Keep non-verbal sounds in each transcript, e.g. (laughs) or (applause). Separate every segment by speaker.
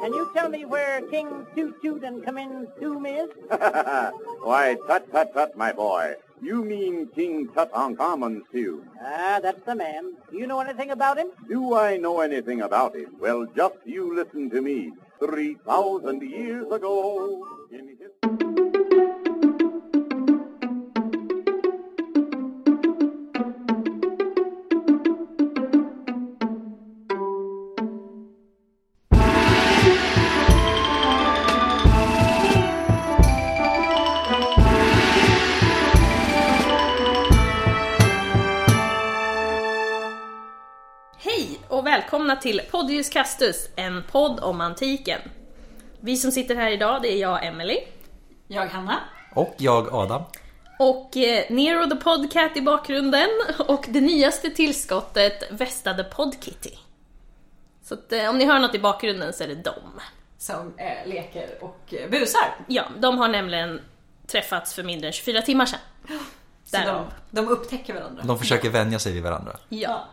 Speaker 1: Can you tell me where King Toot Toot and Kamin's tomb is?
Speaker 2: (laughs) Why, tut tut tut, my boy. You mean King Tutankhamen's tomb.
Speaker 1: Ah, that's the man. Do you know anything about him?
Speaker 2: Do I know anything about him? Well, just you listen to me. Three thousand years ago, in his... (laughs)
Speaker 3: Hej och välkomna till Podius Castus, en podd om antiken. Vi som sitter här idag, det är jag, Emily.
Speaker 4: Jag Hanna.
Speaker 5: Och jag Adam.
Speaker 3: Och eh, Nero the Podcat i bakgrunden och det nyaste tillskottet Vesta the Podkitty. Så att, eh, om ni hör något i bakgrunden så är det dem.
Speaker 4: Som eh, leker och eh, busar.
Speaker 3: Ja, de har nämligen träffats för mindre än 24 timmar sedan.
Speaker 4: Så de,
Speaker 3: Därav.
Speaker 4: de upptäcker varandra.
Speaker 5: De försöker vänja sig vid varandra.
Speaker 3: Ja.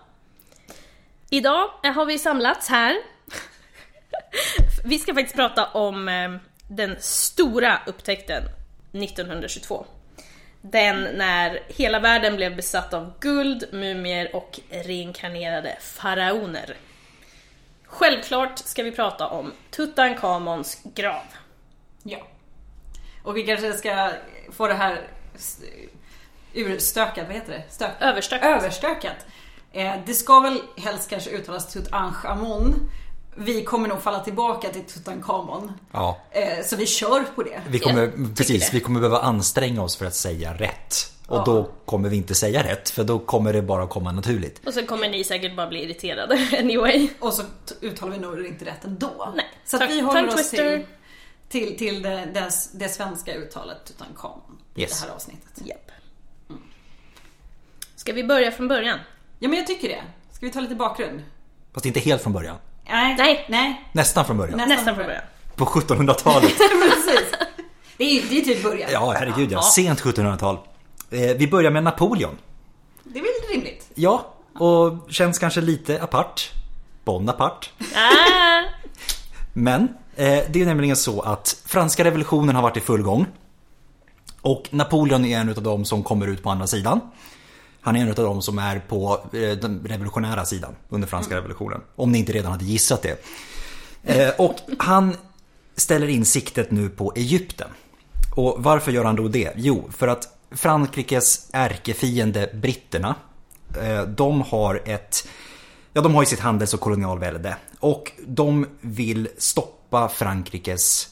Speaker 3: Idag eh, har vi samlats här. vi ska faktiskt prata om eh, den stora upptäckten 1922. Den när hela världen blev besatt av guld, mumier och reinkarnerade faraoner. Självklart ska vi prata om Tutankhamons grav.
Speaker 4: Ja. Och vi kanske ska få det här s- urstökat, vad heter det? Stök.
Speaker 3: Överstökat.
Speaker 4: Överstökat. Eh, det ska väl helst kanske uttalas Tutankhamon. Vi kommer nog falla tillbaka till Tutankhamon.
Speaker 5: Ja.
Speaker 4: Eh, så vi kör på det.
Speaker 5: Vi kommer,
Speaker 3: Jag tycker
Speaker 5: precis,
Speaker 3: det.
Speaker 5: vi kommer behöva anstränga oss för att säga rätt. Och då kommer vi inte säga rätt, för då kommer det bara komma naturligt.
Speaker 3: Och så kommer ni säkert bara bli irriterade (laughs) anyway.
Speaker 4: Och så t- uttalar vi nog det inte rätt ändå.
Speaker 3: Nej.
Speaker 4: Så att
Speaker 3: Tongue-
Speaker 4: vi håller oss
Speaker 3: tongue-twister.
Speaker 4: till, till, till det, det, det svenska uttalet Tutankhamon.
Speaker 5: Yes.
Speaker 4: I det här avsnittet.
Speaker 3: Japp. Ska vi börja från början?
Speaker 4: Ja men jag tycker det. Ska vi ta lite bakgrund?
Speaker 5: Fast inte helt från början.
Speaker 4: Nej.
Speaker 3: Nej.
Speaker 4: Nej.
Speaker 5: Nästan från början.
Speaker 4: Nästan
Speaker 3: Nästan från början.
Speaker 5: På 1700-talet.
Speaker 3: (laughs)
Speaker 4: (laughs) Precis. Det är ju det är typ början.
Speaker 5: Ja, herregud ja. Sent 1700-tal. Eh, Vi börjar med Napoleon.
Speaker 4: Det är väl rimligt.
Speaker 5: Ja, och känns kanske lite apart. Bonaparte.
Speaker 3: Ah,
Speaker 5: Men eh, det är ju nämligen så att franska revolutionen har varit i full gång. Och Napoleon är en av dem som kommer ut på andra sidan. Han är en av dem som är på eh, den revolutionära sidan under franska revolutionen. Om ni inte redan hade gissat det. Eh, och han ställer in siktet nu på Egypten. Och varför gör han då det? Jo, för att Frankrikes ärkefiende britterna, eh, de har ett Ja, de har ju sitt handels och kolonialvälde och de vill stoppa Frankrikes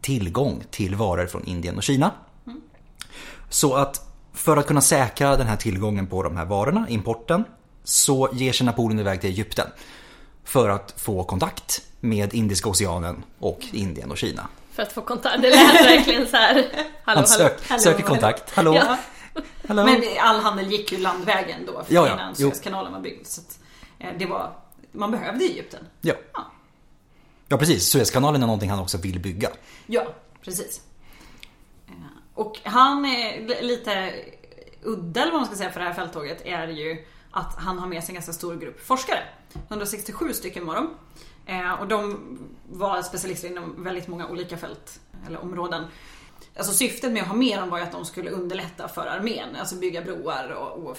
Speaker 5: tillgång till varor från Indien och Kina. Så att för att kunna säkra den här tillgången på de här varorna, importen, så ger sig Napoleon iväg till Egypten för att få kontakt med Indiska oceanen och Indien och Kina.
Speaker 3: för att få kontakt. Det lät verkligen så här. Hallå,
Speaker 5: Han
Speaker 3: hallå.
Speaker 5: sök, söker kontakt. Hallå?
Speaker 3: Ja.
Speaker 5: Hallå?
Speaker 4: Men all handel gick ju landvägen då.
Speaker 5: Ja, ja.
Speaker 4: Innan
Speaker 5: Jo.
Speaker 4: Suezkanalen var byggd. Så att eh, det var... Man behövde Egypten.
Speaker 5: Ja.
Speaker 4: Ja.
Speaker 5: ja, precis. Suezkanalen är någonting han också vill bygga.
Speaker 4: Ja, precis. Eh, Och han är li- lite udda eller vad man ska säga för det här fälttåget är ju att han har med sig en ganska stor grupp forskare. 167 stycken var de. Eh, Och de var specialister inom väldigt många olika fält eller områden. Alltså syftet med att ha med dem var ju att de skulle underlätta för armén, alltså bygga broar och, och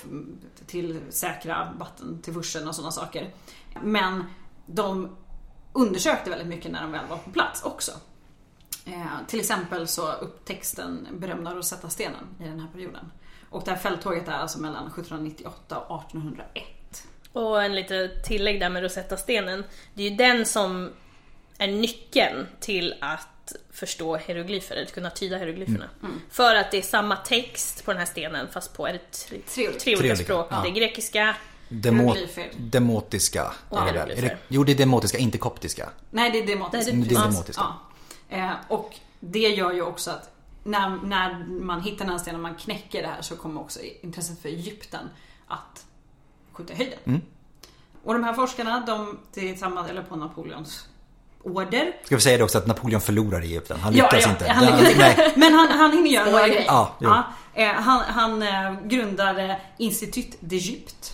Speaker 4: till säkra vattentillförseln och sådana saker. Men de undersökte väldigt mycket när de väl var på plats också. Eh, till exempel så upptäcks den berömda Rosetta-stenen i den här perioden. Och det här fälttåget är alltså mellan 1798 och 1801.
Speaker 3: Och en liten tillägg där med Rosetta-stenen. Det är ju den som är nyckeln till att förstå hieroglyfer, eller att kunna tyda hieroglyferna.
Speaker 5: Mm.
Speaker 3: För att det är samma text på den här stenen fast på är det tre,
Speaker 4: Tre olika.
Speaker 3: tre
Speaker 5: Tre
Speaker 3: olika
Speaker 5: olika,
Speaker 3: språk.
Speaker 5: ja.
Speaker 3: Det är grekiska,
Speaker 5: Demo
Speaker 4: Hieroglyfer.
Speaker 5: demotiska.
Speaker 3: Ja,
Speaker 5: är det väl? Är det,
Speaker 3: hieroglyfer.
Speaker 5: jo, det är demotiska, inte koptiska.
Speaker 4: Nej, det är
Speaker 3: Det
Speaker 4: demotiskt.
Speaker 3: är det-
Speaker 5: Det är demotiska.
Speaker 4: Ja. Eh, och det gör ju också att när, när man hittar den här stenen, när man knäcker det här, så kommer också intresset för Egypten att skjuta i höjden. Och de här forskarna, de tillsammans, eller på Napoleons order,
Speaker 5: Ska vi säga det också att Napoleon förlorar i Egypten. Han lyckas inte.
Speaker 4: Han lyckas
Speaker 5: Ja,
Speaker 4: inte.
Speaker 5: nej.
Speaker 4: Men han, han hinner göra några grejer.
Speaker 5: Ja, jo.
Speaker 4: eh, han, han eh, grundade Institut d'Egypte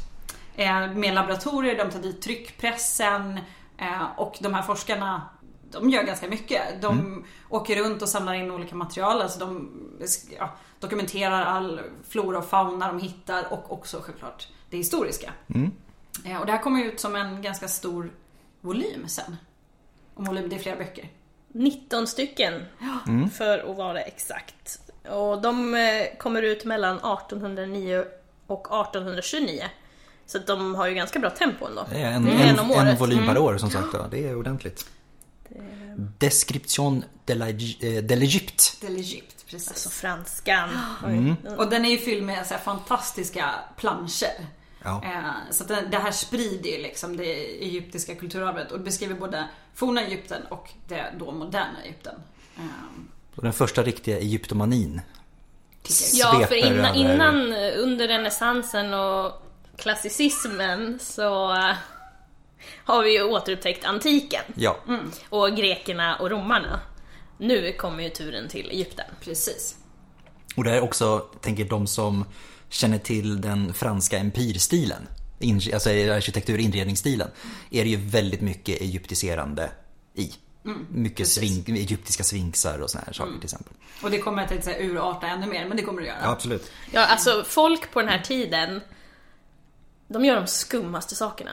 Speaker 4: eh, med laboratorier, de tar dit tryckpressen eh, och de här forskarna de gör ganska mycket. De
Speaker 5: Mm.
Speaker 4: åker runt och samlar in olika material. Alltså de ja, dokumenterar all flora och fauna de hittar och också självklart det historiska.
Speaker 5: Mm.
Speaker 4: Eh, Och det här kommer ut som en ganska stor volym sen. Om volym, det är flera böcker.
Speaker 3: 19 stycken
Speaker 5: Mm.
Speaker 3: för att vara exakt. Och de eh, kommer ut mellan 1809 och 1829. Så att de har ju ganska bra tempo ändå.
Speaker 5: Det är en,
Speaker 3: Det är
Speaker 5: en,
Speaker 3: en om
Speaker 5: en,
Speaker 3: året.
Speaker 5: volym per år som sagt. Ja. Det är ordentligt. Description de la- eh, de l'Egypte.
Speaker 4: Del Egypt, precis.
Speaker 3: Så franskan.
Speaker 5: Mm.
Speaker 4: Och den är ju fylld med så här fantastiska planscher.
Speaker 5: Ja.
Speaker 4: Eh, Så att det det här sprider ju liksom det egyptiska kulturarvet och det beskriver både forna Egypten och det då moderna Egypten. Ehm,
Speaker 5: Så Den första riktiga egyptomanin.
Speaker 3: Ja, för
Speaker 5: sveper
Speaker 3: innan,
Speaker 5: över-
Speaker 3: innan eh, under renässansen och klassicismen så eh, har vi ju återupptäckt antiken.
Speaker 5: Ja.
Speaker 3: Mm. Och grekerna och romarna. Nu kommer ju turen till Egypten.
Speaker 4: Precis.
Speaker 5: Och det är också, tänker de som känner till den franska empirstilen, in, alltså arkitektur inredningsstilen, är det ju väldigt mycket egyptiserande i. mycket svink, egyptiska sfinxar och såna här saker till exempel.
Speaker 4: Och det kommer jag tänkte säga urarta ännu mer, men det kommer det göra.
Speaker 5: Ja, absolut.
Speaker 3: Ja, alltså folk på den här tiden, de gör de skummaste sakerna.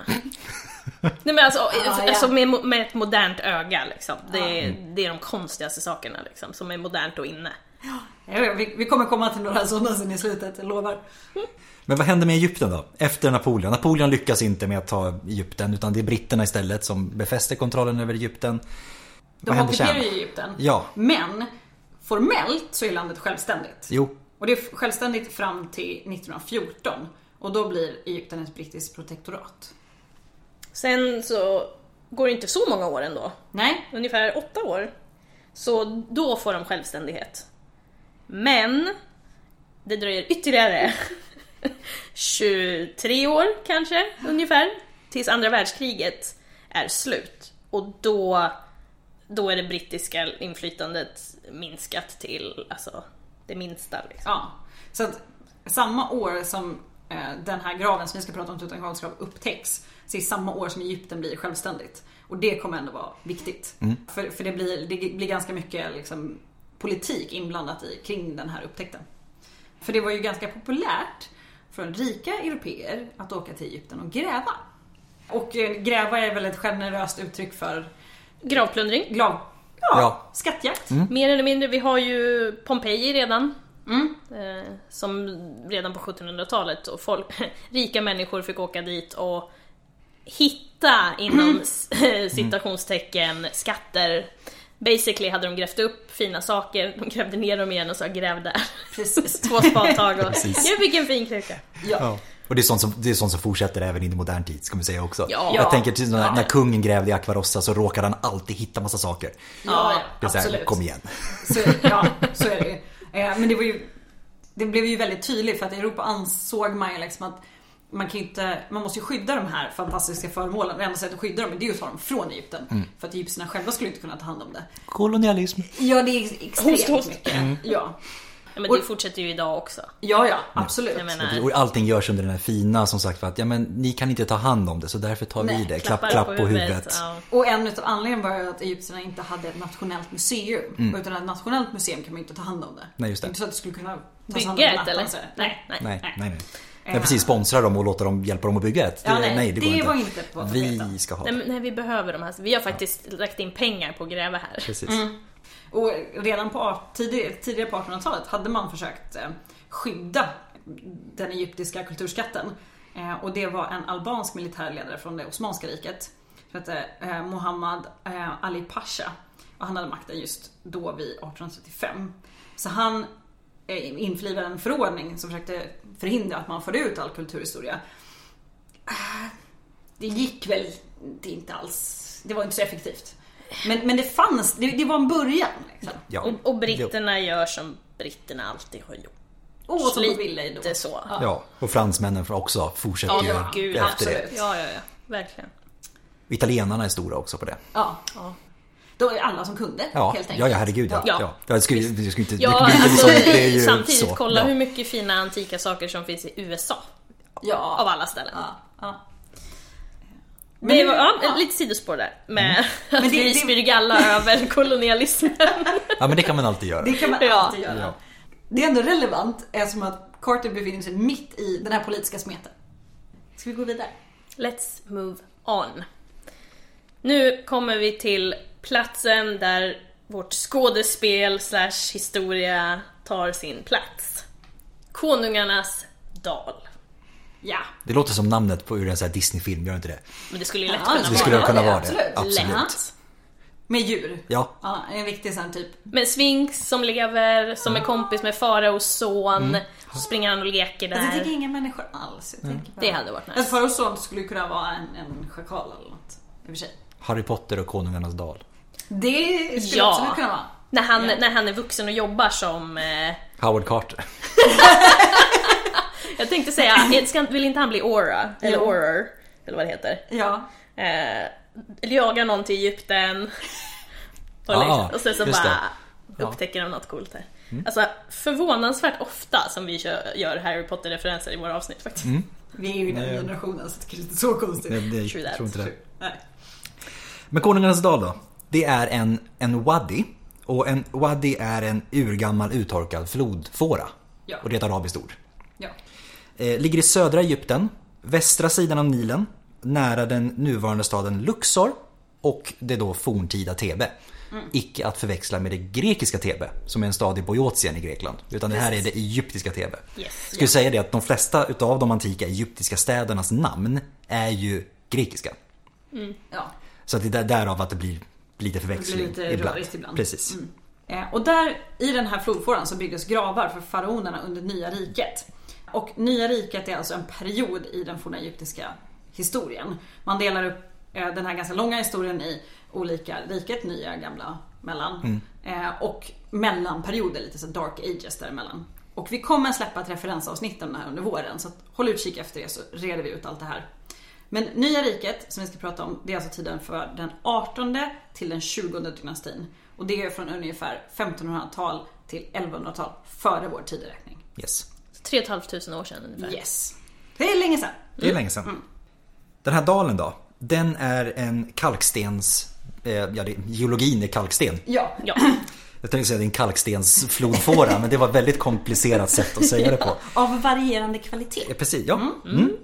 Speaker 3: Nej men alltså,
Speaker 4: (laughs) ja.
Speaker 3: alltså med, mo- med ett modernt öga liksom. Det, är, det är de konstigaste sakerna liksom, som är modernt och inne.
Speaker 4: Ja, Vi, vi kommer komma till några sådana sen i slutet, jag lovar.
Speaker 5: Men vad hände med Egypten då? Efter Napoleon? Napoleon lyckas inte med att ta Egypten utan det är britterna istället som befäster kontrollen över Egypten.
Speaker 4: De
Speaker 5: händer
Speaker 4: ockuperar
Speaker 5: sen?
Speaker 4: ju Egypten.
Speaker 5: Ja.
Speaker 4: Men formellt så är landet självständigt.
Speaker 5: Jo,
Speaker 4: Och det är självständigt fram till 1914. Och då blir Egypten ett brittiskt protektorat.
Speaker 3: Sen så går det inte så många år ändå,
Speaker 4: Nej,
Speaker 3: ungefär åtta år. Så då får de självständighet. Men det dröjer ytterligare 23 år kanske, ungefär, tills andra världskriget är slut. Och då, då är det brittiska inflytandet minskat till alltså, det minsta. Liksom.
Speaker 4: Ja, så att samma år som eh, den här graven som vi ska prata om, Tutankhamons grav, upptäcks, så är samma år som Egypten blir självständigt. Och det kommer ändå vara viktigt.
Speaker 5: Mm.
Speaker 4: För, för det, blir, det blir ganska mycket liksom, politik inblandat i kring den här upptäckten. För det var ju ganska populärt från rika europeer att åka till Egypten och gräva. Och eh, gräva är väl ett generöst uttryck för
Speaker 3: Gravplundring.
Speaker 4: grav... Ja,
Speaker 5: Ja. Mm.
Speaker 4: skattjakt.
Speaker 3: Mer eller mindre, vi har ju Pompeji redan.
Speaker 5: Mm.
Speaker 3: Eh, som redan på 1700-talet och folk, (laughs) rika människor fick åka dit och hitta
Speaker 5: Mm.
Speaker 3: inom s- (laughs) citationstecken skatter. Basically hade de grävt upp fina saker, de grävde ner dem igen och sa gräv där. (laughs)
Speaker 4: Precis.
Speaker 3: Två spadtag och jag fick en fin kruka.
Speaker 5: Ja. (laughs) Och det är, sånt som, det är sånt som fortsätter även in i modern tid ska man säga också.
Speaker 3: Ja.
Speaker 5: Jag tänker till när,
Speaker 3: Ja.
Speaker 5: när kungen grävde i Aquarossa så råkade han alltid hitta massa saker.
Speaker 4: Ja,
Speaker 5: Det är så här,
Speaker 4: absolut.
Speaker 5: kom igen.
Speaker 4: Så, ja, så är det ju. Eh, Men det var ju Det blev ju väldigt tydligt för att i Europa ansåg man ju liksom att man, kan ju inte, man måste ju skydda de här fantastiska föremålen. Det enda sättet att skydda dem det är ju att ta dem från Egypten.
Speaker 5: Mm.
Speaker 4: För att egyptierna själva skulle inte kunna ta hand om det.
Speaker 5: Kolonialism.
Speaker 4: Ja, det är extremt
Speaker 3: Host, host.
Speaker 4: mycket.
Speaker 5: Mm.
Speaker 4: Ja.
Speaker 3: Ja, men det fortsätter ju idag också.
Speaker 4: ja, ja, absolut.
Speaker 3: Jag menar,
Speaker 5: Och allting görs under den här fina som sagt för att ja, men, ni kan inte ta hand om det så därför tar vi
Speaker 4: Nej,
Speaker 5: det. Klapp, klapp på huvudet.
Speaker 3: Ja.
Speaker 4: Och en utav anledningarna var ju att egyptierna inte hade ett nationellt museum. Och utan ett nationellt museum kan man ju inte ta hand om det.
Speaker 5: Mm. Nej, just det.
Speaker 4: Inte så att det skulle kunna tas hand om
Speaker 3: Bygga
Speaker 4: en
Speaker 3: ett eller?
Speaker 4: atlas. Nej.
Speaker 3: nej.
Speaker 5: Nej, nej, nej. Ja, precis, sponsra dem och låta dem hjälpa dem att bygga ett.
Speaker 4: Ja, nej,
Speaker 5: det,
Speaker 4: det
Speaker 5: går
Speaker 4: var
Speaker 5: inte.
Speaker 4: inte på tapeten.
Speaker 5: Vi ska ha
Speaker 3: Nej,
Speaker 5: det.
Speaker 3: men, nej, vi behöver de här. Vi har faktiskt lagt in pengar på att gräva här.
Speaker 5: Precis.
Speaker 4: Och redan på, art- tidigare, tidigare på 1800-talet hade man försökt eh, skydda den egyptiska kulturskatten. Eh, Och det var en albansk militärledare från det Osmanska riket. Som hette eh, Mohammad eh, Ali Pasha. Och han hade makten just då vid 1835. Så han eh, införlivade en förordning som försökte förhindra att man förde ut all kulturhistoria. Det gick väl det inte alls. Det var inte så effektivt. Men, men det fanns, det, det var en början. Liksom.
Speaker 5: Ja.
Speaker 3: Och, och britterna gör som britterna alltid har gjort.
Speaker 4: Och som de
Speaker 3: Lite
Speaker 4: ville ju då.
Speaker 3: så.
Speaker 5: Jo. Ja, och fransmännen får också fortsätter
Speaker 3: Ja,
Speaker 5: ju
Speaker 3: gud,
Speaker 5: efter
Speaker 3: absolut.
Speaker 5: det.
Speaker 3: Ja, ja, ja. Verkligen.
Speaker 5: Italienarna är stora också på det.
Speaker 4: Ja.
Speaker 3: Ja.
Speaker 4: Då är alla som kunde
Speaker 5: Ja,
Speaker 4: helt enkelt.
Speaker 5: ja, ja herregud ja.
Speaker 3: Ja.
Speaker 5: ja. Jag skulle, jag skulle inte,
Speaker 3: Ja,
Speaker 5: det,
Speaker 3: alltså,
Speaker 5: liksom- det- det är ju
Speaker 3: samtidigt
Speaker 5: så.
Speaker 3: kolla
Speaker 5: Ja.
Speaker 3: hur mycket fina antika saker som finns i USA.
Speaker 4: Ja.
Speaker 3: Av alla ställen.
Speaker 4: Ja. ja.
Speaker 3: Men det var, ja, lite sidospår där.
Speaker 5: Mm.
Speaker 3: Med (laughs) att
Speaker 4: Men det-
Speaker 3: vi
Speaker 4: det-
Speaker 3: spyr galla över kolonialismen. (laughs)
Speaker 5: Ja men det kan man alltid göra.
Speaker 4: Det kan man
Speaker 3: Ja.
Speaker 4: alltid göra.
Speaker 5: Ja.
Speaker 4: Det är ändå relevant eftersom att Carter befinner sig mitt i den här politiska smeten. Ska vi gå vidare?
Speaker 3: Let's move on. Nu kommer vi till platsen där vårt skådespel slash historia tar sin plats. Konungarnas dal.
Speaker 4: Ja.
Speaker 5: Det låter som namnet på ur en sån här Disney-film, gör inte det?
Speaker 3: Men det skulle ju lätt
Speaker 4: Ja,
Speaker 3: kunna
Speaker 5: Det
Speaker 3: vara
Speaker 5: skulle
Speaker 4: Ja,
Speaker 5: kunna
Speaker 4: Ah, det är
Speaker 5: vara det.
Speaker 4: absolut.
Speaker 5: Absolut.
Speaker 3: lätt.
Speaker 4: Med djur.
Speaker 5: Ja.
Speaker 4: Ja, en riktig sån typ.
Speaker 3: Men Sphinx som lever, som är kompis med faraos son, så springer han och leker där.
Speaker 4: Alltså, jag tänker inga människor alls. Jag tänker bara...
Speaker 3: Det hade varit nice.
Speaker 4: Ett far och son skulle kunna vara en, en schakal eller något. I och för sig.
Speaker 5: Harry Potter och Konungarnas dal.
Speaker 4: Det skulle
Speaker 3: Ja.
Speaker 4: absolut kunna vara.
Speaker 3: När han, när han är vuxen och jobbar som... Eh,
Speaker 5: Howard Carter.
Speaker 3: jag tänkte säga, ska, vill inte han bli Aura? Eller Auror? Eller vad det heter.
Speaker 4: Ja.
Speaker 3: Eh, jagar någon till (laughs) Egypten. Och,
Speaker 5: Ja,
Speaker 3: liksom, och sen så
Speaker 5: just
Speaker 3: bara
Speaker 5: Ja.
Speaker 3: upptäcker de något coolt där. Alltså förvånansvärt ofta som vi kör, gör Harry Potter-referenser i våra avsnitt faktiskt.
Speaker 4: Vi är ju i den
Speaker 5: Nej.
Speaker 4: generationen så det kanske inte är så konstigt.
Speaker 5: Det,
Speaker 3: (laughs)
Speaker 5: det,
Speaker 3: True
Speaker 5: jag
Speaker 3: that.
Speaker 5: tror inte det.
Speaker 4: Nej.
Speaker 5: Men Konungarnas dal då? Det är en, en wadi. Och en wadi är en urgammal uttorkad flodfåra.
Speaker 4: Ja.
Speaker 5: Och det är ett arabiskt ord.
Speaker 4: Ja.
Speaker 5: Eh, ligger i södra Egypten, västra sidan av Nilen, nära den nuvarande staden Luxor och det då forntida Thebe. Icke att förväxla med det grekiska Thebe, som är en stad i Boiotien i Grekland. Utan det här är det egyptiska Thebe.
Speaker 3: Yes.
Speaker 5: Skulle säga det att de flesta utav de antika egyptiska städernas namn är ju grekiska.
Speaker 4: ja.
Speaker 5: Så att det är därav att det blir lite
Speaker 4: Det
Speaker 5: förväxling
Speaker 4: blir lite
Speaker 5: ibland.
Speaker 4: rörigt ibland.
Speaker 5: Precis.
Speaker 4: Mm. Eh, Och där i den här flodfåran så byggdes gravar för faraonerna under Nya riket. Och Nya riket är alltså en period i den forna egyptiska historien. Man delar upp eh, den här ganska långa historien i olika riket, nya, gamla,
Speaker 5: Mm.
Speaker 4: mellan. Eh, Och mellanperioder, lite så dark ages däremellan. Och vi kommer släppa ett referensavsnitt om det här under våren så att håll utkik efter det så reder vi ut allt det här. Men Nya riket, som vi ska prata om, det är alltså tiden för den 18 till den 20 dynastin. Och det är från ungefär 1500-tal till 1100-tal före vår tideräkning.
Speaker 5: Yes.
Speaker 3: 3 500 år sedan ungefär.
Speaker 4: Yes. Det är länge sedan.
Speaker 5: Det är länge sedan.
Speaker 4: Mm.
Speaker 5: Den här dalen då? Den är en kalkstens... Eh, ja, det, geologin är kalksten.
Speaker 4: Ja.
Speaker 3: Ja.
Speaker 5: Jag tänkte säga det är
Speaker 4: (laughs)
Speaker 5: en kalkstensflodfåra men det var ett väldigt komplicerat sätt att säga det
Speaker 4: Mm.
Speaker 5: på.
Speaker 4: Av varierande kvalitet.
Speaker 5: Ja, precis, ja. Mm.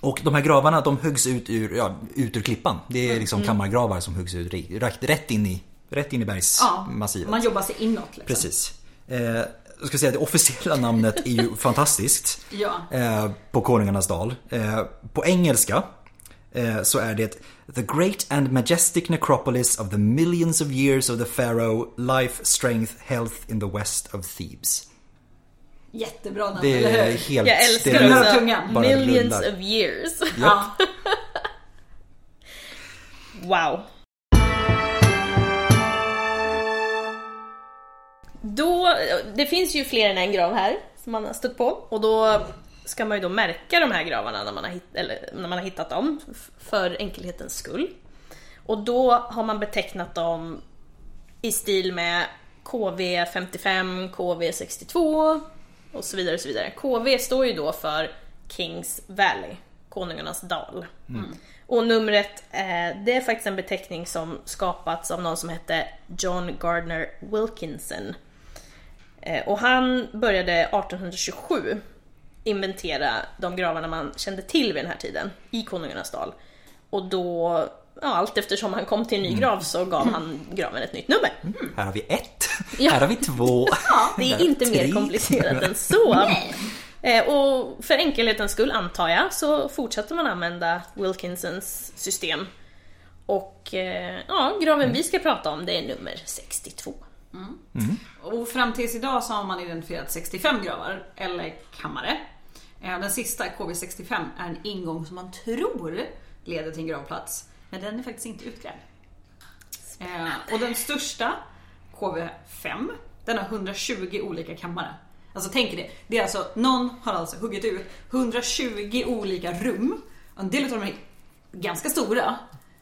Speaker 5: Och de här gravarna de höggs ut ur, ja, ut ur klippan. Det är liksom kammargravar som höggs ut ri- rakt- rätt in i, rätt in i
Speaker 4: Mm. Ja,
Speaker 5: bergsmassivet.
Speaker 4: man jobbar sig inåt liksom.
Speaker 5: Precis. Eh, jag ska säga att det officiella namnet
Speaker 4: (laughs)
Speaker 5: är ju fantastiskt.
Speaker 4: Ja.
Speaker 5: Eh, på Konungarnas dal. Eh, på engelska eh, så är det The Great and Majestic Necropolis of the Millions of Years of the Pharaoh Life, Strength, Health in the West of Thebes.
Speaker 4: Jättebra namn,
Speaker 5: Det
Speaker 4: eller
Speaker 5: är
Speaker 4: hur?
Speaker 5: helt...
Speaker 3: Jag älskar
Speaker 5: det är-
Speaker 4: också.
Speaker 5: bara
Speaker 3: Millions
Speaker 5: rullar.
Speaker 3: of years.
Speaker 4: Ja.
Speaker 3: Wow. Då, det finns ju fler än en grav här som man har stött på och då ska man ju då märka de här gravarna när man har, hitt, eller, när man har hittat dem f- för enkelhetens skull. Och då har man betecknat dem i stil med KV55, KV62 och så vidare. Och så vidare. KV står ju då för Kings Valley, Konungarnas dal. Och numret, eh, det är faktiskt en beteckning som skapats av någon som hette John Gardner Wilkinson. Eh, Och han började 1827 inventera de gravarna man kände till vid den här tiden i Konungarnas dal. Och då, ja, allt eftersom han kom till en ny grav så gav han graven ett nytt nummer.
Speaker 5: Här har vi ett,
Speaker 3: Ja.
Speaker 5: här har vi två.
Speaker 3: Det
Speaker 5: Där
Speaker 3: är
Speaker 5: har vi
Speaker 3: inte mer
Speaker 5: tre.
Speaker 3: komplicerat än så. Eh, Och för enkelhetens skull, antar jag, så fortsätter man använda Wilkinsons system. Och eh, ja, graven vi ska prata om, det är nummer 62.
Speaker 4: Och fram tills idag så har man identifierat 65 gravar, eller kammare. Eh, Den sista, KV65, är en ingång som man tror leder till en gravplats. Men den är faktiskt inte utgrävd. Eh, Och den största, KV5, den har 120 olika kammare. Alltså tänk er det. det är alltså, någon har alltså huggit ut 120 olika rum. Och En del av dem är ganska stora.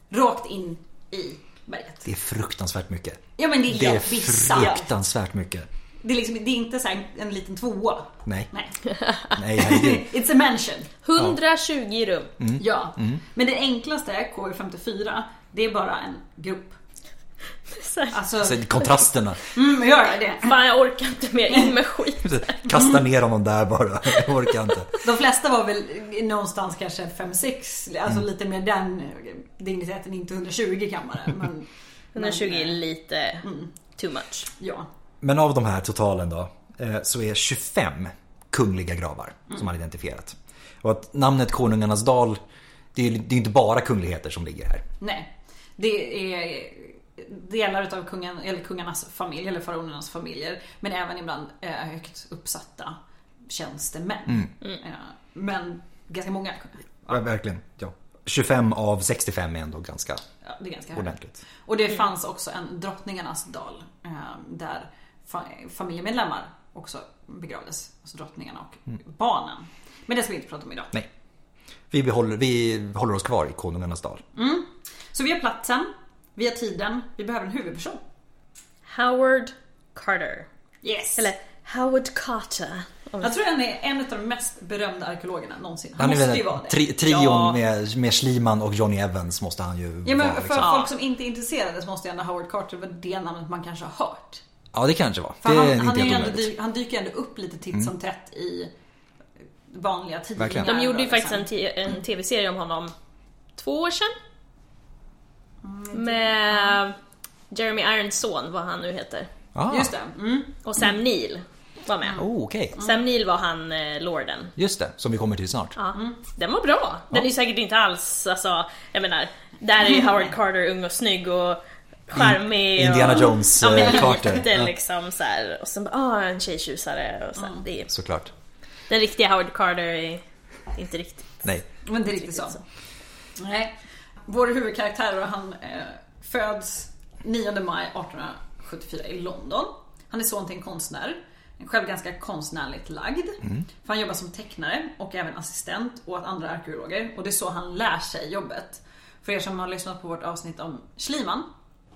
Speaker 4: Rakt in i berget.
Speaker 5: Det är fruktansvärt mycket.
Speaker 4: Ja men det är,
Speaker 5: Det är
Speaker 4: vissa.
Speaker 5: fruktansvärt mycket.
Speaker 4: Det är, liksom, det är inte så här en liten tvåa.
Speaker 5: Nej,
Speaker 4: Nej.
Speaker 5: nej herregud.
Speaker 4: (laughs) It's a mansion.
Speaker 3: 120 rum.
Speaker 4: Ja. Men det enklaste, KU54, det är bara en grupp.
Speaker 3: Så här,
Speaker 4: Alltså,
Speaker 5: Alltså, kontrasterna.
Speaker 4: mm, gör det.
Speaker 3: Fan jag orkar inte mer, in med skit.
Speaker 5: Kasta ner honom där bara. Jag orkar inte.
Speaker 4: De flesta var väl någonstans kanske 5-6, alltså lite mer den digniteten, inte 120 kammare. Men,
Speaker 3: 120 är
Speaker 4: men, eh,
Speaker 3: lite too much.
Speaker 4: Ja.
Speaker 5: Men av de här totalen då, eh, så är 25 kungliga gravar som man identifierat. Och att namnet Konungarnas dal, det är ju det är inte bara kungligheter som ligger här.
Speaker 4: Nej. Det är delar utav kungen, eller kungarnas familj, eller faraonernas familjer. Men även ibland eh, högt uppsatta tjänstemän.
Speaker 5: Mm.
Speaker 4: Eh, men ganska många.
Speaker 5: Ja, verkligen. Ja. 25 av 65 är ändå ganska
Speaker 4: Ja, det är ganska högt.
Speaker 5: ordentligt.
Speaker 4: Och det fanns också en drottningarnas dal eh, där fa- familjemedlemmar också begravdes. Alltså drottningarna och barnen. Men det ska vi inte prata om idag.
Speaker 5: Mm. Nej. Vi, behåller, vi håller oss kvar i Konungarnas dal.
Speaker 4: Så vi har platsen, vi har tiden, vi behöver en huvudperson.
Speaker 3: Howard Carter.
Speaker 4: Yes!
Speaker 3: Eller Howard Carter. Om
Speaker 4: Jag tror han är en av de mest berömda arkeologerna någonsin. Han,
Speaker 5: Han är
Speaker 4: måste
Speaker 5: väl
Speaker 4: ju vara det.
Speaker 5: tri- trion
Speaker 4: ja.
Speaker 5: med, med Schliemann och Johnny Evans måste han ju
Speaker 4: Ja men
Speaker 5: vara.
Speaker 4: för
Speaker 5: Liksom.
Speaker 4: folk som inte är intresserade så måste ju ändå Howard Carter vara det namnet man kanske har hört.
Speaker 5: Ja det kanske var.
Speaker 4: För
Speaker 5: det
Speaker 4: han,
Speaker 5: är
Speaker 4: han,
Speaker 5: inte
Speaker 4: är ju
Speaker 5: helt
Speaker 4: ändå,
Speaker 5: omöjligt.
Speaker 4: dy- han dyker ändå upp lite titt som tätt i vanliga tidningar.
Speaker 5: Verkligen.
Speaker 3: De gjorde ju
Speaker 4: och
Speaker 3: faktiskt
Speaker 4: liksom.
Speaker 3: en, t- en tv-serie om honom två år sedan.
Speaker 5: Mm,
Speaker 3: Med Jeremy Irons son, vad han nu heter.
Speaker 5: Ah,
Speaker 4: Just det. Mm.
Speaker 3: Och Sam Neill var med.
Speaker 5: Oh, okej.
Speaker 3: Sam Neill var han eh, lorden.
Speaker 5: Just det, som vi kommer till snart.
Speaker 3: Ja. Den var bra. Den är ju säkert inte alls, alltså, jag menar, där
Speaker 5: (laughs)
Speaker 3: är ju Howard Carter ung och snygg och charmig. (laughs)
Speaker 5: In- Indiana
Speaker 3: och,
Speaker 5: Jones,
Speaker 3: ja, men
Speaker 5: eh,
Speaker 3: (laughs)
Speaker 5: Carter.
Speaker 3: Lite,
Speaker 5: Ja. Mm.
Speaker 3: liksom, så här. Och sen bara, ah, en tjejtjusare. Och så, här, det är,
Speaker 5: Såklart.
Speaker 3: den riktiga Howard Carter är inte riktigt
Speaker 5: Nej.
Speaker 4: Men det är riktigt så. Nej. Vår huvudkaraktär och han eh, föds 9 maj 1874 i London. Han är son till en konstnär. Själv ganska konstnärligt lagd. För han jobbar som tecknare och även assistent åt andra arkeologer. Och det är så han lär sig jobbet. För er som har lyssnat på vårt avsnitt om Schliemann,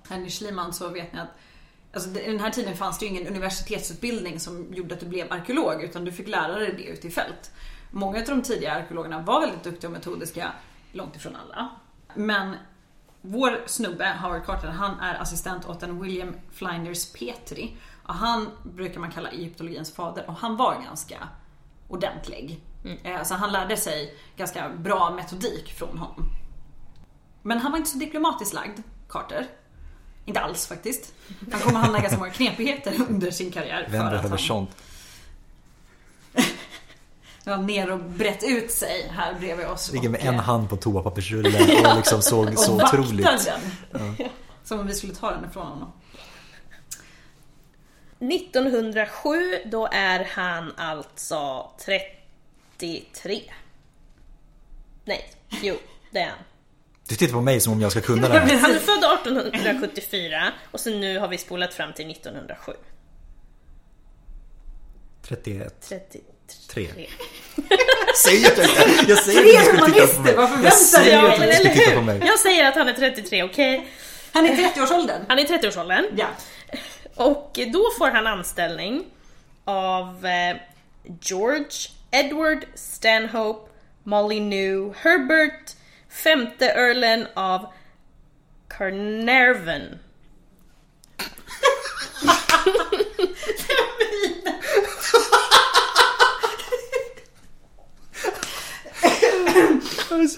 Speaker 4: Henry Schliemann, så vet ni att Alltså, det- den här tiden fanns det ju ingen universitetsutbildning som gjorde att du blev arkeolog utan du fick lära dig det ute i fält. Många av de tidiga arkeologerna var väldigt duktiga och metodiska, långt ifrån alla. Men vår snubbe, Howard Carter, han är assistent åt en William Flinders Petri. Och han brukar man kalla egyptologins fader och han var ganska ordentlig.
Speaker 3: Mm.
Speaker 4: Eh, Så han lärde sig ganska bra metodik från honom. Men han var inte så diplomatiskt lagd, Carter. Inte alls faktiskt. Han kommer hamna i ganska många knepigheter (laughs) under sin karriär.
Speaker 5: Vem
Speaker 4: att
Speaker 5: behöver
Speaker 4: han-
Speaker 5: sånt?
Speaker 4: han var ner och brett ut sig här bredvid oss.
Speaker 5: Ligger med
Speaker 4: och,
Speaker 5: en
Speaker 4: eh,
Speaker 5: hand på toapappersrullen och
Speaker 3: (laughs)
Speaker 5: liksom såg så
Speaker 4: vaktar
Speaker 5: otroligt.
Speaker 4: den. Som om vi skulle ta den ifrån honom.
Speaker 3: 1907, då är han alltså 33. Nej, jo, det är han.
Speaker 5: Du tittar på mig som om jag ska kunna det
Speaker 4: Jag
Speaker 3: (laughs)
Speaker 5: här.
Speaker 4: blir
Speaker 3: Han är
Speaker 4: så-
Speaker 3: född 1874 och så nu har vi spolat fram till 1907.
Speaker 5: 31.
Speaker 3: 33.
Speaker 5: Tre. Säger jag inte! Jag säger att du skulle titta på mig.
Speaker 4: humanister, varför
Speaker 5: Jag
Speaker 4: väntar
Speaker 5: säger
Speaker 4: jag?
Speaker 5: att du
Speaker 3: men
Speaker 5: inte skulle
Speaker 3: eller
Speaker 5: titta på
Speaker 3: hur?
Speaker 5: mig.
Speaker 3: Jag säger att han är 33, okej?
Speaker 4: Han är i 30-årsåldern.
Speaker 3: Han är i 30-årsåldern.
Speaker 4: Ja.
Speaker 3: Och då får han anställning av eh, George Edward Stanhope Molyneux Herbert, femte earlen av Carnarvon.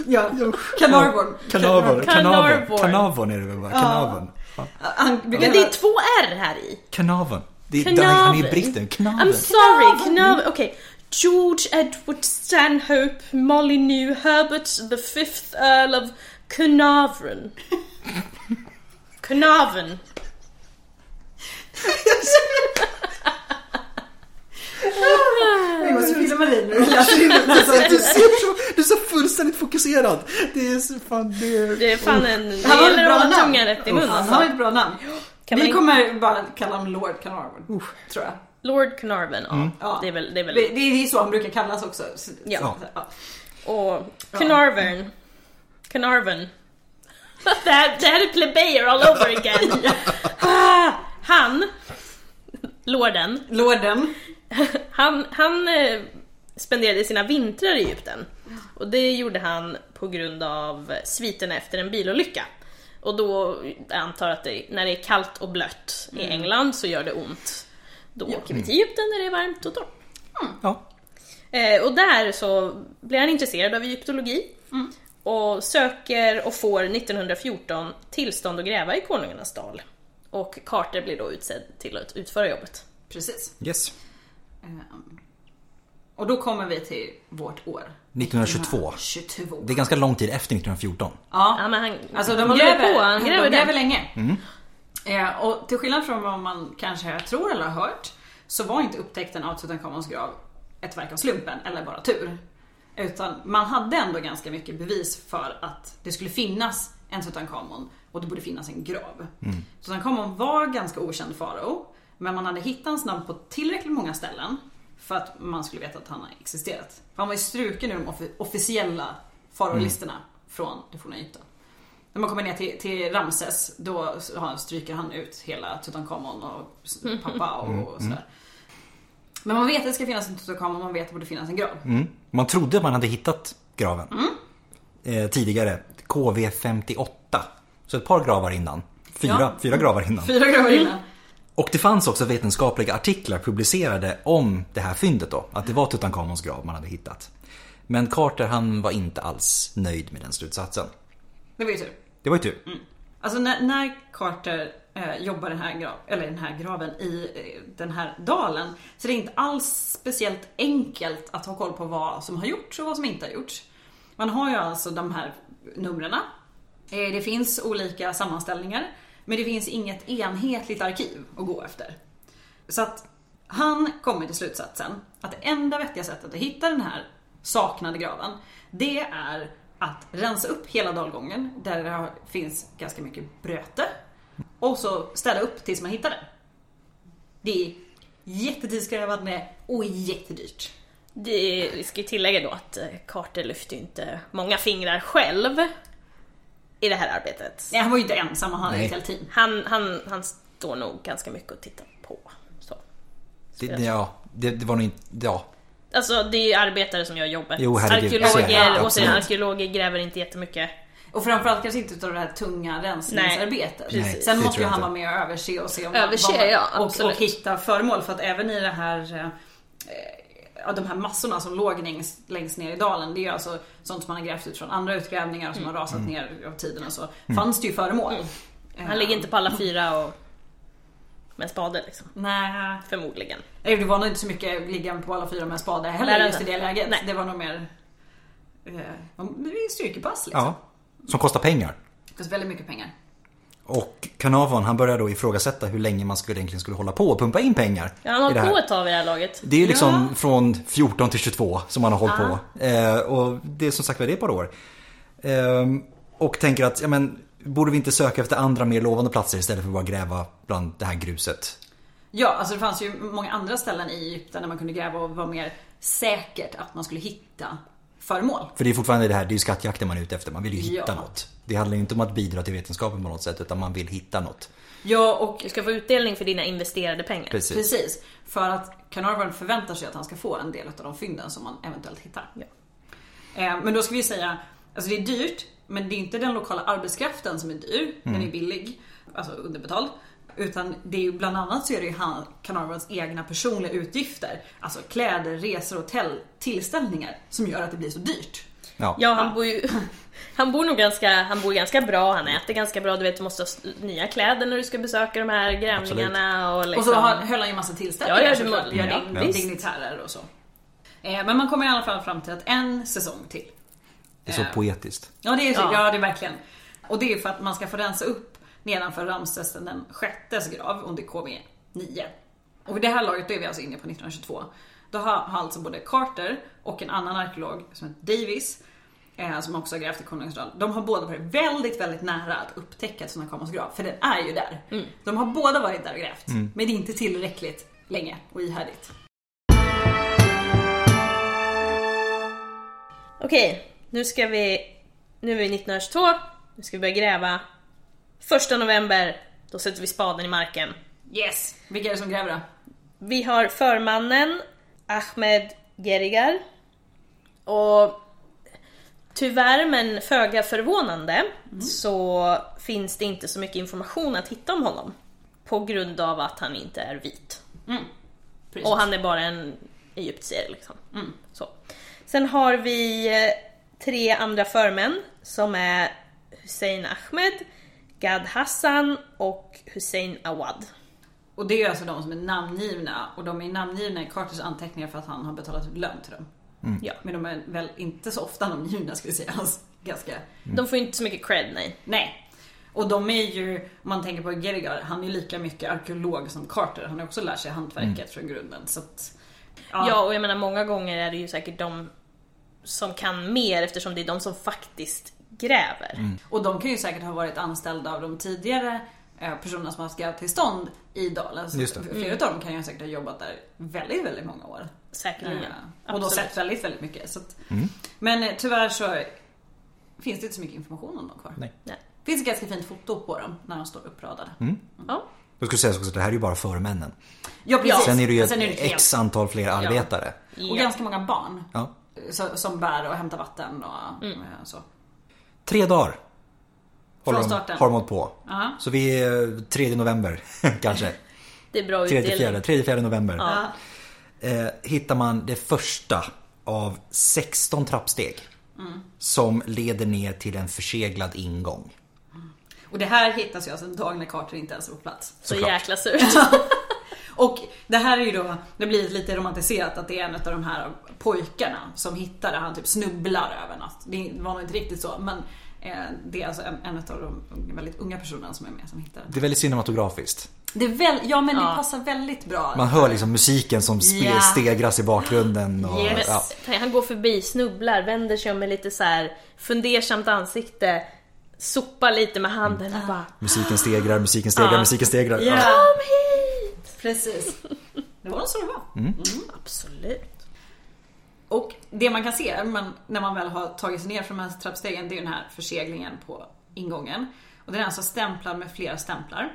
Speaker 4: ja. Carnarvon.
Speaker 3: Kanavon.
Speaker 5: Kanavon. Kanavon. Kanavon är det väl bara? Kanavon. Ja.
Speaker 4: Han brukar
Speaker 3: Men det är två R här i.
Speaker 5: Kanavon. Det är,
Speaker 3: Kanavon.
Speaker 5: han är britten.
Speaker 3: I'm (laughs)
Speaker 5: Kanavon.
Speaker 3: sorry, Knöv... Okej. George Edward Stanhope Molyneux Herbert the fifth Earl of
Speaker 4: (laughs)
Speaker 3: Carnarvon. Carnarvon.
Speaker 4: Jag måste filma dig nu. Jag filmar den så att
Speaker 5: alltså, Du
Speaker 4: du-
Speaker 5: ser så, du är så fullständigt fokuserad. Det är så fan det är...
Speaker 3: Det är fan en... Det
Speaker 4: Han har ett
Speaker 3: gäller
Speaker 4: bra
Speaker 3: att hålla
Speaker 4: namn.
Speaker 3: tungan rätt i munnen.
Speaker 4: Han har
Speaker 3: Alltså.
Speaker 4: ett bra namn.
Speaker 3: Kan man
Speaker 4: Vi
Speaker 3: inte-
Speaker 4: kommer bara kalla honom Lord Carnarvon. Tror jag.
Speaker 3: Lord Carnarvon, ja.
Speaker 4: Ja.
Speaker 3: Det är väl... Det är väl...
Speaker 4: Det, det är så han brukar kallas också. Så-
Speaker 3: Ja.
Speaker 4: så- ja.
Speaker 3: Och Carnarvon. Carnarvon. (laughs) Det
Speaker 4: (laughs)
Speaker 3: här, det här är plebejer all over again. Ah, Han lorden,
Speaker 4: Lorden.
Speaker 3: han, han eh, spenderade sina vintrar i Egypten. Och det gjorde han på grund av sviten efter en bilolycka. Och då jag antar att det, när det är kallt och blött i
Speaker 4: Mm.
Speaker 3: England så gör det ont. Då åker vi till Egypten när det är varmt och torrt.
Speaker 5: Ja.
Speaker 3: Eh, och där så blir han intresserad av egyptologi
Speaker 4: Mm.
Speaker 3: och söker och får 1914 tillstånd att gräva i konungarnas dal. Och Carter blir då utsedd till att utföra jobbet.
Speaker 4: Precis.
Speaker 5: Yes.
Speaker 4: Ehm, Och då kommer vi till vårt år.
Speaker 5: 1922.
Speaker 4: 22.
Speaker 5: Det är ganska lång tid efter 1914.
Speaker 3: Ja,
Speaker 4: Ja.
Speaker 3: men han
Speaker 4: Alltså de
Speaker 3: gräver
Speaker 4: gräver,
Speaker 3: på, han gräver
Speaker 4: de
Speaker 3: där.
Speaker 4: gräver länge. Eh, och till skillnad från vad man kanske tror eller har hört så var inte upptäckten av Tutankhamons grav ett verk av slumpen eller bara tur. Utan man hade ändå ganska mycket bevis för att det skulle finnas en Tutankhamon och det borde finnas en grav. Tutankhamon var ganska okänd farao men man hade hittat hans namn på tillräckligt många ställen för att man skulle veta att han har existerat. För han var ju struken ur de offi- officiella faraolistorna från det forna Egypten. När man kommer ner till, till Ramses då har- stryker han ut hela Tutankhamon och s- pappa och, och sådär. Men man vet att det ska finnas en Tutankhamon, man vet att det borde finnas en grav.
Speaker 5: Mm. Man trodde man hade hittat graven eh, tidigare. KV58. Så ett par gravar innan. Fyra,
Speaker 4: Ja.
Speaker 5: fyra gravar innan.
Speaker 4: Fyra gravar innan.
Speaker 5: Och det fanns också vetenskapliga artiklar publicerade om det här fyndet då. Att det var Tutankhamons grav man hade hittat. Men Carter han var inte alls nöjd med den slutsatsen.
Speaker 4: Det var ju tur.
Speaker 5: Det var ju tur.
Speaker 3: Mm,
Speaker 4: Alltså när, när Carter eh, jobbar den här, grav, eller den här graven i eh, den här dalen så det är inte alls speciellt enkelt att ha koll på vad som har gjorts och vad som inte har gjorts. Man har ju alltså de här numren. Eh, det finns olika sammanställningar men det finns inget enhetligt arkiv att gå efter. Så att han kommer till slutsatsen att det enda vettiga sättet att hitta den här saknade graven, det är att rensa upp hela dalgången där det har- finns ganska mycket bröte och så städa upp tills man hittar den. Det är jättetidskrävande och jättedyrt.
Speaker 3: Det, vi ska ju tillägga då att eh, Carter lyfte ju inte många fingrar själv i det här arbetet.
Speaker 4: Nej, han var ju inte ensam, han hade
Speaker 5: Nej.
Speaker 4: ett helt team.
Speaker 3: Han, han, han står nog ganska mycket och tittar på. Så.
Speaker 5: Det, det, ja, det, det var nog inte... Ja.
Speaker 3: Alltså det är ju arbetare som gör jobbet.
Speaker 5: Jo, herregud, jag ser det.
Speaker 3: arkeologer,
Speaker 5: Ja,
Speaker 3: återigen,
Speaker 5: absolut.
Speaker 3: arkeologer gräver inte jättemycket.
Speaker 4: Och framförallt kanske inte utav det här tunga rensningsarbetet.
Speaker 5: Nej, precis.
Speaker 4: Sen
Speaker 5: det
Speaker 4: måste
Speaker 5: tror
Speaker 4: ju
Speaker 5: jag
Speaker 4: han
Speaker 5: inte.
Speaker 4: vara med och överse och se om
Speaker 3: Överse,
Speaker 4: vad man,
Speaker 3: ja,
Speaker 4: och,
Speaker 3: absolut.
Speaker 4: och hitta föremål. För att även i det här eh, Ja, de här massorna som låg längs, längst ner i dalen, det är ju alltså sånt som man har grävt ut från andra utgrävningar och som
Speaker 3: Mm.
Speaker 4: har
Speaker 5: Mm.
Speaker 4: rasat ner av tiden och så. Fanns det ju föremål. Eh,
Speaker 3: Han ligger inte på alla fyra och... med en spade liksom.
Speaker 4: Nej,
Speaker 3: Förmodligen.
Speaker 4: Nej, det var nog inte så mycket ligga på alla fyra med en spade heller
Speaker 3: Nej,
Speaker 4: just i
Speaker 3: nej.
Speaker 4: det läget.
Speaker 3: Nej.
Speaker 4: Det var nog mer... Eh, det är ju styrkepass liksom.
Speaker 5: ja. Som kostar pengar.
Speaker 4: Det kostar väldigt mycket pengar.
Speaker 5: Och Carnarvon han började då ifrågasätta hur länge man skulle, egentligen skulle hålla på och pumpa in pengar.
Speaker 3: Ja, han
Speaker 5: i det
Speaker 3: har
Speaker 5: här.
Speaker 3: på ett tag vid det här laget.
Speaker 5: Det är ju liksom från 14 till 22 som han har hållit på. Eh, och det är som sagt var det är ett par år. Ehm, och tänker att, ja men borde vi inte söka efter andra mer lovande platser istället för att bara gräva bland det här gruset?
Speaker 4: Ja, alltså det fanns ju många andra ställen i Egypten där man kunde gräva och var mer säkert att man skulle hitta föremål.
Speaker 5: För det är fortfarande det här, det är ju skattjakten man är ute efter. Man vill ju hitta
Speaker 4: Ja.
Speaker 5: något. Det handlar ju inte om att bidra till vetenskapen på något sätt utan man vill hitta något.
Speaker 4: Ja, och
Speaker 3: Du ska få utdelning för dina investerade pengar.
Speaker 5: Precis.
Speaker 4: precis. För att Carnarvon förväntar sig att han ska få en del av de fynden som man eventuellt hittar.
Speaker 3: Ja.
Speaker 4: Eh, Men då ska vi säga, alltså det är dyrt, men det är inte den lokala arbetskraften som är dyr. Den är billig, alltså underbetald. Utan det är ju bland annat så är det ju han- Carnarvons egna personliga utgifter. Alltså kläder, resor, hotell, tillställningar som gör att det blir så dyrt.
Speaker 5: Ja.
Speaker 3: Ja, han bor ju... (laughs) Han bor nog ganska, han bor ganska bra, han äter ganska bra, du vet du måste ha s- nya kläder när du ska besöka de här grävningarna och liksom...
Speaker 4: Och så har, höll han ju massa tillställningar
Speaker 3: Ja, ja, det
Speaker 4: såklart.
Speaker 3: må-
Speaker 4: Bjöd
Speaker 3: ja,
Speaker 4: in
Speaker 5: visst.
Speaker 4: dignitärer och så. Eh, Men man kommer i alla fall fram till att en säsong till.
Speaker 5: Det är så poetiskt.
Speaker 4: Ja det är, typ-
Speaker 3: Ja.
Speaker 4: ja. det är verkligen. Och det är för att man ska få rensa upp nedanför Ramses den sjättes grav under KB 9. Och vid det här laget, då är vi alltså inne på 1922. Då har, har alltså både Carter och en annan arkeolog som heter Davis, eh, som också har grävt i Konungsdal, de har båda varit väldigt, väldigt nära att upptäcka Tutankhamons grav, för den är ju där. De har båda varit där och grävt, men det är inte tillräckligt länge och ihärdigt.
Speaker 3: Okej, nu ska vi... Nu är vi 1922, nu ska vi börja gräva. Första november, då sätter vi spaden i marken.
Speaker 4: Yes! Vilka är det som gräver då?
Speaker 3: Vi har förmannen Ahmed Gerigar. Och tyvärr men föga förvånande så finns det inte så mycket information att hitta om honom. På grund av att han inte är vit.
Speaker 4: Precis.
Speaker 3: Och han är bara en egyptier liksom. Så. Sen har vi eh, tre andra förmän som är Hussein Ahmed, Gad Hassan och Hussein Awad.
Speaker 4: Och det är alltså de som är namngivna och de är namngivna i Carters anteckningar för att han har betalat ut lön till dem.
Speaker 5: Mm.
Speaker 3: Ja.
Speaker 4: Men de är väl inte så ofta namngivna ska vi säga. Alltså, ganska...
Speaker 3: De får ju inte så mycket cred, nej.
Speaker 4: Nej. Och de är ju, om man tänker på Gergar, han är lika mycket arkeolog som Carter. Han har också lärt sig hantverket
Speaker 5: Mm.
Speaker 4: från grunden. Så att,
Speaker 3: Ja. och jag menar många gånger är det ju säkert de som kan mer eftersom det är de som faktiskt gräver.
Speaker 5: Mm.
Speaker 4: Och de kan ju säkert ha varit anställda av de tidigare eh, personerna som har haft gravtillstånd i dalen. Så
Speaker 5: Just det.
Speaker 4: Flera utav dem kan ju säkert ha jobbat där väldigt, väldigt många år.
Speaker 3: Säkerligen.
Speaker 4: Och då
Speaker 3: Absolut.
Speaker 4: sett väldigt, väldigt mycket. Så att, Men eh, tyvärr så finns det inte så mycket information om dem kvar.
Speaker 5: Nej.
Speaker 3: Nej.
Speaker 4: Det finns ett ganska fint foto på dem när de står uppradade.
Speaker 3: Ja.
Speaker 5: Då skulle jag säga också att det här är ju bara förmännen.
Speaker 4: Ja precis.
Speaker 5: Sen är det ju
Speaker 4: Och
Speaker 5: ett x antal fler arbetare.
Speaker 4: Och
Speaker 3: Ja.
Speaker 4: ganska många barn. eh,
Speaker 5: Ja.
Speaker 4: Så, som bär och hämtar vatten och
Speaker 5: Mm.
Speaker 4: eh, så.
Speaker 5: Tre dagar. Håller
Speaker 4: Från
Speaker 5: de-
Speaker 4: starten.
Speaker 5: Har de hållit på.
Speaker 4: Ja.
Speaker 5: Så vi är eh, 3 november (laughs) kanske.
Speaker 3: Det är bra
Speaker 5: 3 fjärde,
Speaker 3: utdelning.
Speaker 5: 3 fjärde november.
Speaker 4: Ja.
Speaker 5: Eh, hittar man det första av 16 trappsteg.
Speaker 4: Mm.
Speaker 5: Som leder ner till en förseglad ingång.
Speaker 4: Och det här hittas ju alltså en dag när Carter inte ens är på plats.
Speaker 3: Så
Speaker 5: såklart.
Speaker 3: jäkla surt.
Speaker 5: (laughs)
Speaker 4: Och det här är ju då, det blir lite romantiserat att det är en av de här pojkarna som hittar det. Han typ snubblar över en natt. Det var nog inte riktigt så men eh, det är alltså en, en av de väldigt unga personerna som är med som hittar den.
Speaker 5: Det är väldigt cinematografiskt.
Speaker 4: Det är väl, ja men det
Speaker 3: Ja.
Speaker 4: passar väldigt bra.
Speaker 5: Man hör liksom musiken som spe-
Speaker 4: Ja.
Speaker 5: stegras i bakgrunden. Och,
Speaker 4: Yes.
Speaker 5: ja.
Speaker 3: Han går förbi, snubblar, vänder sig om med lite så här fundersamt ansikte, sopar lite med handen
Speaker 4: Mm.
Speaker 3: och bara
Speaker 5: Musiken stegrar, musiken stegrar,
Speaker 3: Ja.
Speaker 5: musiken stegrar.
Speaker 4: Ja.
Speaker 5: Ja.
Speaker 3: Kom hit!
Speaker 4: Precis. Det var nog så det var.
Speaker 5: Mm.
Speaker 3: Absolut.
Speaker 4: Och det man kan se men när man väl har tagit sig ner från de här trappstegen det är ju den här förseglingen på ingången. Och den är alltså stämplad med flera stämplar.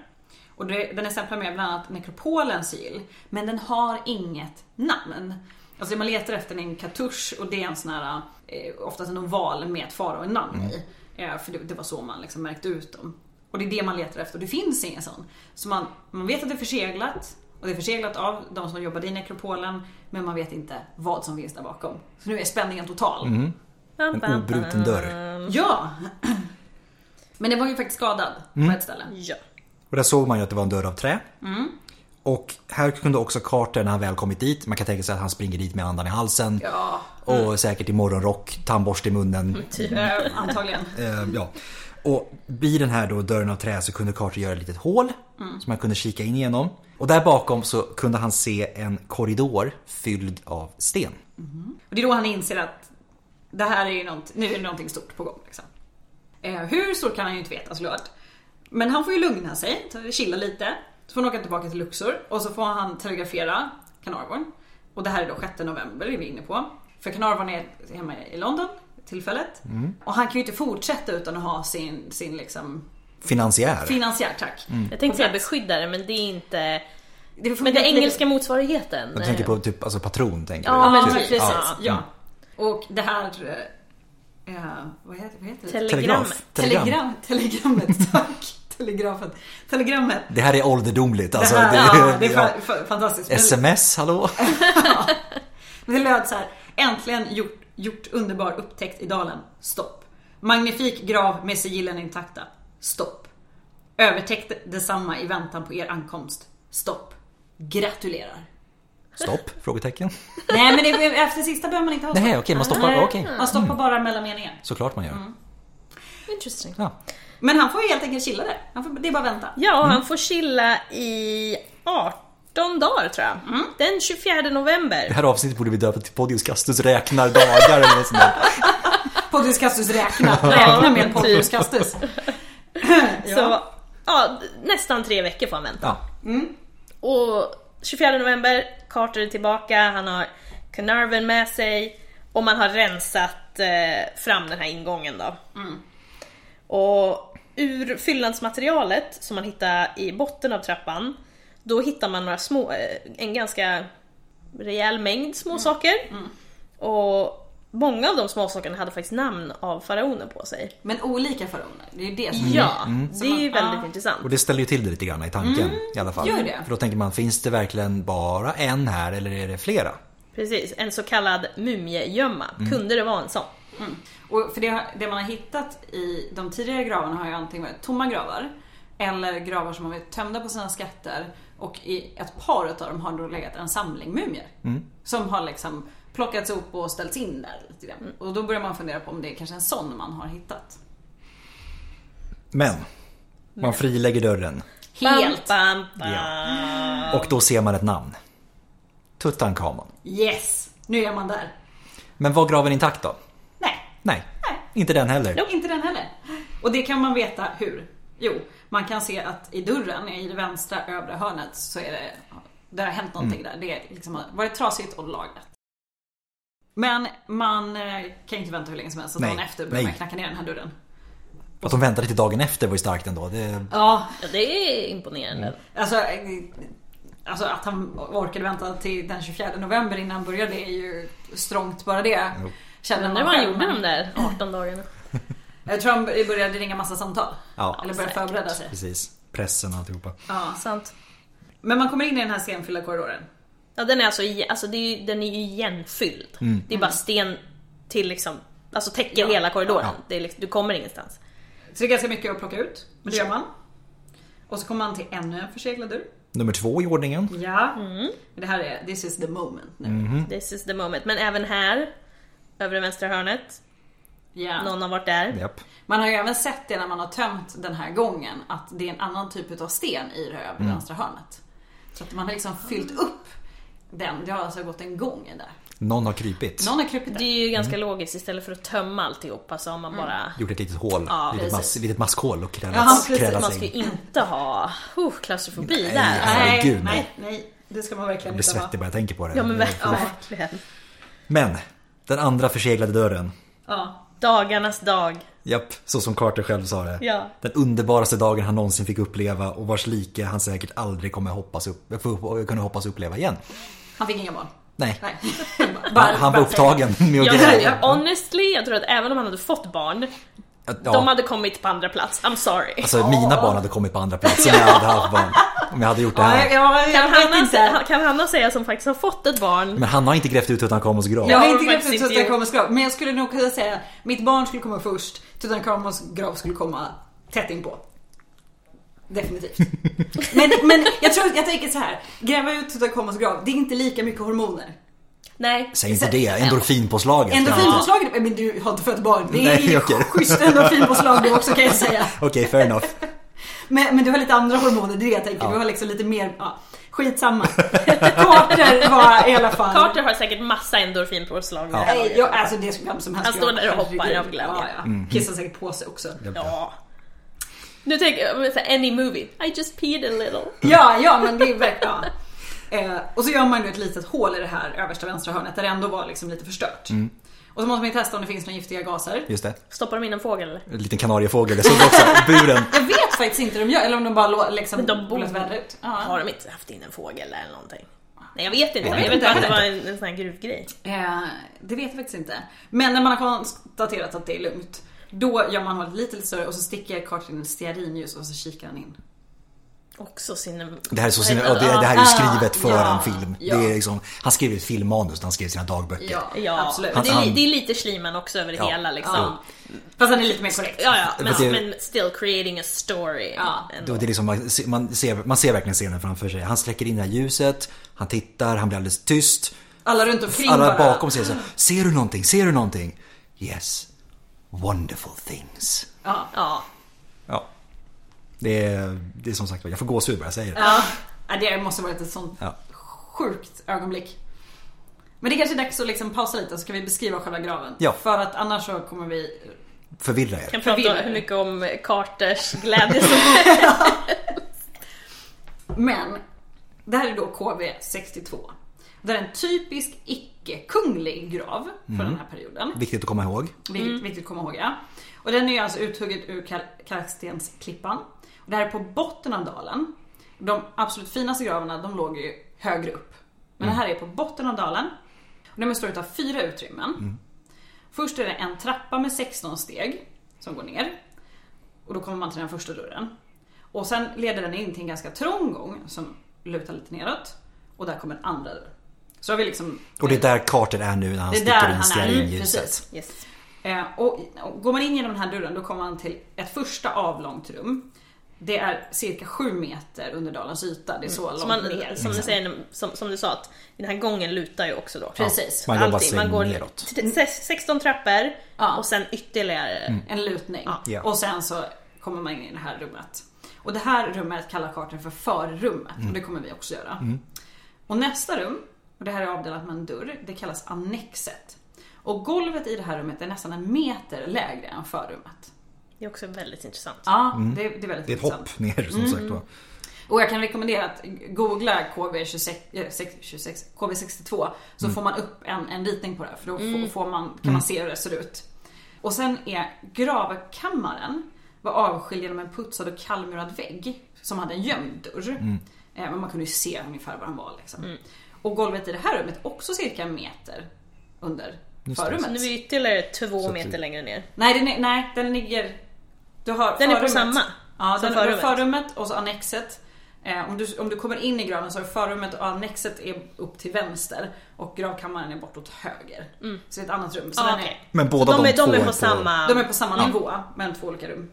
Speaker 4: Och det, den är stämplad med bland annat nekropolens sigill. Men den har inget namn. Alltså det man letar efter är en kartusch och det är en sån här, eh, oftast en oval med ett faraonamn i. Eh, för det, det var så man liksom märkte ut dem. Och det är det man letar efter och det finns ingen sån. Så man, man vet att det är förseglat och det är förseglat av de som jobbade i nekropolen men man vet inte vad som finns där bakom. Så nu är spänningen total.
Speaker 5: En obruten dörr.
Speaker 4: Ja! (clears throat) Men den var ju faktiskt skadad på ett ställe.
Speaker 3: Ja.
Speaker 5: Och där såg man ju att det var en dörr av trä.
Speaker 4: Mm.
Speaker 5: Och här kunde också Carter när han väl kommit dit, man kan tänka sig att han springer dit med andan i halsen.
Speaker 4: Ja, Mm.
Speaker 5: Och säkert i morgonrock, tandborste i munnen.
Speaker 4: eh, antagligen.
Speaker 5: Eh, ja. Och vid den här då dörren av trä så kunde Carter göra ett litet hål
Speaker 4: Mm.
Speaker 5: som han kunde kika in genom. Och där bakom så kunde han se en korridor fylld av sten.
Speaker 4: Och det är då han inser att det här är ju något, nu är det någonting stort på gång. Liksom. Eh, hur stort kan han ju inte veta såklart. Men han får ju lugna sig, ta- chilla lite. Så får han åka tillbaka till Luxor och så får han telegrafera Carnarvon. Och det här är då 6 november, det är vi inne på. För Carnarvon är hemma i London tillfället. Och han kan ju inte fortsätta utan att ha sin, sin liksom
Speaker 5: Finansiär.
Speaker 4: finansiär tack.
Speaker 3: Jag tänkte säga beskyddare, men det är inte...
Speaker 4: Det
Speaker 3: Men det
Speaker 4: fungerar-
Speaker 3: engelska motsvarigheten.
Speaker 5: Jag tänker på typ alltså patron. Tänker
Speaker 3: Ja,
Speaker 5: du?
Speaker 4: Ja,
Speaker 3: men
Speaker 5: Typ.
Speaker 4: precis.
Speaker 3: precis.
Speaker 4: Ja.
Speaker 5: Mm.
Speaker 4: Och det här... eh, Eh, vad heter, vad heter det?
Speaker 3: Telegrammet.
Speaker 5: Telegraf. Telegram.
Speaker 4: Telegram.
Speaker 5: (laughs)
Speaker 4: Telegrammet, tack. Telegrafet. Telegrammet.
Speaker 5: Det här är ålderdomligt. Alltså,
Speaker 4: det, här, (laughs) ja, det är
Speaker 5: ja.
Speaker 4: fa- fa- fantastiskt. Men,
Speaker 5: Sms, hallå?
Speaker 4: men det löd så här. Äntligen gjort, gjort underbar upptäckt i dalen. Stopp. Magnifik grav med sigillen intakta. Stopp. Övertäckt detsamma i väntan på er ankomst. Stopp.
Speaker 5: (laughs)
Speaker 4: Gratulerar.
Speaker 5: Stopp? Frågetecken.
Speaker 4: Nej men det, efter sista behöver man inte ha
Speaker 5: Nej, okej,
Speaker 4: stopp.
Speaker 5: man stoppar. Okej.
Speaker 4: Man stoppar bara mellan meningar.
Speaker 5: Såklart man gör.
Speaker 3: Interesting.
Speaker 5: Ja.
Speaker 4: Men han får ju helt enkelt chilla där. Han får, det är bara att vänta.
Speaker 3: Ja, han får chilla i 18 dagar tror jag. Den 24
Speaker 5: Det
Speaker 3: november.
Speaker 5: här avsnittet borde vi döpa till Podius Castus räknar dagar eller något sånt där.
Speaker 4: Pontius Castus räkna. Räkna med Pontius Castus.
Speaker 3: Så, ja, nästan tre veckor får han vänta.
Speaker 5: Ja.
Speaker 3: Och 24 november, Carter är tillbaka, han har Carnarvon med sig och man har rensat eh, fram den här ingången då. Och ur fyllnadsmaterialet som man hittar i botten av trappan, Då hittar man några små, eh, en ganska rejäl mängd småsaker. Och många av de småsakerna hade faktiskt namn av faraoner på sig.
Speaker 4: Men olika faraoner, det är ju det som
Speaker 3: Ja, det är ju
Speaker 4: Så man-
Speaker 3: väldigt
Speaker 4: Mm. ja.
Speaker 3: intressant.
Speaker 5: Och det ställer ju till det lite grann i tanken i alla fall.
Speaker 4: Mm. gör det.
Speaker 5: För då tänker man, finns det verkligen bara en här eller är det flera?
Speaker 3: Precis, en så kallad mumiegömma.
Speaker 5: Mm.
Speaker 3: Kunde det vara en sån?
Speaker 4: Mm. Och för det, det man har hittat i de tidigare gravarna har ju antingen varit tomma gravar eller gravar som har varit tömda på sina skatter och i ett par utav dem har då legat en samling mumier. Som har liksom plockats upp och ställts in där lite grann. Och då börjar man fundera på om det är kanske en sån man har hittat.
Speaker 5: Men, man frilägger dörren
Speaker 4: Helt!
Speaker 3: Bam, bam, bam.
Speaker 5: och då ser man ett namn. Tutankhamon.
Speaker 4: Yes! Nu är man där.
Speaker 5: Men var graven intakt då?
Speaker 4: Nej,
Speaker 5: Nej,
Speaker 4: Nej.
Speaker 5: inte den heller.
Speaker 4: Nope. Inte den heller. Och det kan man veta hur? Jo, man kan se att i dörren i det vänstra övre hörnet så är det, det har hänt någonting
Speaker 5: Mm.
Speaker 4: där. Det är liksom har varit trasigt och lagrat. Men man eh, kan inte vänta hur länge som helst. Så
Speaker 5: Nej.
Speaker 4: dagen efter börjar man
Speaker 5: Nej.
Speaker 4: knacka ner den här dörren.
Speaker 5: Att de väntade till dagen efter var ju starkt ändå. Det...
Speaker 4: Ja,
Speaker 3: Ja, det är imponerande.
Speaker 4: alltså, eh, alltså att han orkade vänta till den 24 november innan han började det är ju strångt bara det. Känner
Speaker 3: Undrar
Speaker 4: man
Speaker 3: vad han
Speaker 4: själv.
Speaker 3: gjorde de
Speaker 4: Men
Speaker 3: där 18 dagarna.
Speaker 4: Jag tror han började ringa massa samtal.
Speaker 5: Ja.
Speaker 4: Eller började
Speaker 3: Säkert.
Speaker 4: förbereda sig.
Speaker 5: Precis, pressen och alltihopa.
Speaker 4: Ja.
Speaker 3: Sant.
Speaker 4: Men man kommer in i den här stenfyllda korridoren.
Speaker 3: Ja, den är alltså, i- alltså det är, ju- den är ju igenfylld. Det är bara sten till liksom, alltså täcker hela korridoren. Det är liksom, du kommer ingenstans.
Speaker 4: Så det är ganska mycket att plocka ut. Men det gör man. Och så kommer man till ännu en förseglad dörr.
Speaker 5: Nummer två i ordningen.
Speaker 4: Ja.
Speaker 3: Mm.
Speaker 4: Det här är, this is the moment nu.
Speaker 5: Mm.
Speaker 3: This is the moment. Men även här, övre vänstra hörnet,
Speaker 4: Ja.
Speaker 3: någon har varit där.
Speaker 5: Japp.
Speaker 4: Man har ju även sett det när man har tömt den här gången. Att det är en annan typ av sten i det här
Speaker 5: Mm.
Speaker 4: övre vänstra hörnet. Så att man har liksom fyllt upp den. Det har alltså gått en gång där.
Speaker 5: Någon har krypit.
Speaker 4: Någon har krupit
Speaker 3: Det
Speaker 4: där.
Speaker 3: är ju ganska logiskt istället för att tömma alltihopa så har man bara...
Speaker 5: Gjort ett litet hål,
Speaker 3: Ja,
Speaker 5: litet,
Speaker 3: precis.
Speaker 5: mas, litet maskhål och
Speaker 4: Ja,
Speaker 5: krälat
Speaker 4: precis.
Speaker 5: krälat
Speaker 3: Man
Speaker 5: sig
Speaker 3: ska ju
Speaker 5: in.
Speaker 3: inte ha oh, klaustrofobi
Speaker 5: Nej.
Speaker 3: där.
Speaker 5: Herregud,
Speaker 4: nej,
Speaker 5: nej.
Speaker 4: nej. Det ska man
Speaker 5: Jag
Speaker 4: verkligen
Speaker 5: blir
Speaker 4: inte ha.
Speaker 5: svettig bara jag tänker på det.
Speaker 3: Ja men
Speaker 5: Det är
Speaker 3: verk-
Speaker 5: sjukt.
Speaker 3: verkligen.
Speaker 5: Men, den andra förseglade dörren.
Speaker 4: Ja.
Speaker 3: Dagarnas dag.
Speaker 5: Japp, så som Carter själv sa det.
Speaker 3: Ja.
Speaker 5: Den underbaraste dagen han någonsin fick uppleva och vars like han säkert aldrig kommer hoppas upp, få- kunna hoppas uppleva igen.
Speaker 4: Han fick inga barn.
Speaker 5: Nej,
Speaker 4: Nej.
Speaker 5: (laughs) han, han var upptagen med att
Speaker 3: Jag
Speaker 5: gräva.
Speaker 3: tror, jag, honestly, jag tror att även om han hade fått barn,
Speaker 5: Att-
Speaker 3: de
Speaker 5: Ja,
Speaker 3: hade kommit på andra plats. I'm sorry.
Speaker 5: alltså mina barn hade kommit på andra plats om jag hade haft barn. Om jag hade gjort det
Speaker 4: Ja, jag,
Speaker 5: här.
Speaker 4: jag,
Speaker 3: kan,
Speaker 4: jag vet
Speaker 3: Hanna,
Speaker 4: inte.
Speaker 3: säga- kan Hanna säga som faktiskt har fått ett barn?
Speaker 5: Men han har inte grävt ut Tutankhamons grav.
Speaker 4: Jag
Speaker 3: Ja,
Speaker 4: har
Speaker 3: de
Speaker 4: inte grävt
Speaker 3: faktiskt
Speaker 4: ut
Speaker 3: inte
Speaker 4: Tutankhamons
Speaker 3: gjort.
Speaker 4: grav, men jag skulle nog kunna säga mitt barn skulle komma först, Tutankhamons grav skulle komma tätt inpå.
Speaker 3: (laughs)
Speaker 4: Definitivt. Men, men jag tror, jag tänker så här. gräva ut Tutankhamons grav, det är inte lika mycket hormoner.
Speaker 3: Nej.
Speaker 5: Säg inte det, endorfinpåslaget.
Speaker 4: Endorfinpåslaget, men du har inte fött barn. Det är
Speaker 5: Nej,
Speaker 4: ju
Speaker 5: okej.
Speaker 4: schysst endorfinpåslag du också kan
Speaker 3: (laughs)
Speaker 4: jag säga.
Speaker 5: Okej, fair enough.
Speaker 4: Men, men du har lite andra hormoner, det är det jag tänker. Du har liksom lite mer, ja, skitsamma.
Speaker 3: (laughs)
Speaker 4: Carter var i alla fall...
Speaker 3: Carter har säkert massa endorfinpåslag. Ja.
Speaker 4: Nej, jag, alltså det skulle vem som helst
Speaker 3: Han står
Speaker 4: göra.
Speaker 3: där och hoppar
Speaker 4: Herregud.
Speaker 3: av glädje. Mm.
Speaker 4: Ja, ja. Kissar säkert på sig också.
Speaker 3: ja. Nu tänker jag, men så här, any movie. I just peed a little.
Speaker 4: Ja, ja men det är verkligen... Ja. Eh, och så gör man ju ett litet hål i det här översta vänstra hörnet där det ändå var liksom lite förstört.
Speaker 5: Mm.
Speaker 4: Och så måste man ju testa om det finns några giftiga gaser.
Speaker 5: Just det.
Speaker 3: Stoppar de in en fågel eller?
Speaker 5: En liten kanariefågel, jag såg det också.
Speaker 4: (laughs)
Speaker 5: Buren.
Speaker 4: Jag vet faktiskt inte hur de gör, eller om de bara lå- liksom
Speaker 3: Men de borde...
Speaker 4: lät vädra ut.
Speaker 3: Har
Speaker 4: Ja.
Speaker 3: de inte haft in en fågel där eller någonting? Nej jag vet inte,
Speaker 5: Jag
Speaker 3: jag
Speaker 5: vet
Speaker 3: vet,
Speaker 5: inte,
Speaker 3: bara att det
Speaker 5: jag
Speaker 3: var
Speaker 5: vet
Speaker 3: en, en sån här gruvgrej.
Speaker 4: Eh, det vet jag faktiskt inte. Men när man har konstaterat att det är lugnt, då gör man hålet lite, lite större och så sticker Carter in ett stearinljus och så kikar han in.
Speaker 3: Också sin...
Speaker 5: Det här är, så sin, ja, det, det här är ju skrivet för
Speaker 4: ah, Ja,
Speaker 5: en film.
Speaker 4: ja.
Speaker 5: Det är liksom, han skrev ett filmmanus när han skrev sina dagböcker.
Speaker 4: Ja,
Speaker 3: Ja,
Speaker 4: absolut.
Speaker 3: Men Det, är,
Speaker 5: Han-
Speaker 3: li- det är lite Schliemann också över det
Speaker 5: Ja.
Speaker 3: hela liksom.
Speaker 4: Ja. Fast han är lite mer korrekt.
Speaker 3: Ja, ja, men,
Speaker 5: För det-
Speaker 3: men still creating a story.
Speaker 4: Ja.
Speaker 5: Då
Speaker 3: ändå.
Speaker 5: är det liksom, man, ser- man, ser, man ser verkligen scenen framför sig. Han släcker in det här ljuset, han tittar, han blir alldeles tyst.
Speaker 4: Alla runt omkring
Speaker 5: Alla
Speaker 4: bara.
Speaker 5: bakom säger så här, ser du någonting? Ser du någonting? Yes, wonderful things.
Speaker 4: Ja.
Speaker 3: Ja.
Speaker 5: Ja. Det är, det är som sagt jag får gåshud bara jag säger det.
Speaker 4: Ja. Ja, det måste varit ett sånt
Speaker 5: Ja.
Speaker 4: sjukt ögonblick. Men det är kanske är dags att liksom pausa lite så kan vi beskriva själva graven.
Speaker 5: Ja.
Speaker 4: För att annars så kommer vi...
Speaker 5: Förvirrar er.
Speaker 3: Kan prata
Speaker 4: Förvirrad.
Speaker 3: hur mycket om Carters glädje som
Speaker 4: (laughs)
Speaker 3: helst.
Speaker 4: Men, det här är då KB62. Det är en typisk icke-kunglig grav för den här perioden.
Speaker 5: Viktigt att komma ihåg.
Speaker 4: Vilket viktigt att komma ihåg ja. Och den är ju alltså uthuggen ur kalk- kalkstensklippan. Och det här är på botten av dalen. De absolut finaste gravarna de låg ju högre upp.
Speaker 5: Mm.
Speaker 4: Men det här är på botten av dalen. Och de består av fyra utrymmen.
Speaker 5: Mm.
Speaker 4: Först är det en trappa med 16 steg som går ner. Och då kommer man till den första dörren. Och sen leder den in till en ganska trång gång som lutar lite neråt. Och där kommer en andra dörr. Så har vi liksom...
Speaker 5: Och det är där Carter är nu när han
Speaker 4: Det är där
Speaker 5: sticker in
Speaker 4: han är,
Speaker 5: stearinljuset.
Speaker 4: precis.
Speaker 3: Yes.
Speaker 4: Eh, och, och går man in genom den här dörren då kommer man till ett första avlångt rum. Det är cirka 7 meter under dalens yta. Det är så långt
Speaker 3: Mm. Som, man,
Speaker 4: ner.
Speaker 3: som,
Speaker 5: Mm.
Speaker 3: du säger, som, som du sa, att den här gången lutar ju också då.
Speaker 4: Precis.
Speaker 5: Man jobbar
Speaker 3: Allting.
Speaker 5: sig
Speaker 3: Man går
Speaker 5: neråt.
Speaker 3: t- t- 16 trappor
Speaker 4: Ja.
Speaker 3: och sen ytterligare.
Speaker 5: Mm.
Speaker 4: En lutning.
Speaker 5: Ja.
Speaker 4: Och sen så kommer man in i det här rummet. Och det här rummet kallar kartan för förrummet.
Speaker 5: Mm.
Speaker 4: Och det kommer vi också göra. Och nästa rum, och det här är avdelat med en dörr, det kallas annexet. Och golvet i det här rummet är nästan en meter lägre än förrummet.
Speaker 3: Det är också väldigt intressant.
Speaker 4: Ja, det, det är väldigt
Speaker 5: Mm. Det är ett hopp ner
Speaker 4: Mm.
Speaker 5: som sagt var.
Speaker 4: Och jag kan rekommendera att googla KB26, eh, sex- 26, KB62 så
Speaker 5: Mm.
Speaker 4: får man upp en, en ritning på det här, för då f-
Speaker 3: Mm.
Speaker 4: får man, kan man se hur det ser ut. Och sen är gravkammaren var avskiljd genom en putsad och kallmurad vägg som hade en gömd dörr.
Speaker 5: Mm.
Speaker 4: Eh, Men man kunde ju se ungefär var den var liksom.
Speaker 3: Mm.
Speaker 4: Och golvet i det här rummet också cirka en meter under
Speaker 5: Just det.
Speaker 3: Nu är
Speaker 4: förrummet.
Speaker 3: vi ytterligare två
Speaker 5: Så
Speaker 3: meter
Speaker 5: typ-
Speaker 3: längre ner.
Speaker 4: Nej, den, är- nej, den ligger... Du har
Speaker 3: Den är på
Speaker 4: förrummet.
Speaker 3: samma
Speaker 4: Ja,
Speaker 3: som
Speaker 4: den, förrummet.
Speaker 3: förrummet.
Speaker 4: förrummet och så annexet. Eh, om, du, om du kommer in i graven så är förrummet och annexet är upp till vänster och gravkammaren är bortåt höger. Så det är ett annat rum. Så
Speaker 3: Ah,
Speaker 4: den
Speaker 3: okej.
Speaker 5: Men båda
Speaker 3: de,
Speaker 5: de,
Speaker 3: är,
Speaker 5: två
Speaker 3: de är på samma...
Speaker 4: är, de är på samma nivå men två olika rum.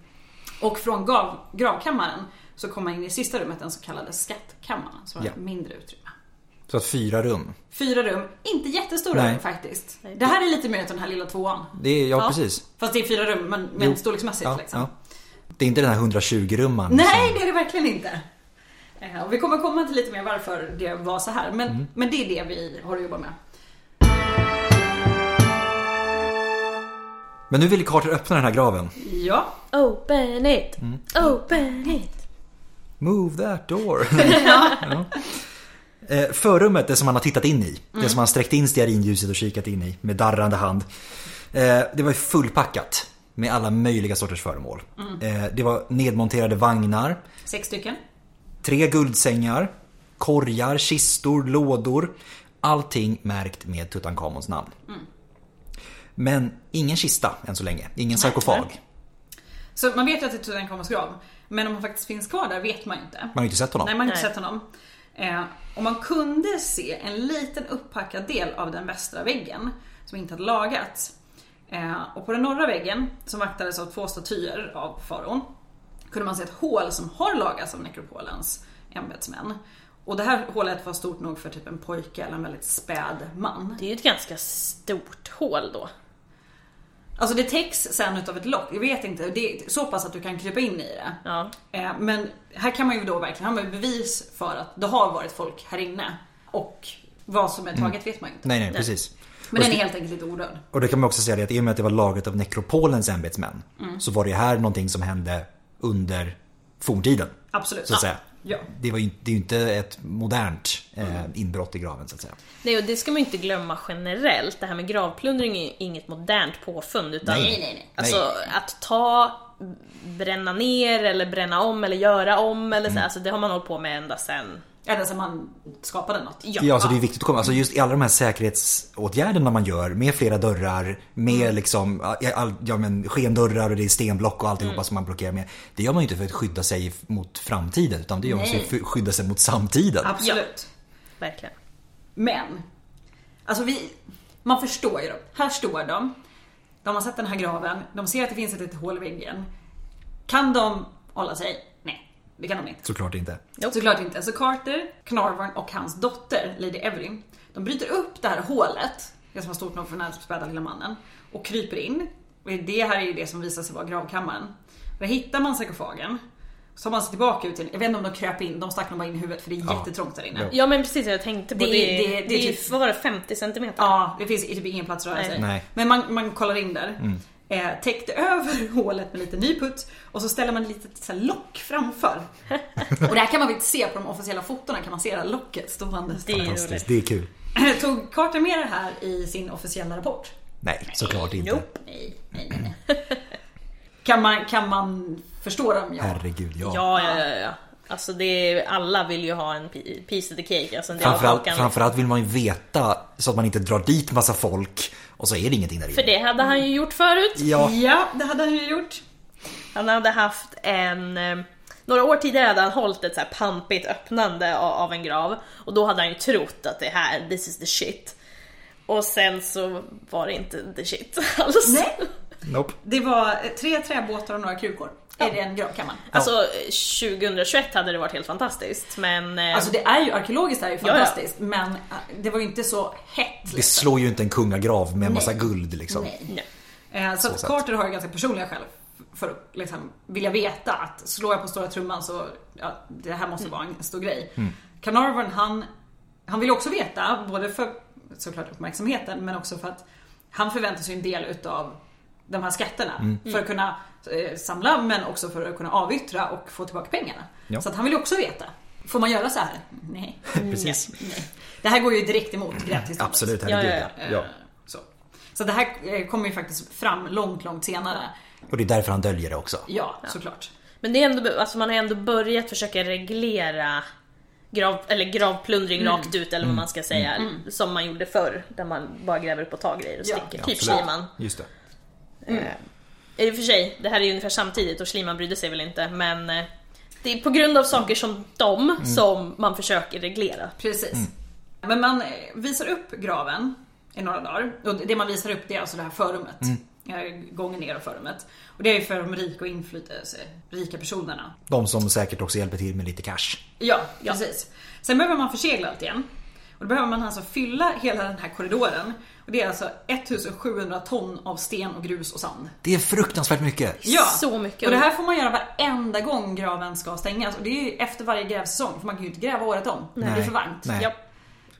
Speaker 4: Och från grav, gravkammaren så kommer man in i sista rummet, den så kallade skattkammaren. Som har
Speaker 5: Ja.
Speaker 4: ett mindre utrymme.
Speaker 5: Så att fyra rum.
Speaker 4: Fyra rum, inte jättestora
Speaker 5: Nej.
Speaker 4: rum faktiskt. Det här är lite mer än den här lilla tvåan.
Speaker 5: Det är, ja, precis.
Speaker 4: Fast det är fyra rum men, men storleksmässigt
Speaker 5: Ja,
Speaker 4: liksom.
Speaker 5: ja. Det är inte den här 120-rumman.
Speaker 4: Nej, det är det verkligen inte. Eh, Och vi kommer komma till lite mer varför det var så här. Men, men det är det vi har att jobba med.
Speaker 5: Men nu vill Carter öppna den här graven.
Speaker 4: Ja,
Speaker 3: Open it!
Speaker 5: Mm.
Speaker 3: Open it!
Speaker 5: Move that door. ja. Eh, Förrummet, det som han har tittat in i. Det som han sträckt in stearinljuset och kikat in i med darrande hand. Eh, Det var ju fullpackat med alla möjliga sorters föremål. Eh, Det var nedmonterade vagnar,
Speaker 4: sex stycken.
Speaker 5: tre guldsängar, korgar, kistor, lådor. Allting märkt med Tutankhamons namn.
Speaker 4: Mm.
Speaker 5: Men ingen kista än så länge, ingen sarkofag.
Speaker 4: Så man vet ju att det är Tutankhamons grav. Men om han faktiskt finns kvar där vet man ju inte.
Speaker 5: Man har ju inte sett honom.
Speaker 4: Nej, man har inte
Speaker 3: Nej.
Speaker 4: sett honom. Eh, och man kunde se en liten upphackad del av den västra väggen som inte hade lagats. Eh, och på den norra väggen, som vaktades av två statyer av faraon, kunde man se ett hål som har lagats av nekropolens ämbetsmän. Och det här hålet var stort nog för typ en pojke eller en väldigt späd man.
Speaker 3: Det är ju ett ganska stort hål då.
Speaker 4: Alltså det täcks sen utav ett lock, jag vet inte, det är så pass att du kan krypa in i det.
Speaker 3: Ja.
Speaker 4: Eh, Men här kan man ju då verkligen ha med bevis för att det har varit folk här inne. Och vad som är taget vet man ju inte.
Speaker 5: Nej, nej, precis.
Speaker 4: Men den är helt enkelt lite orörd.
Speaker 5: Och det kan man också säga det att i och med att det var lagret av nekropolens ämbetsmän
Speaker 4: Mm.
Speaker 5: så var det ju här någonting som hände under forntiden.
Speaker 4: Absolut.
Speaker 5: Så att säga.
Speaker 4: Ja. Mm.
Speaker 5: Det, var ju, det är ju inte ett modernt eh, inbrott i graven så att säga.
Speaker 3: Nej, och det ska man ju inte glömma generellt. Det här med gravplundring är ju inget modernt påfund. Utan
Speaker 5: Nej, nej, nej.
Speaker 3: Alltså att ta, bränna ner eller bränna om eller göra om eller så, alltså, det har man hållit på med ända sen...
Speaker 4: Ända sedan man skapade något.
Speaker 3: Ja,
Speaker 5: Ja, så det är viktigt att komma. Alltså just i alla de här säkerhetsåtgärderna man gör med flera dörrar, med liksom, ja, all, ja, men skendörrar och det är stenblock och alltihopa som man blockerar med. Det gör man ju inte för att skydda sig mot framtiden utan det gör man ju för att skydda sig mot samtiden.
Speaker 4: Absolut.
Speaker 3: verkligen.
Speaker 4: Men. Alltså vi, man förstår ju dem. Här står de. De har sett den här graven. De ser att det finns ett litet hål i väggen. Kan de hålla sig? Nej, det kan de inte.
Speaker 5: Såklart inte.
Speaker 4: Såklart inte. Så Carter, Carnarvon och hans dotter Lady Evelyn, de bryter upp det här hålet, det som var stort nog för den här späda lilla mannen, och kryper in. Och det här är ju det som visar sig vara gravkammaren. Där hittar man sarkofagen, så har man sig tillbaka ut till Jag vet inte om de kröp in, de stack nog bara in huvudet för det är
Speaker 5: Ja.
Speaker 4: jättetrångt där inne.
Speaker 5: Ja.
Speaker 4: Ja.
Speaker 3: Ja men precis, jag tänkte på
Speaker 4: Det-
Speaker 3: det.
Speaker 4: det-
Speaker 3: Det,
Speaker 4: det är
Speaker 3: är ju-
Speaker 4: typ-
Speaker 3: vad var det, 50 centimeter?
Speaker 4: det finns typ ingen plats att röra
Speaker 3: Nej.
Speaker 4: sig.
Speaker 5: Nej.
Speaker 4: Men man, man kollar in där. Eh, täckte över (laughs) hålet med lite nyputs och så ställer man ett litet så här, lock framför. och det här kan man väl inte se på de officiella fotona, kan man se det här locket stående.
Speaker 3: Det är ju
Speaker 5: Fantastiskt,
Speaker 3: roligt.
Speaker 5: det är
Speaker 4: (clears throat)
Speaker 5: kul.
Speaker 4: Tog Carter med det här i sin officiella rapport?
Speaker 5: Nej, såklart inte.
Speaker 3: Nope.
Speaker 4: Nej, nej, nej. nej. kan, man, kan man förstå dem? Ja.
Speaker 5: Herregud, ja.
Speaker 3: Ja, ja, ja, ja. Alltså det är, alla vill ju ha en pi- piece of the cake, alltså en del av
Speaker 5: Framförallt,
Speaker 3: kakan.
Speaker 5: framförallt vill man ju veta så att man inte drar dit massa folk och så är det ingenting där
Speaker 3: För
Speaker 5: inne.
Speaker 3: det hade han ju gjort förut.
Speaker 5: Ja,
Speaker 4: Ja, det hade han ju gjort.
Speaker 3: Han hade haft en... eh, Några år tidigare hade han hållit ett så här pampigt öppnande av, av en grav. Och då hade han ju trott att det här, this is the shit. Och sen så var det inte the shit (laughs) alls.
Speaker 4: Nej.
Speaker 5: nope.
Speaker 4: Det var eh, tre träbåtar och några krukor i den gravkammaren.
Speaker 3: Alltså eh, 2021 hade det varit helt fantastiskt men... eh,
Speaker 4: Alltså det är ju arkeologiskt är det ju
Speaker 3: Ja, ja.
Speaker 4: fantastiskt men eh, det var ju inte så hett.
Speaker 5: Det
Speaker 4: Liksom.
Speaker 5: slår ju inte en kungagrav med massa guld liksom.
Speaker 3: nej.
Speaker 4: Eh, Så, att
Speaker 5: sätt.
Speaker 4: Carter har ju ganska personliga skäl för att liksom, vilja veta att slår jag på stora trumman så ja, det här måste vara en stor grej.
Speaker 5: Mm.
Speaker 4: Carnarvon han, han vill ju också veta, både för såklart uppmärksamheten men också för att han förväntar sig en del utav de här skatterna
Speaker 5: Mm.
Speaker 4: för att kunna eh, samla men också för att kunna avyttra och få tillbaka pengarna.
Speaker 5: Ja.
Speaker 4: Så att han vill ju också veta. Får man göra så här? Nej.
Speaker 5: Precis.
Speaker 4: Det här går ju direkt emot grävtillståndet.
Speaker 5: Absolut,
Speaker 3: Ja, ja,
Speaker 5: herregud ja,
Speaker 4: Eh, Så. så det här eh, kommer ju faktiskt fram långt, långt senare.
Speaker 5: Och det är därför han döljer det också.
Speaker 4: Ja, såklart.
Speaker 3: Men det är ändå, alltså man har ändå börjat försöka reglera grav, eller gravplundring
Speaker 4: Mm.
Speaker 3: rakt ut eller vad man
Speaker 5: Mm.
Speaker 3: ska säga. Som man gjorde förr, där man bara gräver upp och tar grejer och
Speaker 4: Ja.
Speaker 3: sticker.
Speaker 5: Ja,
Speaker 3: typ
Speaker 5: absolut.
Speaker 3: Schliemann.
Speaker 5: Just det.
Speaker 3: Eh, I och för sig, det här är ju ungefär samtidigt och Schliemann brydde sig väl inte men eh, det är på grund av saker som dem som man försöker reglera.
Speaker 4: Precis. Men man eh, visar upp graven i några dagar. Och det man visar upp det är alltså det här förrummet. Eh, Gången ner och förrummet. Och det är ju för de rika och inflytelserika personerna.
Speaker 5: De som säkert också hjälper till med lite cash.
Speaker 4: Ja, precis. Sen behöver man försegla allt igen. Och då behöver man alltså fylla hela den här korridoren. Och det är alltså 1700 ton av sten och grus och sand.
Speaker 5: Det är fruktansvärt mycket.
Speaker 4: Ja.
Speaker 3: Så mycket.
Speaker 4: Och det här får man göra varenda gång graven ska stängas. Och det är ju efter varje grävsäsong, för man kan ju inte gräva året om. Det är för varmt. Eh.
Speaker 5: Nej.
Speaker 3: Ja.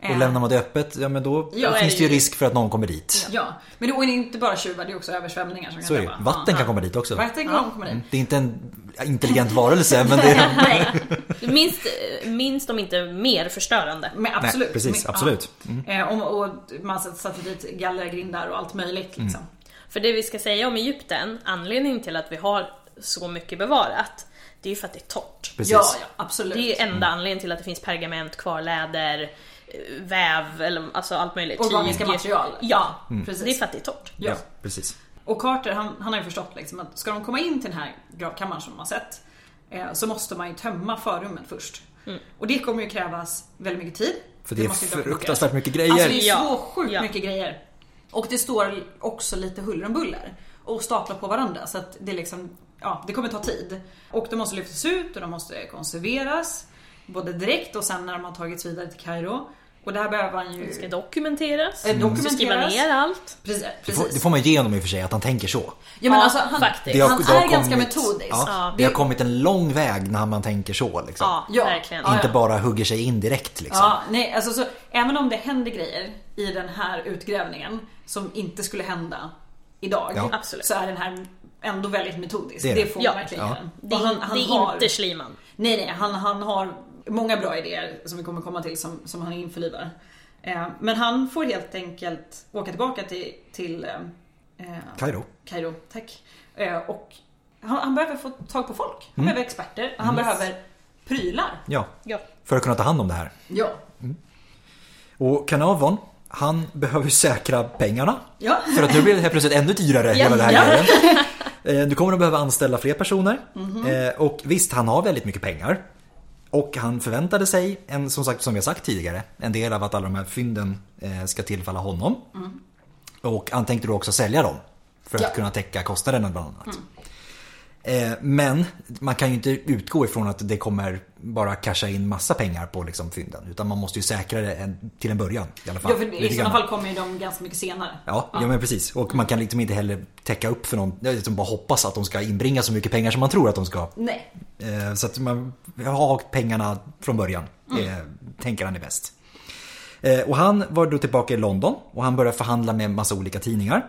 Speaker 5: Och lämnar man det öppet, ja men då
Speaker 4: Ja,
Speaker 5: finns
Speaker 3: är
Speaker 5: det ju
Speaker 3: det ju-
Speaker 5: risk för att någon kommer dit.
Speaker 4: Ja, men det är inte bara tjuvar, det är också översvämningar som kan
Speaker 5: Så är det ju.
Speaker 4: drabba.
Speaker 5: Vatten kan
Speaker 4: Ja.
Speaker 5: komma dit också. Mm.
Speaker 4: Vatten kan komma dit.
Speaker 5: Det är inte en intelligent varelse men det är...
Speaker 3: Nej. (laughs) Minst, eh, minst om inte mer förstörande.
Speaker 4: Men absolut.
Speaker 5: Nej, precis,
Speaker 4: men,
Speaker 5: absolut. Mm.
Speaker 4: Ja. Eh, Och, och man satte dit gallergrindar och allt möjligt
Speaker 5: Mm.
Speaker 4: liksom.
Speaker 3: För det vi ska säga om Egypten, anledningen till att vi har så mycket bevarat, det är ju för att det är torrt.
Speaker 5: Precis.
Speaker 4: Ja, ja, absolut.
Speaker 3: Det är ju enda anledningen till att det finns pergament, kvarläder, eh, väv, eller, alltså allt möjligt.
Speaker 4: Organiska
Speaker 3: Tyg.
Speaker 4: material.
Speaker 3: Ja,
Speaker 4: Precis.
Speaker 3: det är för att det är torrt.
Speaker 4: (laughs) Ja.
Speaker 5: Ja, precis.
Speaker 4: Och Carter han, han har ju förstått liksom att ska de komma in till den här gravkammaren som de har sett eh, så måste man ju tömma förrummet först.
Speaker 3: Mm.
Speaker 4: Och det kommer ju krävas väldigt mycket tid.
Speaker 5: För det är
Speaker 4: måste ju dra på
Speaker 5: fruktansvärt mycket
Speaker 4: Alltså det
Speaker 5: grejer.
Speaker 4: är
Speaker 3: Ja.
Speaker 4: så sjukt
Speaker 3: Ja.
Speaker 4: mycket grejer. Och det står också lite huller om buller. Och staplar på varandra så att det liksom, ja det kommer ta tid. Och de måste lyftas ut och de måste konserveras. Både direkt och sen när de har tagits vidare till Kairo. Och det här behöver man ju...
Speaker 3: Det ska dokumenteras,
Speaker 4: Eh,
Speaker 3: man ska skriva
Speaker 4: dokumenteras.
Speaker 3: ner allt.
Speaker 4: Precis.
Speaker 5: Det får, det
Speaker 4: precis.
Speaker 5: får man ge honom i och för sig, att han tänker så.
Speaker 4: Ja, men
Speaker 3: Ja,
Speaker 4: alltså, han,
Speaker 3: faktiskt.
Speaker 5: Det har-
Speaker 4: han
Speaker 5: det har
Speaker 4: är ganska
Speaker 5: kommit-
Speaker 4: metodisk.
Speaker 5: Ja,
Speaker 3: Ja.
Speaker 5: det har kommit en lång väg när man tänker så. Liksom.
Speaker 3: Ja,
Speaker 4: Ja.
Speaker 3: verkligen.
Speaker 4: Ja,
Speaker 5: Inte bara hugger sig in direkt liksom.
Speaker 4: Ja, nej, alltså så, även om det händer grejer i den här utgrävningen som inte skulle hända idag.
Speaker 5: Ja.
Speaker 3: Absolut.
Speaker 4: Så är den här ändå väldigt metodisk.
Speaker 5: Det
Speaker 4: Det,
Speaker 5: är den.
Speaker 4: får
Speaker 3: Ja.
Speaker 4: man verkligen
Speaker 5: Ja.
Speaker 4: göra.
Speaker 3: Det är,
Speaker 4: Och
Speaker 3: det är
Speaker 4: har-
Speaker 3: inte Schliemann.
Speaker 4: Nej, nej, han, han har många bra idéer som vi kommer komma till som, som han införlivar. Eh, men han får helt enkelt åka tillbaka till, till eh, eh,
Speaker 5: Kairo.
Speaker 4: Kairo, tack. Eh, och han, han behöver få tag på folk. Han behöver experter. Han behöver prylar.
Speaker 5: Mm. Ja.
Speaker 3: Ja.
Speaker 5: För att kunna ta hand om det här.
Speaker 4: Ja.
Speaker 5: Och Carnarvon, han behöver ju säkra pengarna.
Speaker 4: Ja.
Speaker 5: För att nu blir det helt plötsligt ännu dyrare hela den här
Speaker 4: Ja.
Speaker 5: grejen.
Speaker 4: (laughs)
Speaker 5: Eh, Du kommer att behöva anställa fler personer.
Speaker 4: Mhm.
Speaker 5: Eh, Och visst, han har väldigt mycket pengar. Och han förväntade sig, en, som, sagt, som vi har sagt tidigare, en del av att alla de här fynden eh, ska tillfalla honom. Och han tänkte då också sälja dem. För att
Speaker 4: Ja. Mm.
Speaker 5: kunna täcka kostnaderna bland annat. Eh, Men man kan ju inte utgå ifrån att det kommer bara casha in massa pengar på liksom fynden. Utan man måste ju säkra det en, till en början i alla fall.
Speaker 4: Ja, för
Speaker 5: Lite
Speaker 4: I sådana
Speaker 5: grann.
Speaker 4: fall kommer ju de ganska mycket senare.
Speaker 5: Ja, ja. men precis. Och man kan liksom inte heller täcka upp för någon. Jag liksom bara hoppas att de ska inbringa så mycket pengar som man tror att de ska.
Speaker 4: Nej.
Speaker 5: Eh, Så att man har pengarna från början. Eh, Tänker han är bäst. Eh, Och han var då tillbaka i London och han började förhandla med massa olika tidningar.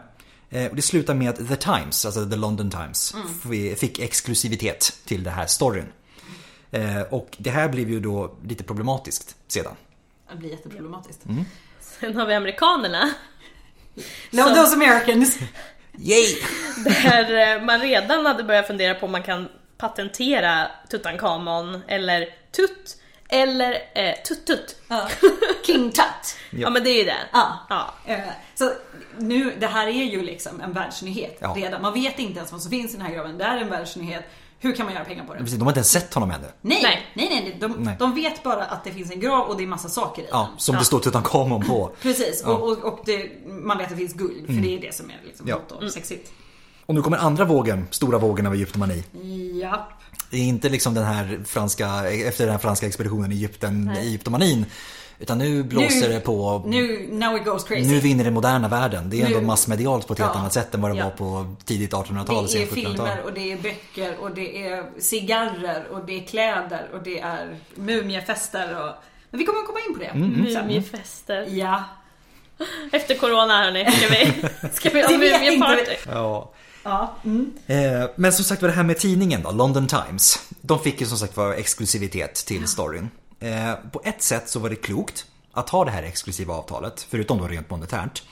Speaker 5: Eh, Och det slutar med att The Times, alltså The London Times, f- fick exklusivitet till det här storyn. Eh, Och det här blev ju då lite problematiskt sedan.
Speaker 4: Det blir jätteproblematiskt.
Speaker 5: Mm.
Speaker 3: Sen har vi
Speaker 4: (laughs)
Speaker 3: amerikanerna.
Speaker 4: No,
Speaker 3: Som-
Speaker 4: those Americans.
Speaker 5: Yay!
Speaker 3: Där eh, man redan hade börjat fundera på om man kan patentera Tutankhamon eller Tut eller eh, Tuttut.
Speaker 4: Ja. King Tut.
Speaker 3: (laughs) Ja men det är ju det.
Speaker 4: Ja.
Speaker 3: Ja.
Speaker 4: Eh, Så nu, det här är ju liksom en världsnyhet
Speaker 5: Ja.
Speaker 4: redan. Man vet inte ens vad som finns i den här graven. Det här är en världsnyhet. Hur kan man göra pengar på det?
Speaker 5: Precis, De har inte ens sett honom ännu.
Speaker 4: Nej, nej,
Speaker 3: Nej.
Speaker 4: nej. nej. De,
Speaker 5: Nej.
Speaker 4: de vet bara att det finns en grav och det är massa saker i
Speaker 5: Ja,
Speaker 4: den.
Speaker 5: som det står Tutankhamon (laughs) på.
Speaker 4: Precis, och, och, och det, man vet att det finns guld för det är det som är liksom
Speaker 5: Mm. Ja.
Speaker 4: hot och sexigt.
Speaker 5: Och nu kommer andra vågen, stora vågen av Egyptomani.
Speaker 4: Japp.
Speaker 5: Det är inte liksom den här franska, efter den här franska expeditionen i Egypten, Egyptomanin. Utan nu blåser det på.
Speaker 4: Nu, now it goes crazy.
Speaker 5: Nu vinner den moderna världen. Det är ändå
Speaker 4: Nu-
Speaker 5: massmedialt på ett helt
Speaker 4: Ja.
Speaker 5: annat sätt än vad det
Speaker 3: Ja.
Speaker 5: var på tidigt 1800-tal,
Speaker 4: det är
Speaker 5: sent
Speaker 4: filmer
Speaker 5: 1700-tal.
Speaker 4: och det är böcker och det är cigarrer och det är kläder och det är mumiefester och... Men vi kommer komma in på det.
Speaker 5: Mm,
Speaker 4: Mm.
Speaker 3: Mumiefester.
Speaker 4: Ja.
Speaker 3: Efter corona hörni, ska vi,
Speaker 4: (laughs)
Speaker 3: ska vi ha
Speaker 4: Det vet
Speaker 3: mumieparty?
Speaker 4: inte.
Speaker 5: Ja.
Speaker 4: ja.
Speaker 5: Eh, Men som sagt var det här med tidningen då, London Times. De fick ju som sagt var exklusivitet till storyn. Eh, På ett sätt så var det klokt att ha det här exklusiva avtalet, förutom då rent monetärt.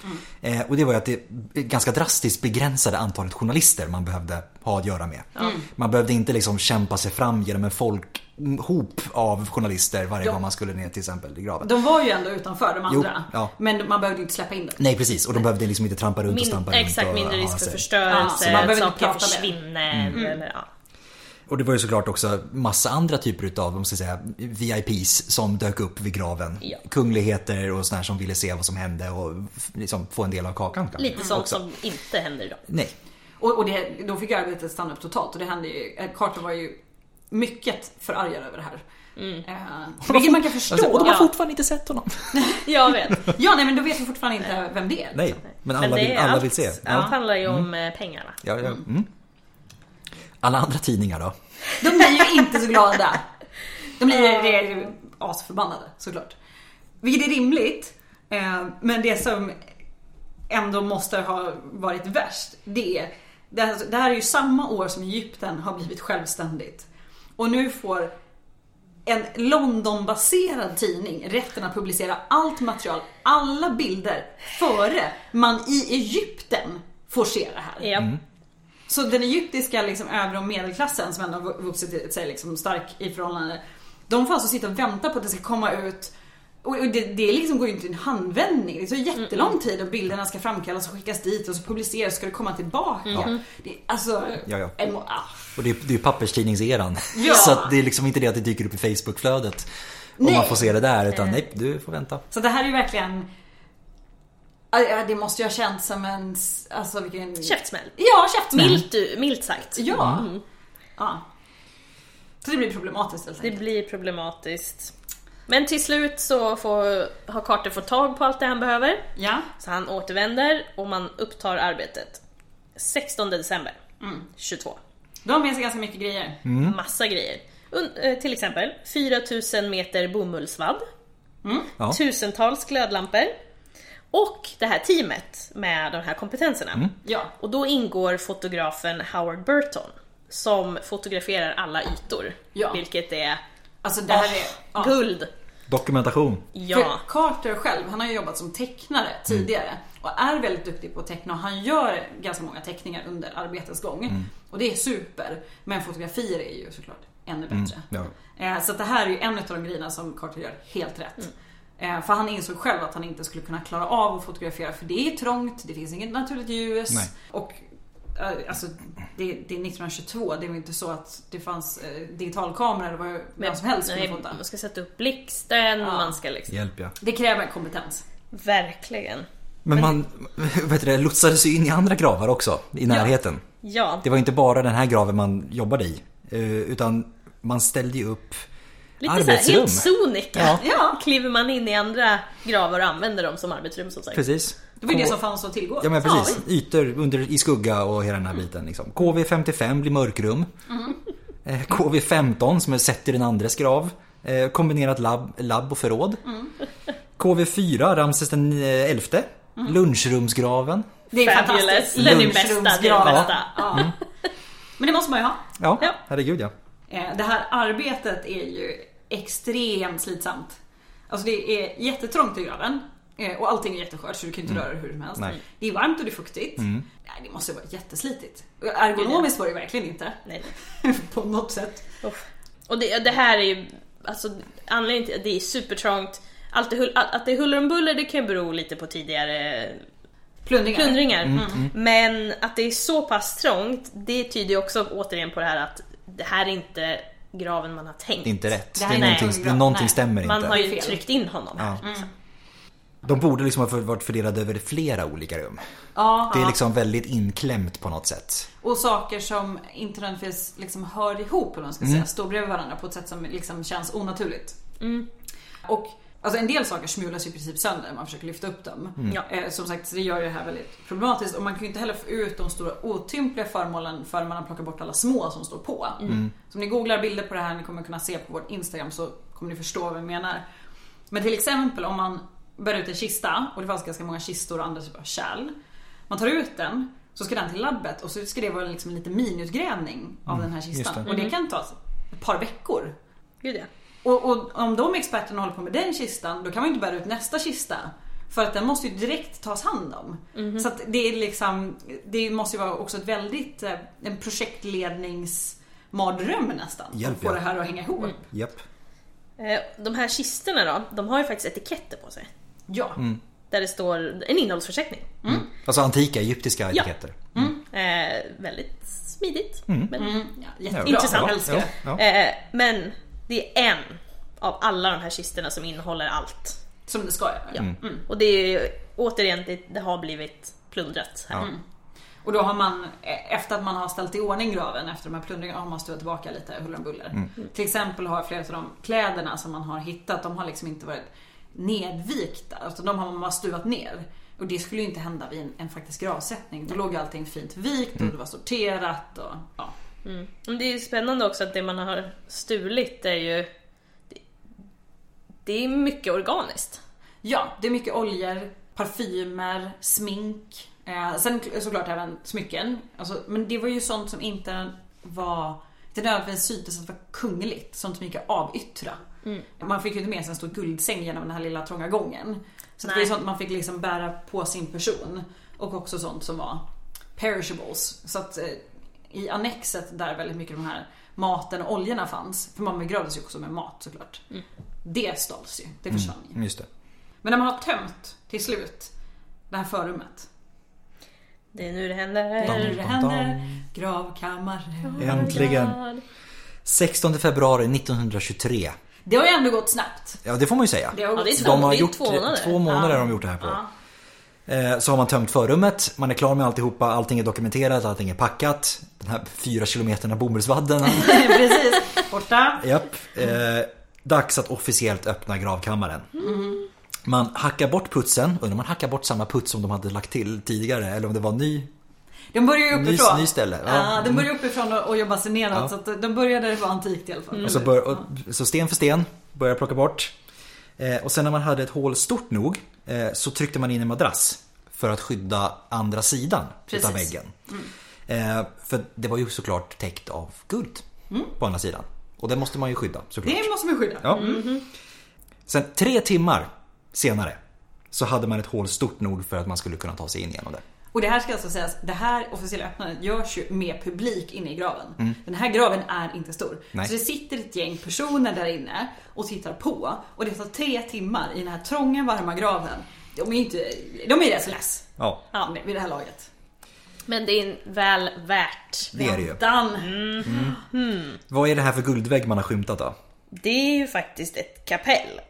Speaker 3: Mm.
Speaker 5: Eh, Och det var ju att det ganska drastiskt begränsade antalet journalister man behövde ha att göra med.
Speaker 3: Mm.
Speaker 5: Man behövde inte liksom kämpa sig fram genom en folkhop av journalister varje gång man skulle ner till exempel i graven.
Speaker 4: De var ju ändå utanför de
Speaker 5: Jo,
Speaker 4: andra.
Speaker 5: ja.
Speaker 4: Men man behövde inte släppa in dem.
Speaker 5: Nej precis, och de behövde liksom inte trampa runt och
Speaker 3: Min,
Speaker 5: stampa runt.
Speaker 3: exakt,
Speaker 5: och
Speaker 3: mindre
Speaker 5: ha
Speaker 3: risk för
Speaker 5: sig.
Speaker 4: Ja, så man
Speaker 3: förstörelse,
Speaker 4: behöver
Speaker 3: att
Speaker 4: inte
Speaker 3: saker
Speaker 4: prata Mm. om det.
Speaker 3: försvinner. Eller, ja.
Speaker 5: Och det var ju såklart också massa andra typer utav, om man ska säga, VIPs som dök upp vid graven.
Speaker 3: Ja.
Speaker 5: Kungligheter och sådär som ville se vad som hände och f- liksom få en del av kakan. kanske.
Speaker 3: Lite sånt
Speaker 5: Också.
Speaker 3: som inte händer idag.
Speaker 5: Nej.
Speaker 4: Och, och det, då fick arbetet stanna upp totalt och det hände ju, eh, Carter var ju mycket förargad över det här. Eh, vilket man kan förstå.
Speaker 5: Alltså, och de har
Speaker 3: Ja.
Speaker 5: fortfarande inte
Speaker 3: (laughs)
Speaker 5: sett honom.
Speaker 3: Jag
Speaker 4: (laughs)
Speaker 3: vet.
Speaker 4: Ja, nej men då vet vi fortfarande inte vem det är.
Speaker 5: Nej, men alla,
Speaker 3: det
Speaker 5: vill,
Speaker 3: är
Speaker 5: alla
Speaker 3: allt,
Speaker 5: vill se.
Speaker 3: Allt
Speaker 5: Ja. Mm.
Speaker 3: handlar ju om eh, pengarna.
Speaker 5: Ja, ja. Mm. Alla andra tidningar då?
Speaker 4: De blir ju inte så glada. De blir det är ju asförbannade såklart. Vilket är rimligt. eh, Men det som ändå måste ha varit värst, det är det här, det här är ju samma år som Egypten har blivit självständigt. Och nu får en Londonbaserad tidning rätten att publicera allt material, alla bilder före man i Egypten får se det här.
Speaker 3: Ja.
Speaker 5: Mm.
Speaker 4: Så den egyptiska liksom, övre och medelklassen som ändå har vuxit sig liksom, stark i förhållande. De får alltså sitta och vänta på att det ska komma ut. Och och det, det liksom går ju inte i en handvändning. Det tar jättelång tid och bilderna ska framkallas och skickas dit och så publiceras och ska det komma tillbaka. Det, alltså,
Speaker 5: Ja, ja.
Speaker 4: en må- ah.
Speaker 5: Och det är, det är ju papperstidningseran.
Speaker 4: Ja.
Speaker 5: (laughs) Så att det är liksom inte det att det dyker upp i Facebookflödet. Och
Speaker 4: Nej.
Speaker 5: man får se det där, utan nej, du får vänta.
Speaker 4: Så det här är ju verkligen... Ah, ja, Det måste ju ha känts som en... s- Alltså vilken...
Speaker 3: Käftsmäll.
Speaker 4: Ja, käftsmäll.
Speaker 3: Milt, milt sagt.
Speaker 4: Ja.
Speaker 5: Mm.
Speaker 4: ja. Så det blir problematiskt helt
Speaker 3: Det
Speaker 4: enkelt.
Speaker 3: blir problematiskt. Men till slut så får, har Carter fått tag på allt det han behöver.
Speaker 4: Ja.
Speaker 3: Så han återvänder och man upptar arbetet. 16 december
Speaker 4: Mm.
Speaker 3: 22.
Speaker 4: De har med sig ganska mycket grejer.
Speaker 5: Mm.
Speaker 3: Massa grejer. Un- eh, till exempel 4000 meter bomullsvadd.
Speaker 4: Mm.
Speaker 5: Ja.
Speaker 3: Tusentals glödlampor. Och det här teamet med de här kompetenserna.
Speaker 5: Mm.
Speaker 4: Ja.
Speaker 3: Och då ingår fotografen Howard Burton som fotograferar alla ytor.
Speaker 4: Ja.
Speaker 3: Vilket är
Speaker 4: Alltså det här är... ja.
Speaker 3: Ah, guld.
Speaker 5: Dokumentation.
Speaker 3: Ja. Mm.
Speaker 4: För Carter själv, han har ju jobbat som tecknare tidigare och är väldigt duktig på att teckna och han gör ganska många teckningar under arbetets gång.
Speaker 3: Mm.
Speaker 4: Och det är super. Men fotografier är ju såklart ännu bättre.
Speaker 5: Mm,
Speaker 4: Eh, Så att det här är ju en av de grejerna som Carter gör helt
Speaker 3: Mm.
Speaker 4: rätt. Eh, För han insåg själv att han inte skulle kunna klara av att fotografera för det är trångt, det finns inget naturligt ljus.
Speaker 5: Nej.
Speaker 4: Och eh, Alltså, det, det är 1922, det är väl inte så att det fanns eh, digitalkameror, det var ju vem som helst kunde
Speaker 3: nej,
Speaker 4: fota.
Speaker 3: Man ska sätta upp blixten, man ska liksom...
Speaker 5: Hjälp ja.
Speaker 4: Det kräver kompetens.
Speaker 3: Verkligen.
Speaker 5: Men man (laughs) vad heter det, lotsades ju in i andra gravar också i närheten.
Speaker 3: Ja.
Speaker 5: Det var inte bara den här graven man jobbade i. eh, Utan man ställde ju upp
Speaker 3: Lite såhär,
Speaker 5: arbetsrum.
Speaker 3: helt sonika.
Speaker 5: Ja.
Speaker 4: Ja.
Speaker 3: Kliver man in i andra gravar och använder dem som arbetsrum som sagt.
Speaker 5: Precis.
Speaker 4: Det var ju det
Speaker 5: K-
Speaker 4: som fanns att tillgå.
Speaker 5: Ja men precis. Ytor under, i skugga och hela den här biten. Liksom. KV55 blir mörkrum.
Speaker 4: Mhm.
Speaker 5: Eh, KV15 som är sett i den andres grav. Eh, Kombinerat labb, labb och förråd.
Speaker 4: Mm.
Speaker 5: KV4 Ramses den eh, elfte.
Speaker 4: Mm.
Speaker 5: Lunchrumsgraven.
Speaker 4: Det är
Speaker 3: Fabulous.
Speaker 4: fantastiskt.
Speaker 3: Den är
Speaker 4: Lunch,
Speaker 3: bästa,
Speaker 4: rums,
Speaker 3: det är
Speaker 4: grav.
Speaker 3: den bästa.
Speaker 4: Ja.
Speaker 5: Mm.
Speaker 4: Men det måste man ju ha.
Speaker 5: Ja,
Speaker 4: Ja.
Speaker 5: herregud ja.
Speaker 4: Eh, Det här arbetet är ju extremt slitsamt. Alltså det är jättetrångt i graven. Eh, Och allting är jätteskört så du kan ju inte röra dig hur som helst.
Speaker 5: Mm. Nej. Mm.
Speaker 4: Det är varmt och det är fuktigt. Nej, det måste vara jätteslitigt. Och Ergonomiskt var det ju verkligen inte.
Speaker 3: Nej, nej.
Speaker 4: (laughs) På något sätt.
Speaker 3: Uff. Och det, det här är ju, alltså anledningen till att det är supertrångt, allt det, hull- att att det är huller om buller det kan ju bero lite på tidigare
Speaker 4: Plundringar.
Speaker 3: plundringar.
Speaker 5: Mm.
Speaker 4: Mm.
Speaker 3: Men att det är så pass trångt, det tyder ju också återigen på det här att det här är inte graven man har tänkt.
Speaker 5: Det är inte rätt.
Speaker 4: Det
Speaker 5: Det
Speaker 4: här
Speaker 5: är
Speaker 4: är
Speaker 5: någonting,
Speaker 4: inte
Speaker 5: det,
Speaker 4: bra.
Speaker 5: någonting
Speaker 4: Nej.
Speaker 5: stämmer
Speaker 3: Man
Speaker 5: inte.
Speaker 3: har
Speaker 4: Det är
Speaker 3: ju
Speaker 4: fel.
Speaker 3: tryckt in honom här.
Speaker 5: Ja. De borde liksom ha varit fördelade över flera olika rum.
Speaker 4: Ja,
Speaker 5: Det är liksom väldigt inklämt på något sätt.
Speaker 4: Och saker som inte nödvändigtvis liksom hör ihop, eller vad man ska säga, står bredvid varandra på ett sätt som liksom känns onaturligt. Och alltså en del saker smulas ju i princip sönder när man försöker lyfta upp dem.
Speaker 5: Mm.
Speaker 3: Ja.
Speaker 4: Eh, som sagt, så det gör ju det här väldigt problematiskt. Och man kan ju inte heller få ut de stora otympliga föremålen förrän man har plockat bort alla små som står på.
Speaker 5: Mm.
Speaker 4: Så om ni googlar bilder på det här, ni kommer kunna se på vårt Instagram så kommer ni förstå vad vi menar. Men till exempel om man bär ut en kista, och det fanns ganska många kistor och andra typer av kärl. Man tar ut den, så ska den till labbet och så ska det vara liksom en liten miniutgrävning av den här
Speaker 5: Mm. just
Speaker 4: kistan.
Speaker 5: det.
Speaker 4: Och det kan ta ett par veckor
Speaker 3: Gud ja.
Speaker 4: och, och om de experterna håller på med den kistan, då kan man ju inte bära ut nästa kista. För att den måste ju direkt tas hand om. Så att det är liksom, det måste ju vara också ett väldigt, eh, en projektledningsmardröm nästan.
Speaker 5: Hjälp,
Speaker 4: att få
Speaker 5: ja.
Speaker 4: det här att hänga ihop.
Speaker 5: Japp.
Speaker 3: Eh, De här kisterna då, de har ju faktiskt etiketter på sig.
Speaker 4: Ja.
Speaker 5: Mm.
Speaker 3: Där det står en innehållsförteckning.
Speaker 5: Alltså antika egyptiska
Speaker 3: Ja.
Speaker 5: etiketter.
Speaker 3: Eh, väldigt smidigt. Men,
Speaker 4: Mm. ja
Speaker 5: Mm. Ja,
Speaker 4: jättebra.
Speaker 3: Intressant.
Speaker 4: Jag älskar
Speaker 5: Ja,
Speaker 4: det.
Speaker 5: ja.
Speaker 3: eh, men det är en av alla de här kisterna som innehåller allt.
Speaker 4: Som det ska göra.
Speaker 3: Ja.
Speaker 5: Mm.
Speaker 3: Och det är ju återigen, det, det har blivit plundrat här.
Speaker 5: Ja.
Speaker 4: Och då har man, eh, efter att man har ställt i ordning graven efter de här plundringarna, har man stuvat tillbaka lite huller om buller. Till exempel har flera av de kläderna som man har hittat, de har liksom inte varit nedvikta, utan de har man bara stuvat ner. Och det skulle ju inte hända vid en, en faktisk gravsättning. Då låg ju allting fint vikt och det var sorterat och ja.
Speaker 3: Men det är ju spännande också att det man har stulit är ju... det- Det är mycket organiskt.
Speaker 4: Ja, det är mycket oljor, parfymer, smink. Eh, sen k- såklart även smycken. Alltså, men det var ju sånt som inte var, inte nödvändigtvis syntes att vara kungligt. Sånt som gick att avyttra. Man fick ju inte med sig en stor guldsäng genom den här lilla trånga gången. Så att det
Speaker 3: Nej.
Speaker 4: är sånt man fick liksom bära på sin person. Och också sånt som var perishables. Så att eh, i annexet där väldigt mycket de här maten och oljorna fanns. För man begravdes ju också med mat såklart. Det stals ju, det försvann ju.
Speaker 5: Mm, Just det.
Speaker 4: Men när man har tömt till slut det här förrummet.
Speaker 3: Det är nu det händer.
Speaker 5: Dam,
Speaker 4: Där det
Speaker 5: dam,
Speaker 4: händer gravkammare.
Speaker 5: Äntligen. 16 februari 1923.
Speaker 4: Det har ju ändå gått snabbt.
Speaker 5: Ja, det får man ju säga.
Speaker 4: Det har
Speaker 3: Ja,
Speaker 4: gått
Speaker 3: det är
Speaker 4: snabbt.
Speaker 3: två-
Speaker 5: De har
Speaker 3: det är
Speaker 5: gjort
Speaker 3: två månader.
Speaker 5: Två månader har de gjort det här på. Eh, Så har man tömt förrummet, man är klar med alltihopa, allting är dokumenterat, allting är packat. Den här fyra kilometerna bomullsvadden.
Speaker 4: (laughs) Precis. Borta.
Speaker 5: Japp. Eh, Dags att officiellt öppna gravkammaren.
Speaker 4: Mm.
Speaker 5: Man hackar bort putsen, undrar om man hackar bort samma puts som de hade lagt till tidigare eller om det var
Speaker 4: Mm.
Speaker 5: ny.
Speaker 4: De börjar ju uppifrån.
Speaker 5: Ny- ny ställe. Ja. Mm.
Speaker 4: Ja, de börjar uppifrån och, och jobbar sig neråt.
Speaker 5: Ja. Mm.
Speaker 4: Så att de började där det var antikt i alla fall.
Speaker 5: Och så, Alltså bör, och, så sten för sten börjar jag plocka bort. Eh, Och sen när man hade ett hål stort nog eh, så tryckte man in en madrass för att skydda andra sidan
Speaker 4: Precis. Mm.
Speaker 5: utav väggen. Eh, För det var ju såklart täckt av guld på andra sidan. Och det måste man ju skydda såklart.
Speaker 4: Mm. Det måste man skydda.
Speaker 5: Ja. Sen tre timmar senare så hade man ett hål stort nog för att man skulle kunna ta sig in genom det.
Speaker 4: Och det här ska alltså sägas, det här officiella öppnandet görs ju med publik inne i graven. Den här graven är inte stor.
Speaker 5: Mm. Nej.
Speaker 4: Så det sitter ett gäng personer där inne och tittar på. Och det tar tre timmar i den här trånga varma graven. De är ju inte, de är rätt så less.
Speaker 5: Ja,
Speaker 4: Ja, vid det här laget.
Speaker 3: Men det är väl värt.
Speaker 5: det är det ju.
Speaker 4: Dan,
Speaker 5: Vad är det här för guldvägg man har skymtat då?
Speaker 3: Det är ju faktiskt ett kapell.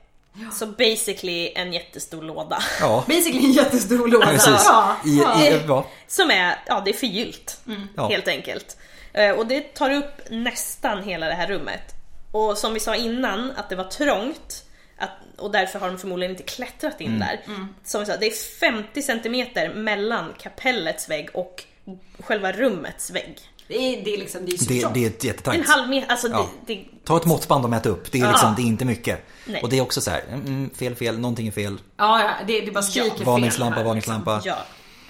Speaker 3: Så basically en jättestor låda.
Speaker 5: Ja,
Speaker 4: basically en jättestor låda.
Speaker 5: precis.
Speaker 4: Ja,
Speaker 5: I,
Speaker 4: ja.
Speaker 5: i, ja.
Speaker 3: Som är, ja det är förgyllt.
Speaker 5: Ja.
Speaker 3: Helt enkelt. Eh, Och det tar upp nästan hela det här rummet. Och som vi sa innan, att det var trångt. Att, och därför har de förmodligen inte klättrat
Speaker 5: Mm.
Speaker 3: in där. Som vi sa, det är 50 centimeter mellan kapellets vägg och själva rummets vägg.
Speaker 4: Det är, det är liksom, det är
Speaker 5: Det,
Speaker 4: supertrångt.
Speaker 5: det är ett jättetajt.
Speaker 3: En halv meter, alltså
Speaker 5: Ja.
Speaker 3: det, det,
Speaker 5: Ta ett måttband och mät upp. Det är, liksom, det är inte mycket.
Speaker 3: Nej.
Speaker 5: Och det är också så här, mm, mm, fel, fel, någonting är fel.
Speaker 4: Ja, ja, det, det bara skriker fel
Speaker 5: Varningslampa,
Speaker 4: här.
Speaker 5: varningslampa.
Speaker 3: ja.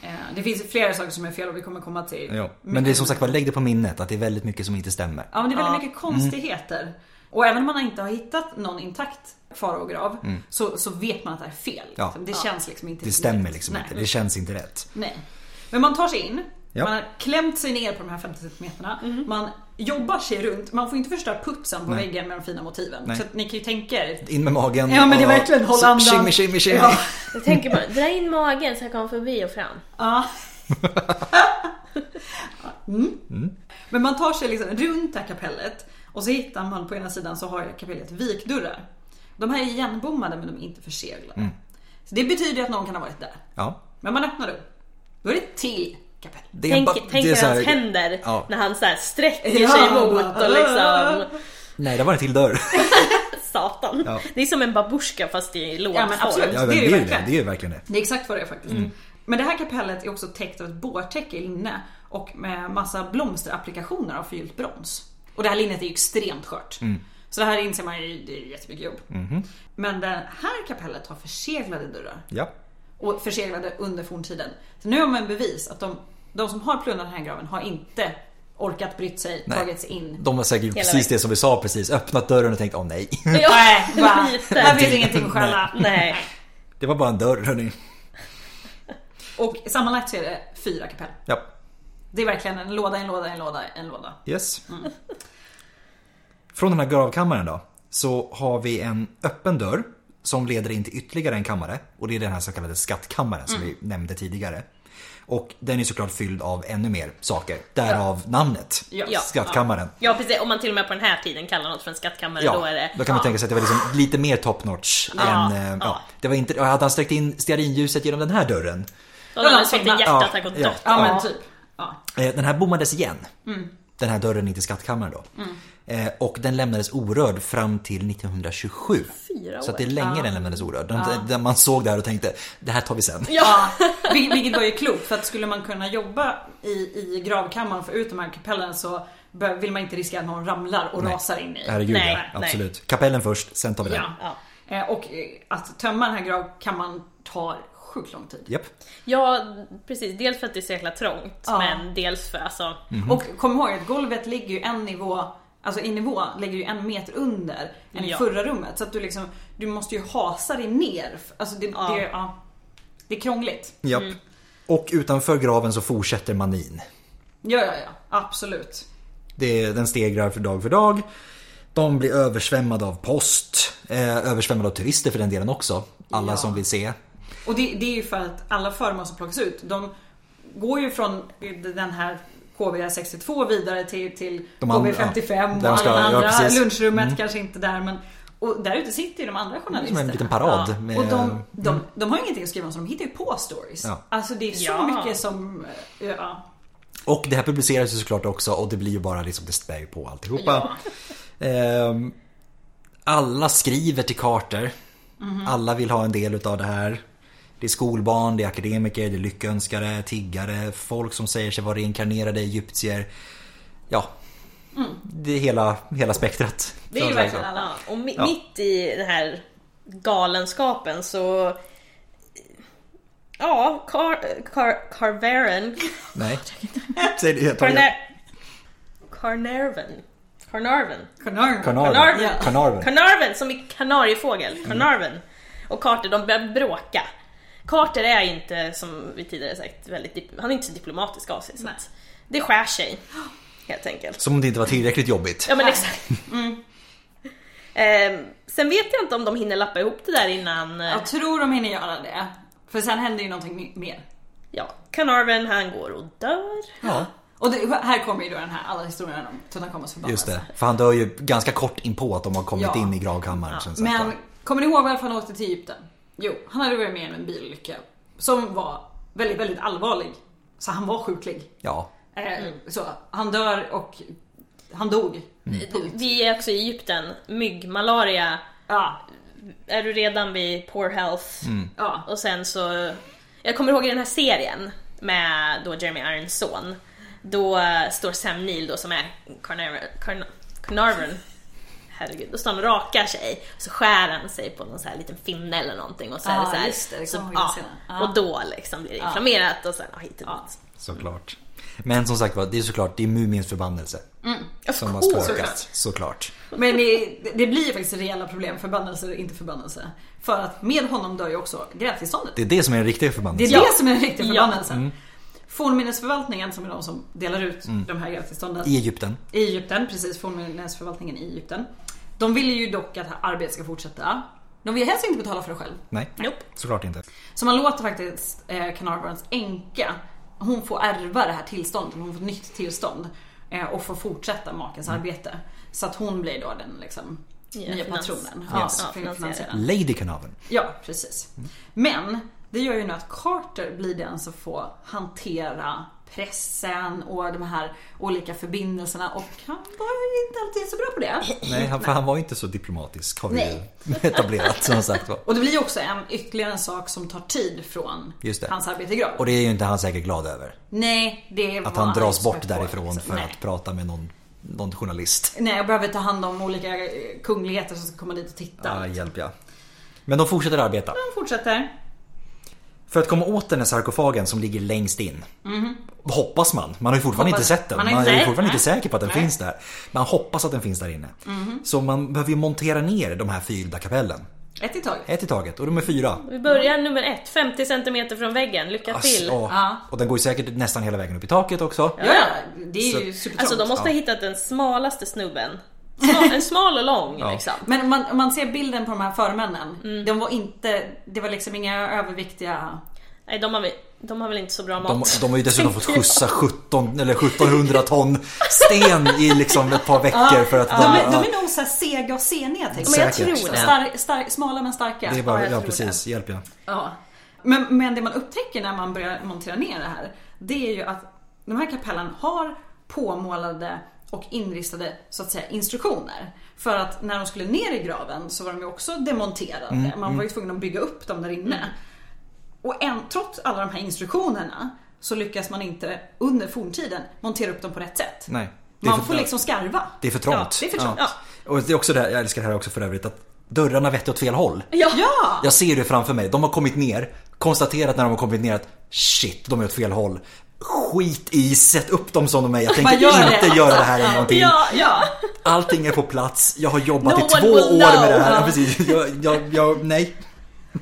Speaker 4: Ja, Det finns flera saker som är fel och vi kommer komma till.
Speaker 5: Ja. Men det är som sagt var, lägg det på minnet att det är väldigt mycket som inte stämmer.
Speaker 4: Ja men det är väldigt mycket konstigheter. Och även om man inte har hittat någon intakt farhågor av så, så vet man att det här är fel.
Speaker 5: Mm. Ja.
Speaker 4: Liksom. Det känns liksom inte
Speaker 5: Det stämmer
Speaker 4: rätt.
Speaker 5: liksom
Speaker 4: Nej.
Speaker 5: inte, det känns inte rätt.
Speaker 4: Nej. Men man tar sig in.
Speaker 5: Ja. Mm.
Speaker 4: Man har klämt sig ner på de här 50 centimeterna. Man jobbar sig runt. Man får inte förstöra putsen på
Speaker 5: Nej.
Speaker 4: väggen med de fina motiven.
Speaker 5: Nej.
Speaker 4: Så att ni kan ju tänka er.
Speaker 5: In med magen.
Speaker 4: Ja men det är
Speaker 5: och-
Speaker 4: verkligen håll
Speaker 5: så-
Speaker 4: andan.
Speaker 5: Shimmy, shimmy, shimmy.
Speaker 4: Ja.
Speaker 5: (laughs)
Speaker 3: Jag tänker bara, dra in magen så jag kommer förbi och fram.
Speaker 4: Ja. (laughs) mm. Men man tar sig liksom runt det här kapellet och så hittar man på ena sidan så har kapellet vikdörrar. De här är igenbommade men de är inte förseglade. Så det betyder att någon kan ha varit där.
Speaker 5: Ja.
Speaker 4: Men man öppnar upp. Då är det ett till kapell.
Speaker 5: Det
Speaker 3: Tänk,
Speaker 5: ba-
Speaker 3: tänk
Speaker 5: det är
Speaker 3: er
Speaker 5: så här-
Speaker 3: hans händer
Speaker 5: Ja.
Speaker 3: när han så här sträcker
Speaker 4: Ja.
Speaker 3: sig mot och liksom...
Speaker 5: Nej, det var en till (laughs) dörr.
Speaker 3: Satan.
Speaker 5: Ja.
Speaker 3: Det är som en babusjka fast i
Speaker 4: Ja, men absolut.
Speaker 3: låtform.
Speaker 5: Ja,
Speaker 4: Det är
Speaker 5: men det,
Speaker 4: det verkligen.
Speaker 5: är ju det, det är ju verkligen det.
Speaker 4: Det är exakt vad det är faktiskt. Men det här kapellet är också täckt av ett bårtäcke i linne och med massa blomsterapplikationer av förgyllt brons. Och det här linnet är ju extremt skört. Så det här inser man ju, det är jättemycket jobb. Men det här kapellet har förseglade dörrar.
Speaker 5: Ja.
Speaker 4: Och förseglade under forntiden. Så nu har man bevis att de, de som har plundrat den här graven har inte orkat brytt sig,
Speaker 5: Nej.
Speaker 4: tagit sig in.
Speaker 5: De har säkert gjort
Speaker 3: Hela
Speaker 5: precis det som vi sa precis. Öppnat dörren och tänkt åh nej.
Speaker 3: Ja,
Speaker 4: Nej,
Speaker 3: (laughs)
Speaker 4: va?
Speaker 3: lite.
Speaker 4: Här finns ingenting att stjäla.
Speaker 3: Nej.
Speaker 5: (laughs) Det var bara en dörr hörni.
Speaker 4: Och sammanlagt så är det fyra kapell.
Speaker 5: Ja.
Speaker 4: Det är verkligen en låda, en låda, en låda, en låda.
Speaker 5: Yes. Från den här gravkammaren då. Så har vi en öppen dörr som leder in till ytterligare en kammare. Och det är den här så kallade skattkammaren som vi nämnde tidigare. Och den är såklart fylld av ännu mer saker. Därav namnet.
Speaker 4: Ja.
Speaker 5: Skattkammaren.
Speaker 3: Ja precis, om man till och med på den här tiden kallar något för en skattkammare då är det...
Speaker 5: då kan man tänka sig att det var liksom lite mer top notch.
Speaker 4: Ja,
Speaker 5: än, eh, ja.
Speaker 3: ja.
Speaker 5: Det var inte, hade han sträckt in stearinljuset genom den här dörren.
Speaker 3: Då hade
Speaker 4: Ja,
Speaker 3: man fått
Speaker 4: sådana.
Speaker 3: en hjärtattack
Speaker 5: Ja,
Speaker 3: och
Speaker 5: ja.
Speaker 3: dött.
Speaker 4: Ja, men typ. Ja.
Speaker 5: Eh, Den här bommades igen.
Speaker 3: Mm.
Speaker 5: Den här dörren in till skattkammaren då. Eh, Och den lämnades orörd fram till 1927.
Speaker 3: Fyra
Speaker 5: Så att det
Speaker 3: år.
Speaker 5: är länge den lämnades orörd. Den, den man såg där och tänkte, det här tar vi sen.
Speaker 4: Ja. (laughs) vil- Vilket var ju klokt för att skulle man kunna jobba i, i gravkammaren och få ut de här kapellen så bör- vill man inte riskera att någon ramlar och rasar in i.
Speaker 5: Herregud,
Speaker 3: Nej,
Speaker 5: ja,
Speaker 3: nej.
Speaker 5: absolut. Kapellen först, sen tar vi den.
Speaker 4: Ja.
Speaker 3: Ja.
Speaker 4: Eh, Och eh, att tömma den här gravkammaren tar sjukt lång tid.
Speaker 5: Japp.
Speaker 3: Ja, precis. Dels för att det är så jäkla trångt,
Speaker 4: Ja.
Speaker 3: men dels för alltså...
Speaker 4: Och kom ihåg att golvet ligger ju en nivå Alltså i nivå ligger ju en meter under än i
Speaker 3: Ja.
Speaker 4: förra rummet. Så att du liksom, du måste ju hasa dig ner. Alltså det,
Speaker 3: Ja.
Speaker 4: det, ja, det är krångligt.
Speaker 5: Japp.
Speaker 3: Mm.
Speaker 5: Och utanför graven så fortsätter manin.
Speaker 4: Ja, ja, ja. Absolut.
Speaker 5: Det, den stegrar för dag för dag. De blir översvämmade av post. Eh, översvämmade av turister för den delen också. Alla
Speaker 4: Ja.
Speaker 5: som vill se.
Speaker 4: Och det, det är ju för att alla föremål som plockas ut, de går ju från den här KB 62 vidare till, till
Speaker 5: De andra,
Speaker 4: KB 55
Speaker 5: ja.
Speaker 4: och
Speaker 5: Där de
Speaker 4: alla
Speaker 5: ska- ja,
Speaker 4: andra.
Speaker 5: precis. Mm.
Speaker 4: lunchrummet kanske inte där men och där ute sitter ju de andra
Speaker 5: Som
Speaker 4: journalisterna.
Speaker 5: en liten parad.
Speaker 3: Ja.
Speaker 5: Med, Mm.
Speaker 4: Och de, de, de har ju ingenting att skriva om så de hittar ju på stories.
Speaker 5: Ja.
Speaker 4: Alltså det är så
Speaker 3: Ja.
Speaker 4: mycket som... eh, Ja.
Speaker 5: Och det här publiceras ju såklart också och det blir ju bara liksom, det spär ju på alltihopa. Ehm, alla skriver till Carter.
Speaker 4: Mhm.
Speaker 5: Alla vill ha en del utav det här. Det är skolbarn, det är akademiker, det är lyckönskare, tiggare, folk som säger sig vara reinkarnerade egyptier. Ja, det är hela, hela spektrat.
Speaker 4: Mm. Det är ju verkligen alla.
Speaker 3: Ja, och mi-
Speaker 5: Ja.
Speaker 3: mitt i den här galenskapen så... Ja, Car- Car- Carveren...
Speaker 5: Nej, (laughs) säg det helt
Speaker 3: Carner- Carnarven. Carnarven.
Speaker 4: Kanarien.
Speaker 5: Carnarvon.
Speaker 3: Carnarvon.
Speaker 5: Carnarvon.
Speaker 3: Carnarven som är kanariefågel. Carnarven. Och Carter, de börjar bråka. Carter är inte, som vi tidigare sagt, väldigt, dip- han är inte så diplomatisk av sig. Så att det skär sig, helt enkelt.
Speaker 5: Som om det inte var tillräckligt jobbigt.
Speaker 3: Ja men exakt. Mm. Ehm, sen vet jag inte om de hinner lappa ihop det där innan... eh,
Speaker 4: Jag tror de hinner göra det. För sen händer ju någonting my- mer.
Speaker 3: Ja, Carnarvon han går och dör.
Speaker 5: Ja,
Speaker 4: Och det, här kommer ju då den här, alla historierna om Tutankhamons förbannelse.
Speaker 5: just det. För han dör ju ganska kort inpå att de har kommit
Speaker 4: Ja.
Speaker 5: in i gravkammaren. känns det som.
Speaker 4: Men kommer ni ihåg varför han åkte till Egypten? Jo, han hade varit med i en bilolycka som var väldigt, väldigt allvarlig. Så han var sjuklig.
Speaker 5: Ja,
Speaker 4: Eh, Så han dör och han dog.
Speaker 3: Mm.
Speaker 4: Punkt.
Speaker 3: Vi är också i Egypten, myggmalaria,
Speaker 4: Ja,
Speaker 3: är du redan vid poor health?
Speaker 4: ja.
Speaker 3: Och sen så, jag kommer ihåg i den här serien med då Jeremy Irons son, då eh, står Sam Neill då som är Carnarvon, Carn- Carnarvon Herregud, då står han och rakar sig så skär han sig på någon så här liten finne eller någonting och så är
Speaker 4: Ja,
Speaker 3: det så här,
Speaker 4: Ah, just det, det
Speaker 3: så,
Speaker 4: kommer jag ihåg
Speaker 3: ja,
Speaker 4: senare. Ah. Ja.
Speaker 3: Och då liksom blir det inflammerat och sen ja, hit och dit.
Speaker 5: såklart. Men som sagt var, det är såklart, det är Mumins förbannelse.
Speaker 4: Mm,
Speaker 3: Of
Speaker 5: Som har
Speaker 3: course.
Speaker 5: spökat, såklart.
Speaker 4: Men det, det blir ju faktiskt reella problem, förbannelse och inte förbannelse. För att med honom dör ju också grältillståndet.
Speaker 5: Det är det som är den riktiga
Speaker 4: Det är
Speaker 5: förbannelsen.
Speaker 4: det som är en riktig
Speaker 3: Ja.
Speaker 4: förbannelse. Fornminnesförvaltningen som är de som delar ut de här grältillstånden.
Speaker 5: I Egypten.
Speaker 4: I Egypten, precis. Fornminnesförvaltningen i Egypten. De vill ju dock att arbetet ska fortsätta. De vill helst inte betala för det själv.
Speaker 5: Nej,
Speaker 3: Nope.
Speaker 5: såklart inte.
Speaker 4: Så man låter faktiskt eh, Carnarvons änka, hon får ärva det här tillståndet, hon får ett nytt tillstånd. Eh, och får fortsätta makens arbete. Så att hon blir då den liksom,
Speaker 3: Nya
Speaker 4: nya
Speaker 3: finans-
Speaker 4: patronen.
Speaker 3: ja,
Speaker 4: Ja,
Speaker 3: finansiären.
Speaker 4: finansiären.
Speaker 5: Lady Carnarvon.
Speaker 4: Ja, precis. Men det gör ju nu att Carter blir den som får hantera pressen och de här olika förbindelserna och han var ju inte alltid så bra på det.
Speaker 5: Nej, han, för han var ju inte så diplomatisk har vi ju (laughs) etablerat som sagt var.
Speaker 4: Och det blir ju också en ytterligare en sak som tar tid från
Speaker 5: Just det.
Speaker 4: hans arbete i grav.
Speaker 5: Och det är ju inte han säkert glad över.
Speaker 4: Nej, det var
Speaker 5: Att han dras
Speaker 4: expert
Speaker 5: bort
Speaker 4: på,
Speaker 5: därifrån
Speaker 4: liksom.
Speaker 5: för
Speaker 4: Nej.
Speaker 5: att prata med någon, någon journalist.
Speaker 4: Nej, jag behöver ta hand om olika eh, kungligheter som ska komma dit och titta.
Speaker 5: Ah, Ja, hjälp ja. Men de fortsätter arbeta.
Speaker 4: Han fortsätter.
Speaker 5: För att komma åt den här sarkofagen som ligger längst in. Hoppas man. Man har ju fortfarande
Speaker 4: Hoppas-
Speaker 5: inte sett den.
Speaker 4: man
Speaker 5: Man,
Speaker 4: har inte-
Speaker 5: är ju
Speaker 4: nej,
Speaker 5: fortfarande
Speaker 4: nej.
Speaker 5: inte säker på att den
Speaker 4: Nej.
Speaker 5: finns där. Man hoppas att den finns där inne. Så man behöver ju montera ner de här fyrhjulda kapellen.
Speaker 4: Ett i taget.
Speaker 5: Ett i taget och de är fyra.
Speaker 3: Vi börjar nummer ett, 50 centimeter från väggen. Lycka till!
Speaker 5: Ass- Alltså, ja. Och den går ju säkert nästan hela vägen upp i taket också.
Speaker 4: Ja, ja, det är ju
Speaker 5: Så-
Speaker 4: supertrångt.
Speaker 3: Alltså de måste ha hittat den smalaste snubben. Smal, en smal och lång liksom.
Speaker 4: Men man, om man ser bilden på de här förmännen. De var inte, det var liksom inga överviktiga.
Speaker 3: Nej de har, väl, de har väl inte så bra mat.
Speaker 5: De, de har
Speaker 3: (laughs)
Speaker 5: ju dessutom fått skjutsa 17 eller 1700 ton sten i liksom ett par veckor för att
Speaker 4: de,
Speaker 5: vara...
Speaker 4: är, de är nog så här sega och seniga tänker
Speaker 3: Men jag
Speaker 5: säkert.
Speaker 3: tror det.
Speaker 4: Star, star, smala men starka.
Speaker 5: det är
Speaker 3: Ja,
Speaker 5: bara,
Speaker 3: jag tror
Speaker 5: ja precis, hjälp ja.
Speaker 4: Ja. Men, men det man upptäcker när man börjar montera ner det här. Det är ju att de här kapellen har påmålade och inristade så att säga instruktioner. För att när de skulle ner i graven så var de ju också demonterade.
Speaker 5: Mm,
Speaker 4: man var ju tvungen att bygga upp dem där inne. Och en, trots alla de här instruktionerna så lyckas man inte under forntiden montera upp dem på rätt sätt.
Speaker 5: Nej. Det är
Speaker 4: Man
Speaker 5: för-
Speaker 4: får liksom skarva.
Speaker 5: Det är för trångt.
Speaker 4: Ja, det är för trångt.
Speaker 5: Ja. Och det är också det här, jag älskar det här också för övrigt att dörrarna vetter åt fel håll.
Speaker 4: Ja.
Speaker 5: Jag ser det framför mig. De har kommit ner, konstaterat när de har kommit ner att shit, de är åt fel håll. Skit i, sätt upp dem som de är. Jag tänker
Speaker 4: Bara gör det.
Speaker 5: inte göra det här en gång till.
Speaker 3: Ja,
Speaker 4: ja.
Speaker 5: Allting är på plats. Jag har jobbat
Speaker 3: No
Speaker 5: i två
Speaker 3: one will
Speaker 5: år med det
Speaker 3: know.
Speaker 5: här. Ja, precis. Jag, jag, jag, nej.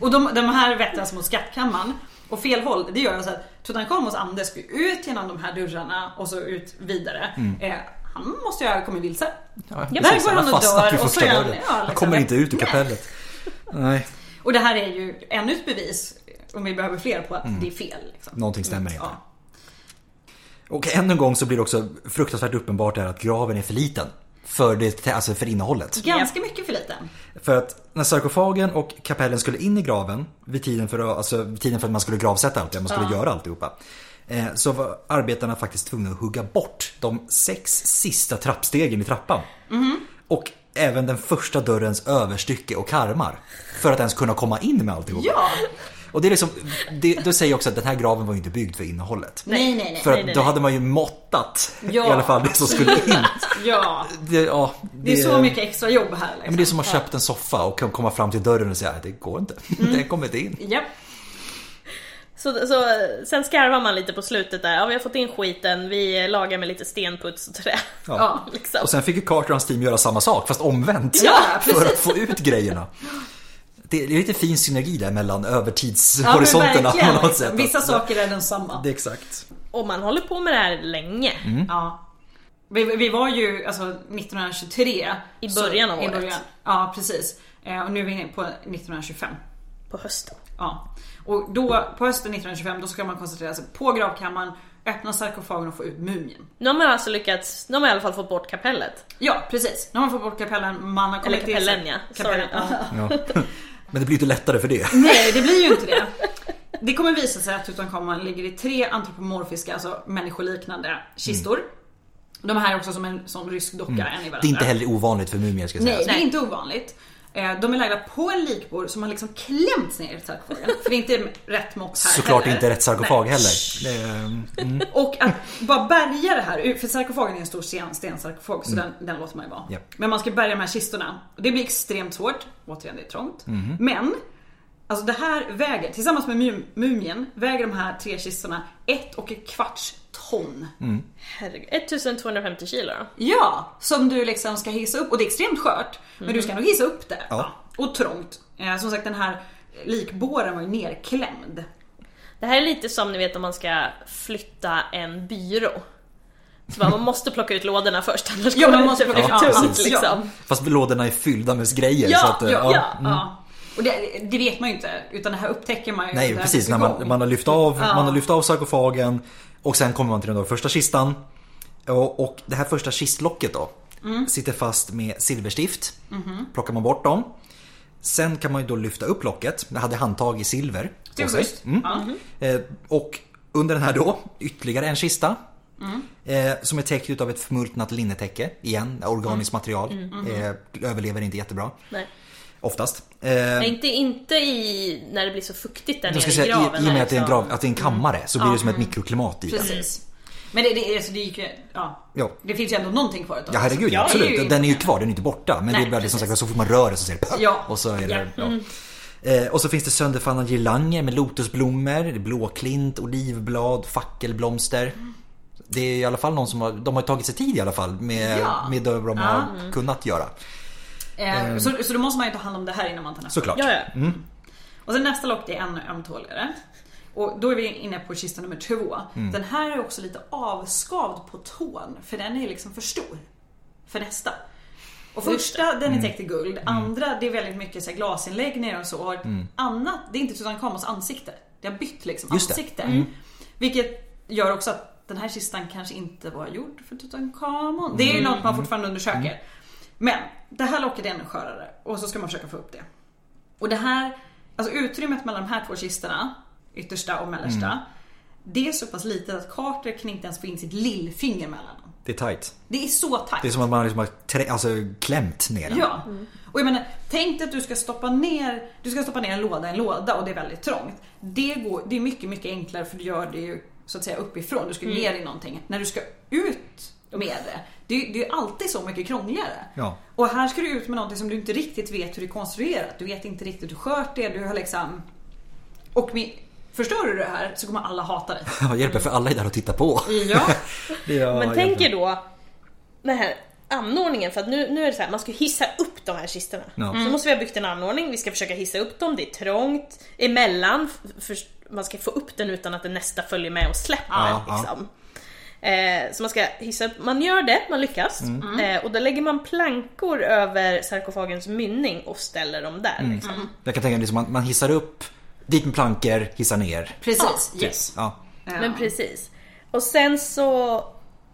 Speaker 4: Och de, de här vettras mot skattkammaren. Och fel håll, det gör så att Tutankhamons ande ska ju ut genom de här dörrarna och så ut vidare. Eh, han måste ju ha kommit vilse.
Speaker 5: Mm. Precis,
Speaker 4: Där går han och
Speaker 5: fastnat
Speaker 4: dör
Speaker 5: vid
Speaker 4: och så
Speaker 5: första
Speaker 4: är han,
Speaker 5: dörren.
Speaker 4: ja,
Speaker 5: Han
Speaker 4: liksom.
Speaker 5: kommer inte ut ur kapellet. Nej,
Speaker 4: Och det här är ju ännu ett bevis, om vi behöver fler, på att det är fel. Liksom.
Speaker 5: Mm. någonting stämmer inte.
Speaker 4: Ja.
Speaker 5: Och ännu en gång så blir det också fruktansvärt uppenbart här att graven är för liten. För, det, alltså för innehållet.
Speaker 4: Ganska mycket för liten.
Speaker 5: För att när sarkofagen och kapellen skulle in i graven vid tiden för, alltså, vid tiden för att man skulle gravsätta allt det, man skulle göra alltihopa. eh, Så var arbetarna faktiskt tvungna att hugga bort de sex sista trappstegen i trappan.
Speaker 4: Mhm.
Speaker 5: Och även den första dörrens överstycke och karmar. För att ens kunna komma in med alltihopa.
Speaker 4: Ja.
Speaker 5: Och det är liksom, det, då säger jag också att den här graven var ju inte byggd för innehållet.
Speaker 4: Nej, nej, nej.
Speaker 5: För att
Speaker 3: nej,
Speaker 5: då
Speaker 3: nej.
Speaker 5: hade man ju måttat
Speaker 4: Ja.
Speaker 5: i alla fall det som skulle
Speaker 4: (laughs)
Speaker 5: in.
Speaker 4: Ja.
Speaker 5: Det, ja,
Speaker 4: Det är så mycket extra jobb här.
Speaker 5: Ja, men det är som att ha köpt en soffa och kan komma fram till dörren och säga det går inte.
Speaker 4: Mm.
Speaker 5: Den kommer inte in.
Speaker 4: Japp.
Speaker 3: Så, så eh, sen skarvar man lite på slutet där. Ja vi har fått in skiten, vi eh, lagar med lite stenputs och trä.
Speaker 5: Ja.
Speaker 3: (laughs) liksom.
Speaker 5: Och sen fick ju Carter och hans team göra samma sak fast omvänt.
Speaker 4: Ja,
Speaker 5: (laughs) för att få ut grejerna. Det är lite fin synergi där mellan
Speaker 4: Ja, men
Speaker 5: övertidshorisonterna
Speaker 4: verkligen,
Speaker 5: på något
Speaker 4: liksom.
Speaker 5: sätt.
Speaker 4: Vissa
Speaker 5: Att-
Speaker 4: saker är den samma.
Speaker 5: Det är exakt.
Speaker 3: Och man håller på med det här länge.
Speaker 5: Mm.
Speaker 4: Ja. Vi, vi var ju alltså 1923.
Speaker 3: I början av
Speaker 4: i
Speaker 3: året.
Speaker 4: ja precis. Eh, Och nu är vi inne på 1925.
Speaker 3: På hösten.
Speaker 4: Ja. Och då på hösten 1925 då ska man koncentrera sig på gravkammaren, öppna sarkofagen och få ut mumien.
Speaker 3: Nu har man alltså lyckats, nu har man i alla fall fått bort kapellet.
Speaker 4: Ja precis. Nu har man fått bort kapellen, man har
Speaker 3: Eller
Speaker 4: kommit till
Speaker 3: kapellen ja. Sorry.
Speaker 4: Kapellen.
Speaker 3: Ja.
Speaker 5: Ja. Men det blir inte lättare
Speaker 4: (laughs)
Speaker 5: för det.
Speaker 4: Nej det blir ju inte det. Det kommer visa sig att Tutankhamon ligger i tre antropomorfiska, alltså människoliknande kistor. De här är också som en som rysk docka, en i varandra.
Speaker 5: Mm. Det är inte heller ovanligt för mumier ska jag säga.
Speaker 4: Nej, det är inte ovanligt. Eh, De är lagda på en likbord som har liksom klämts ner i sarkofagen. För det är inte rätt mått här
Speaker 5: Såklart
Speaker 4: heller.
Speaker 5: inte rätt sarkofag
Speaker 4: Nej.
Speaker 5: heller. Det är- mm,
Speaker 4: Och att bara bärga det här, för sarkofagen är en stor sten, stensarkofag
Speaker 5: Mm.
Speaker 4: så den, den låter man ju vara.
Speaker 5: Japp.
Speaker 4: Men man ska bärga de här kistorna. Och det blir extremt svårt. Återigen, det är trångt.
Speaker 5: Mhm.
Speaker 4: Men Alltså det här väger, tillsammans med mum- mumien, väger de här tre kistorna ett och ett kvarts ton.
Speaker 3: Herregud. 1250 kilo då.
Speaker 4: Ja, som du liksom ska hissa upp. Och det är extremt skört. Men du ska nog hissa upp det.
Speaker 5: Mhm. Ja.
Speaker 4: Och trångt. Eh, Som sagt den här likbåren var ju nerklämd.
Speaker 3: Det här är lite som ni vet om man ska flytta en byrå. Så bara, man måste plocka ut lådorna först annars
Speaker 4: Ja,
Speaker 3: går
Speaker 4: man
Speaker 3: det
Speaker 4: måste
Speaker 3: inte
Speaker 4: plocka
Speaker 3: för
Speaker 4: ut- ja,
Speaker 3: tungt
Speaker 4: precis, ja.
Speaker 3: liksom.
Speaker 5: Fast lådorna är fyllda med grejer. så
Speaker 4: Ja,
Speaker 5: att,
Speaker 4: ja,
Speaker 5: eh,
Speaker 4: ja.
Speaker 5: ja.
Speaker 4: ja. Och det, det vet man ju inte. Utan det här upptäcker man ju.
Speaker 5: Nej
Speaker 4: under
Speaker 5: precis, när
Speaker 4: gång.
Speaker 5: man, man, har lyft av,
Speaker 4: Ja.
Speaker 5: man har lyft av sarkofagen och sen kommer man till den då första kistan. Och, och det här första kistlocket då
Speaker 4: Mm.
Speaker 5: sitter fast med silverstift.
Speaker 4: Mhm.
Speaker 5: Plockar man bort dem. Sen kan man ju då lyfta upp locket. Det hade handtag i silver.
Speaker 4: Det
Speaker 5: på
Speaker 4: är
Speaker 5: sig.
Speaker 4: schysst. Ja.
Speaker 5: Eh, och under den här då, ytterligare en kista.
Speaker 4: Mm.
Speaker 5: Eh, som är täckt av ett förmultnat linnetäcke. Igen,
Speaker 4: Mm.
Speaker 5: organiskt material.
Speaker 4: mhm.
Speaker 5: Eh, överlever inte jättebra.
Speaker 3: Nej.
Speaker 5: Oftast. Eh,
Speaker 3: Men inte, inte i när det blir så fuktigt där nere
Speaker 5: jag ska
Speaker 3: i
Speaker 5: säga,
Speaker 3: graven.
Speaker 5: i, I och med att det är en,
Speaker 3: liksom.
Speaker 5: grav, att det är en kammare så blir det som ett mikroklimat i den.
Speaker 4: Mm. Precis. Men det, det, alltså, det gick ju... Ja.
Speaker 5: Ja.
Speaker 4: Det finns ju ändå någonting kvar utav
Speaker 5: Ja
Speaker 4: det.
Speaker 5: herregud,
Speaker 4: Jag är
Speaker 5: absolut.
Speaker 4: ju-
Speaker 5: Den är ju kvar, den är inte borta. Men
Speaker 4: Nej,
Speaker 5: det är bara det som
Speaker 4: precis.
Speaker 5: sagt, så fort man rör det så ser det
Speaker 4: Ja. Mm.
Speaker 5: Och så är det... Ja. Eh, och så finns det sönderfallna girlanger med lotusblommor, det är blåklint, olivblad, fackelblomster. Det är i alla fall någon som har, de har tagit sig tid i alla fall med,
Speaker 4: Ja. Mm.
Speaker 5: med det de har kunnat göra.
Speaker 4: Eh, så, så då måste man ju ta hand om det här innan man tar nästa.
Speaker 5: Såklart.
Speaker 3: Ja, ja.
Speaker 4: Och sen nästa lock det är ännu ömtåligare. Och då är vi inne på kista nummer två. Den här är också lite avskavd på tån. För den är liksom för stor. För nästa. Och första den är
Speaker 5: Mm.
Speaker 4: täckt i guld. Andra det är väldigt mycket så här, glasinläggningar och så. Och Annat det är inte Tutankhamons ansikte. Det har bytt liksom
Speaker 5: Mm. Just det. Mm.
Speaker 4: ansikte. Vilket gör också att den här kistan kanske inte var gjord för Tutankhamon. Det är
Speaker 5: Mm.
Speaker 4: ju något man fortfarande undersöker. Men det här locket är ännu skörare och så ska man försöka få upp det. Och det här, alltså utrymmet mellan de här två kistorna, yttersta och mellersta,
Speaker 5: Mm.
Speaker 4: det är så pass litet att Carter kan inte ens få in sitt lillfinger mellan dem.
Speaker 5: Det är tight.
Speaker 4: Det är så tajt.
Speaker 5: Det är som att man liksom har trä, alltså, klämt ner den.
Speaker 4: Ja. Mm. Och jag menar, tänk dig att du ska stoppa ner, du ska stoppa ner en låda i en låda och det är väldigt trångt. Det, går, det är mycket, mycket enklare för du gör det ju så att säga uppifrån. Du ska ner i någonting. När du ska ut med det, det är, ju- det är ju alltid så mycket krångligare.
Speaker 5: Ja.
Speaker 4: Och här ska du ut med någonting som du inte riktigt vet hur det är konstruerat. Du vet inte riktigt hur skört det är. Du har liksom... Och med, förstör du det här så kommer alla hata dig.
Speaker 5: Ja, hjälper för alla är där och tittar på. (laughs)
Speaker 4: Ja.
Speaker 5: Ja,
Speaker 3: Men
Speaker 5: hjälper.
Speaker 3: tänk er då den här anordningen, för att nu, nu är det så här, man ska ju hissa upp de här kistorna.
Speaker 5: Ja.
Speaker 3: Så måste vi ha byggt en anordning, vi ska försöka hissa upp dem, det är trångt, emellan, för man ska få upp den utan att den nästa följer med och släpper.
Speaker 5: Ja, ja.
Speaker 3: liksom. Eh, så man ska hissa upp, man gör det, man lyckas.
Speaker 5: Mm.
Speaker 3: Eh, och då lägger man plankor över sarkofagens mynning och ställer dem där.
Speaker 5: Mm.
Speaker 3: Liksom.
Speaker 5: Jag kan tänka mig liksom, man, man hissar upp, dit med plankor, hissar ner.
Speaker 4: (laughs) Precis. Yes.
Speaker 5: Ja.
Speaker 4: Ja.
Speaker 3: Men precis. Och sen så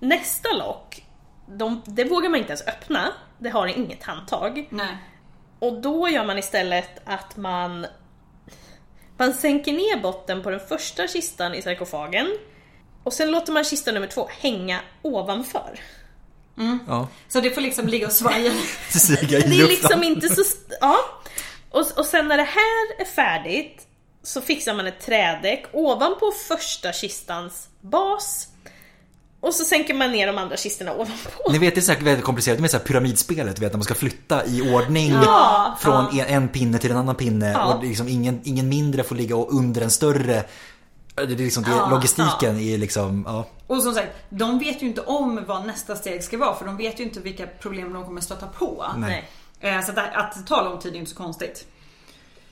Speaker 3: nästa lock, de, det vågar man inte ens öppna. Det har inget handtag.
Speaker 4: Nej.
Speaker 3: Och då gör man istället att man man sänker ner botten på den första kistan i sarkofagen och sen låter man kista nummer två hänga ovanför.
Speaker 5: ja. (laughs)
Speaker 4: Så det får liksom ligga och svaja. (laughs)
Speaker 5: Stiga i
Speaker 3: Det är
Speaker 5: luften.
Speaker 3: liksom inte så...
Speaker 5: (laughs)
Speaker 3: st- Ja. Och, och sen när det här är färdigt så fixar man ett trädäck ovanpå första kistans bas och så sänker man ner de andra kistorna ovanpå.
Speaker 5: Ni vet det är säkert väldigt komplicerat med så här pyramidspelet, du vet när man ska flytta i ordning
Speaker 3: Ja,
Speaker 5: från en, en pinne till en annan pinne
Speaker 3: Ja.
Speaker 5: och liksom ingen, ingen mindre får ligga under en större. Det är liksom, det,
Speaker 4: Ja,
Speaker 5: logistiken är liksom, ja.
Speaker 4: Och som sagt, de vet ju inte om vad nästa steg ska vara för de vet ju inte vilka problem de kommer stöta på.
Speaker 3: Nej.
Speaker 4: Eh, Så att, det- att det tar lång tid är ju inte så konstigt.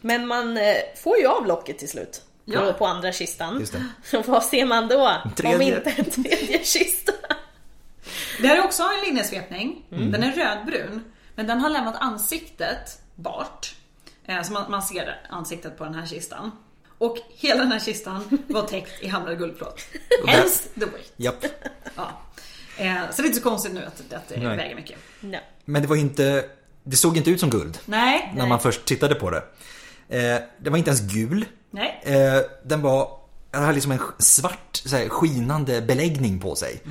Speaker 3: Men man eh, får ju av locket till slut.
Speaker 4: Ja.
Speaker 3: På, på andra kistan.
Speaker 5: Just det.
Speaker 3: (laughs) Så vad ser man då? Om
Speaker 5: Tredje.
Speaker 3: inte en tredje kista. (laughs)
Speaker 4: Det här är också en linnesvepning. Den är rödbrun. Men den har lämnat ansiktet bart. Eh, Så man, man ser ansiktet på den här kistan. Och hela den här kistan var täckt i hamrad guldplåt. Hence the weight.
Speaker 5: Japp.
Speaker 4: Ja. Eh, Så det är inte så konstigt nu att, att det
Speaker 5: Nej.
Speaker 4: väger mycket.
Speaker 3: Nej.
Speaker 5: Men det var ju inte, det såg inte ut som guld
Speaker 4: Nej.
Speaker 5: när man först tittade på det. Eh, det var inte ens gul.
Speaker 4: Nej.
Speaker 5: Eh, den var, den hade liksom en svart så här, skinande beläggning på sig.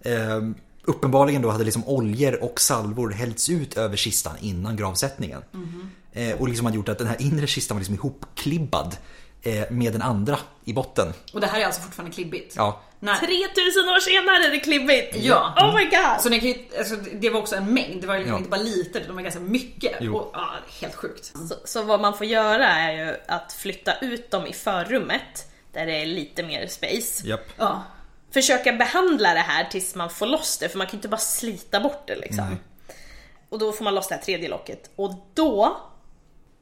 Speaker 5: Eh, uppenbarligen då hade liksom oljor och salvor hällts ut över kistan innan gravsättningen. Eh, och liksom hade gjort att den här inre kistan var liksom ihopklibbad eh, med den andra i botten.
Speaker 4: Och det här är alltså fortfarande klibbigt.
Speaker 5: Ja.
Speaker 4: Nej.
Speaker 3: 3000 år senare är det klibbigt!
Speaker 4: Ja.
Speaker 3: Oh my god!
Speaker 4: Så ni kan ju, alltså, det var också en mängd, det var ju liksom
Speaker 5: Ja.
Speaker 4: inte bara lite, de var ganska mycket.
Speaker 5: Jo.
Speaker 4: Och, ja, det är helt sjukt.
Speaker 3: Så, så vad man får göra är ju att flytta ut dem i förrummet där det är lite mer space.
Speaker 5: Japp.
Speaker 4: Ja.
Speaker 3: försöka behandla det här tills man får loss det, för man kan ju inte bara slita bort det liksom. Och då får man loss det här tredje locket och då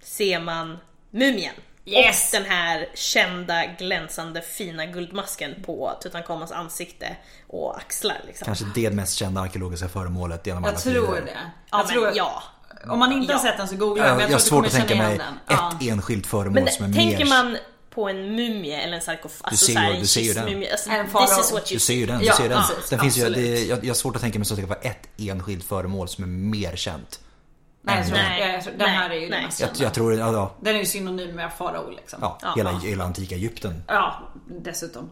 Speaker 3: ser man mumien.
Speaker 4: Yes!
Speaker 3: Och den här kända glänsande fina guldmasken på Tutankhamons ansikte och axlar liksom.
Speaker 5: Kanske det mest kända arkeologiska föremålet genom alla
Speaker 4: Jag tror
Speaker 5: tider.
Speaker 4: det.
Speaker 3: Ja,
Speaker 4: Jag
Speaker 3: men
Speaker 4: tror,
Speaker 3: ja.
Speaker 4: Om man inte har
Speaker 3: Ja.
Speaker 4: sett den så googla den.
Speaker 5: Jag, Eh, jag,
Speaker 4: men Jag, tror
Speaker 5: har svårt
Speaker 4: att
Speaker 5: att
Speaker 4: du kommer
Speaker 5: tänka
Speaker 4: känna
Speaker 5: mig
Speaker 4: igen
Speaker 5: ett
Speaker 4: den. Ja.
Speaker 5: enskilt föremål
Speaker 3: Men
Speaker 5: som är
Speaker 3: tänker
Speaker 5: mer...
Speaker 3: man på en mumie eller en sarkofag, alltså
Speaker 5: ser
Speaker 3: såhär
Speaker 5: ju-
Speaker 3: en
Speaker 5: du ser ju den.
Speaker 3: kistmumie. Alltså,
Speaker 4: En
Speaker 3: this
Speaker 4: farao.
Speaker 3: is what you
Speaker 5: Du ser ju den. Du
Speaker 4: Ja,
Speaker 5: ser ju den.
Speaker 4: precis,
Speaker 5: den finns ju,
Speaker 4: absolut.
Speaker 5: det, jag, jag har svårt att tänka mig så att det kan vara ett enskilt föremål som är mer känt.
Speaker 4: Nej, jag tror,
Speaker 3: Nej,
Speaker 4: jag, jag tror, den här är ju
Speaker 3: nej.
Speaker 4: den mest
Speaker 5: Jag,
Speaker 4: kända.
Speaker 5: jag tror... Ja, ja,
Speaker 4: Den är ju synonym med farao liksom.
Speaker 5: ja,
Speaker 3: Ja.
Speaker 5: hela, hela antika Egypten.
Speaker 4: Ja, dessutom.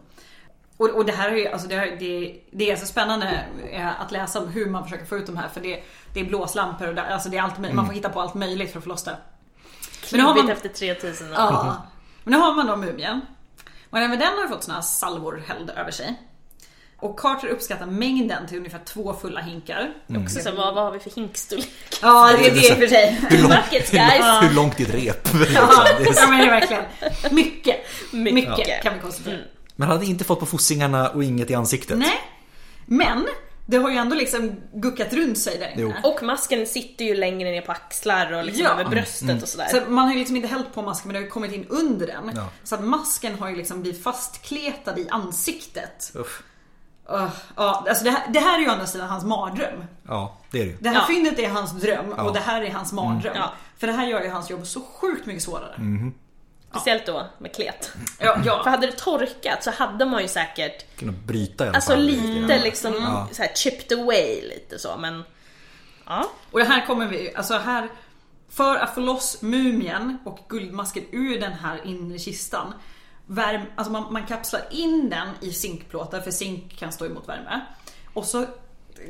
Speaker 4: Och, och det här är ju, alltså det, har- det, det är så spännande eh, att läsa om hur man försöker få ut de här. För det, det är blåslampor och det, alltså det är allt,
Speaker 5: Mm.
Speaker 4: möj- man får hitta på allt möjligt för att få loss det. Men nu har
Speaker 3: Klibbigt
Speaker 4: man-
Speaker 3: efter 3000 år.
Speaker 4: Ja. (laughs) Men nu har man då mumien. Och även den har ju fått såna här salvor hälld över sig. Och Carter uppskattar mängden till ungefär två fulla hinkar.
Speaker 3: Också så, vad, vad har vi för hinkstorlek?
Speaker 4: Mm. Ja, det är det i och för sig.
Speaker 5: Hur långt,
Speaker 3: Buckets, guys.
Speaker 5: (laughs) hur, hur långt ditt rep?
Speaker 4: (laughs) Ja, ja men (laughs) det är verkligen. Mycket.
Speaker 3: Mycket.
Speaker 4: Mycket Mm. kan vi konstatera.
Speaker 5: Men han hade inte fått på fossingarna och inget i ansiktet.
Speaker 4: Nej. Men det har ju ändå liksom guckat runt sig där
Speaker 5: Jo.
Speaker 4: inne.
Speaker 3: Och masken sitter ju längre ner på axlar och liksom
Speaker 4: Ja.
Speaker 3: över bröstet
Speaker 5: Mm.
Speaker 3: och sådär.
Speaker 4: Så man har ju liksom inte hällt på masken men det har ju kommit in under den.
Speaker 5: Ja.
Speaker 4: Så att masken har ju liksom blivit fastkletad i ansiktet.
Speaker 5: Uff.
Speaker 4: Ugh, ja, alltså det, här, det här är ju å andra sidan hans mardröm.
Speaker 5: Ja, det är det ju.
Speaker 4: Det här
Speaker 3: Ja.
Speaker 4: fyndet är hans dröm
Speaker 5: Ja.
Speaker 4: och det här är hans mardröm.
Speaker 3: Ja.
Speaker 4: För det här gör ju hans jobb så sjukt mycket svårare.
Speaker 5: Mm.
Speaker 3: Speciellt då med klet.
Speaker 4: Ja,
Speaker 3: För
Speaker 4: ja.
Speaker 3: hade det torkat så hade man ju säkert,
Speaker 5: Kunna bryta i alla
Speaker 3: alltså
Speaker 5: fall.
Speaker 3: lite liksom
Speaker 5: Ja.
Speaker 3: så här chipped away lite så men... Ja.
Speaker 4: Och det här kommer vi alltså här För att få loss mumien och guldmasken ur den här inre kistan. Värm, alltså man, man kapslar in den i zinkplåtar för zink kan stå emot värme. Och så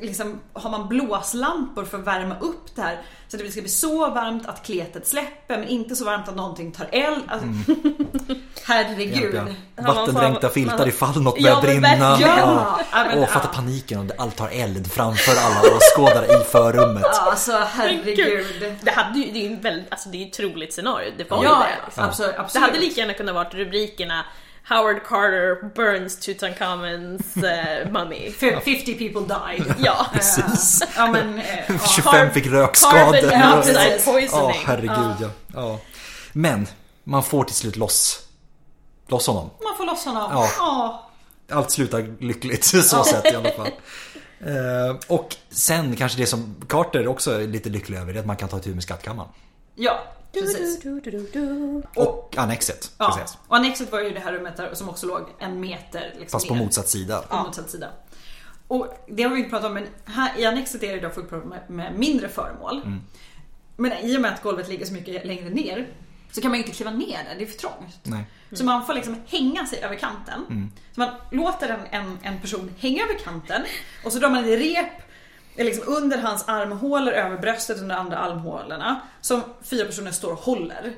Speaker 4: liksom har man blåslampor för att värma upp det här. Så det ska bli så varmt att kletet släpper men inte så varmt att någonting tar eld. Alltså, (laughs) Herregud.
Speaker 5: Mm. Ja.
Speaker 3: man får-
Speaker 5: Vattendränkta
Speaker 3: man-
Speaker 5: filtar ifall något
Speaker 3: Ja,
Speaker 5: börjar
Speaker 3: men
Speaker 5: brinna.
Speaker 3: verkligen.
Speaker 4: Ja, men-
Speaker 5: Åh, fatta paniken om det- allt tar eld framför alla åskådare i förrummet.
Speaker 4: Alltså herregud.
Speaker 3: Herregud. Det, hade ju, det är ju en väldigt, alltså det är ju ett troligt scenario, det var
Speaker 4: Ja,
Speaker 3: ju det. Liksom.
Speaker 4: absolut.
Speaker 3: Det
Speaker 4: absolut.
Speaker 3: hade lika gärna kunnat varit rubrikerna Howard Carter burns Tutankhamens
Speaker 5: (laughs)
Speaker 3: uh, mummy.
Speaker 4: F- 50 people died.
Speaker 3: Ja.
Speaker 5: Precis.
Speaker 4: Ja men... eh,
Speaker 5: (laughs)
Speaker 4: ja.
Speaker 5: 25 fick rökskador.
Speaker 3: Carbon dioxide
Speaker 4: precis.
Speaker 5: Ja,
Speaker 3: poisoning.
Speaker 5: herregud ja. ja. Men, man får till slut loss, loss honom.
Speaker 4: Man får loss honom.
Speaker 5: Ja.
Speaker 4: Ja.
Speaker 5: allt slutar lyckligt (laughs) så sett i alla fall. Eh, och sen kanske det som Carter också är lite lycklig över det är att man kan ta itu med skattkammaren.
Speaker 4: Ja, precis.
Speaker 5: Och annexet ska
Speaker 4: Ja.
Speaker 5: sägas.
Speaker 4: Och annexet var ju det här rummet där, som också låg en meter liksom,
Speaker 5: Fast på
Speaker 4: ner,
Speaker 5: motsatt sida.
Speaker 4: på motsatt sida. Och det har vi inte pratat om men här, i annexet är det idag fullt problem med, med mindre föremål. Men i och med att golvet ligger så mycket längre ner så kan man ju inte kliva ner där, det är för trångt.
Speaker 5: Nej.
Speaker 4: Så man får liksom hänga sig över kanten. Så man låter en, en, en person hänga över kanten och så drar man ett rep liksom under hans armhålor, över bröstet, under andra armhålorna. Som fyra personer står och håller.